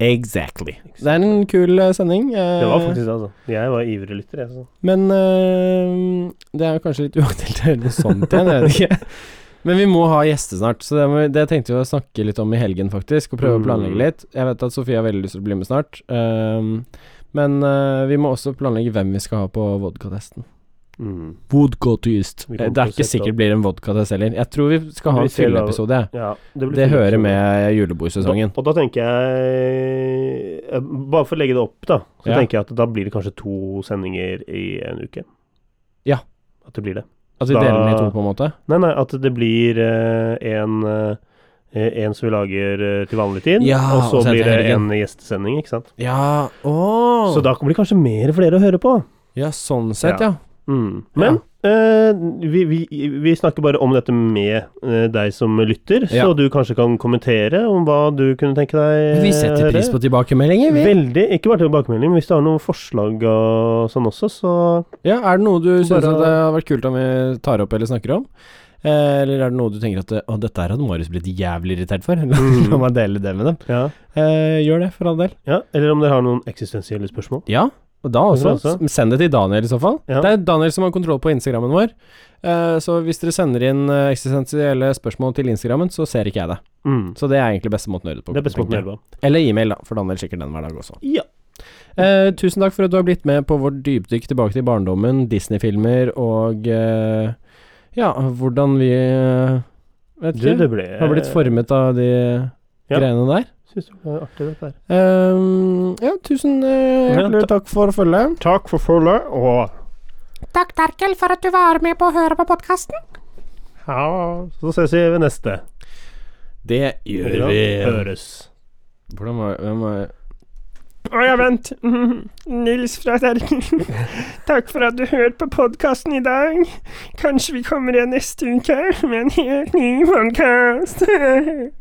[SPEAKER 4] Exactly. Det er en kul eh, sending. eh,
[SPEAKER 3] Det var faktisk det, altså. Jeg var ivrig lytter, jeg. Så.
[SPEAKER 4] Men eh, det er jo kanskje litt uaktuelt å gjøre noe sånt igjen, jeg vet ikke. Men vi må ha gjester snart, så det, må, det tenkte vi å snakke litt om i helgen, faktisk. Og prøve å
[SPEAKER 3] Mm.
[SPEAKER 4] planlegge litt. Jeg vet at Sofie har veldig lyst til å bli med snart. ehm, men eh, vi må også planlegge hvem vi skal ha på vodkatesten.
[SPEAKER 3] Mm.
[SPEAKER 4] Vodkatyst.
[SPEAKER 3] Vi kommer
[SPEAKER 4] Eh, Det er
[SPEAKER 3] til å
[SPEAKER 4] ikke
[SPEAKER 3] sette
[SPEAKER 4] sikkert
[SPEAKER 3] opp.
[SPEAKER 4] blir en vodkatest heller. Jeg tror vi skal ha
[SPEAKER 3] Vi
[SPEAKER 4] en
[SPEAKER 3] ser da-
[SPEAKER 4] fylleepisode, jeg.
[SPEAKER 3] Ja,
[SPEAKER 4] Det,
[SPEAKER 3] blir fint.
[SPEAKER 4] hører med julebordssesongen.
[SPEAKER 3] Da, og da tenker jeg eh, Bare for å legge det opp, da, så
[SPEAKER 4] Ja.
[SPEAKER 3] tenker jeg at da blir det kanskje to sendinger i en uke.
[SPEAKER 4] Ja.
[SPEAKER 3] At det blir det.
[SPEAKER 4] At Altså, vi
[SPEAKER 3] da-
[SPEAKER 4] deler den i to, på en måte.
[SPEAKER 3] Nei, nei, at det blir eh, en eh, en som vi lager eh, til vanlig tid,
[SPEAKER 4] Ja,
[SPEAKER 3] og så
[SPEAKER 4] og så
[SPEAKER 3] blir det
[SPEAKER 4] etter
[SPEAKER 3] en gjestesending, ikke sant.
[SPEAKER 4] Ja, å
[SPEAKER 3] Så da blir det kanskje mer for dere å høre på.
[SPEAKER 4] Ja, sånn sett,
[SPEAKER 3] Ja.
[SPEAKER 4] ja.
[SPEAKER 3] Mm. Men eh, vi, vi, vi snakker bare om dette med eh, deg som lytter,
[SPEAKER 4] Ja.
[SPEAKER 3] så du kanskje kan kommentere om hva du kunne tenke deg.
[SPEAKER 4] Vi setter
[SPEAKER 3] eh,
[SPEAKER 4] pris
[SPEAKER 3] høre.
[SPEAKER 4] på tilbakemeldinger, vi.
[SPEAKER 3] Veldig. Ikke bare tilbakemelding, men hvis du har noen forslag og sånn også, så
[SPEAKER 4] Ja, er det noe du syns
[SPEAKER 3] Bare-
[SPEAKER 4] at det hadde vært kult om vi tar opp eller snakker om? Eh, Eller er det noe du tenker at Å, dette her hadde Marius blitt jævlig irritert for. La
[SPEAKER 3] Mm.
[SPEAKER 4] la meg dele det med dem.
[SPEAKER 3] ja.
[SPEAKER 4] Eh, gjør det, for all del.
[SPEAKER 3] ja. Eller om dere har noen eksistensielle spørsmål.
[SPEAKER 4] Ja, og da
[SPEAKER 3] Det
[SPEAKER 4] også.
[SPEAKER 3] kan vi også.
[SPEAKER 4] s- Send det til Daniel, i så fall.
[SPEAKER 3] Ja.
[SPEAKER 4] Det er Daniel som har kontroll på Instagrammen vår. Eh, Så hvis dere sender inn eh, eksistensielle spørsmål til Instagrammen, så ser ikke jeg det.
[SPEAKER 3] Mm.
[SPEAKER 4] Så det er egentlig beste måten å gjøre det på.
[SPEAKER 3] Det er best måten å
[SPEAKER 4] tenker jeg.
[SPEAKER 3] gjøre det på.
[SPEAKER 4] Eller e-mail, da, for Daniel sjekker den hver dag også.
[SPEAKER 3] Ja.
[SPEAKER 4] Eh, tusen takk for at du har blitt med på vårt dypdykk tilbake til barndommen, Disney-filmer og eh, Ja, hvordan vi eh, Vet
[SPEAKER 3] Du,
[SPEAKER 4] ikke.
[SPEAKER 3] det ble
[SPEAKER 4] har blitt formet av de
[SPEAKER 3] Ja.
[SPEAKER 4] greiene der.
[SPEAKER 3] Syns det var artig, dette her.
[SPEAKER 4] Eh, ja, tusen eh,
[SPEAKER 3] Ja,
[SPEAKER 4] hjertelig takk for følget.
[SPEAKER 3] Takk for følget, og
[SPEAKER 6] Takk, Terkel, for at du var med på å høre på podkasten.
[SPEAKER 3] ja, så ses vi ved neste.
[SPEAKER 4] Det
[SPEAKER 3] Ja, Høres.
[SPEAKER 4] Hvordan var, hvem var
[SPEAKER 1] Å ja, vent. Mhm. Nils fra Terken. Takk for at du hørte på podkasten i dag. Kanskje vi kommer igjen neste uke med en helt ny podkast.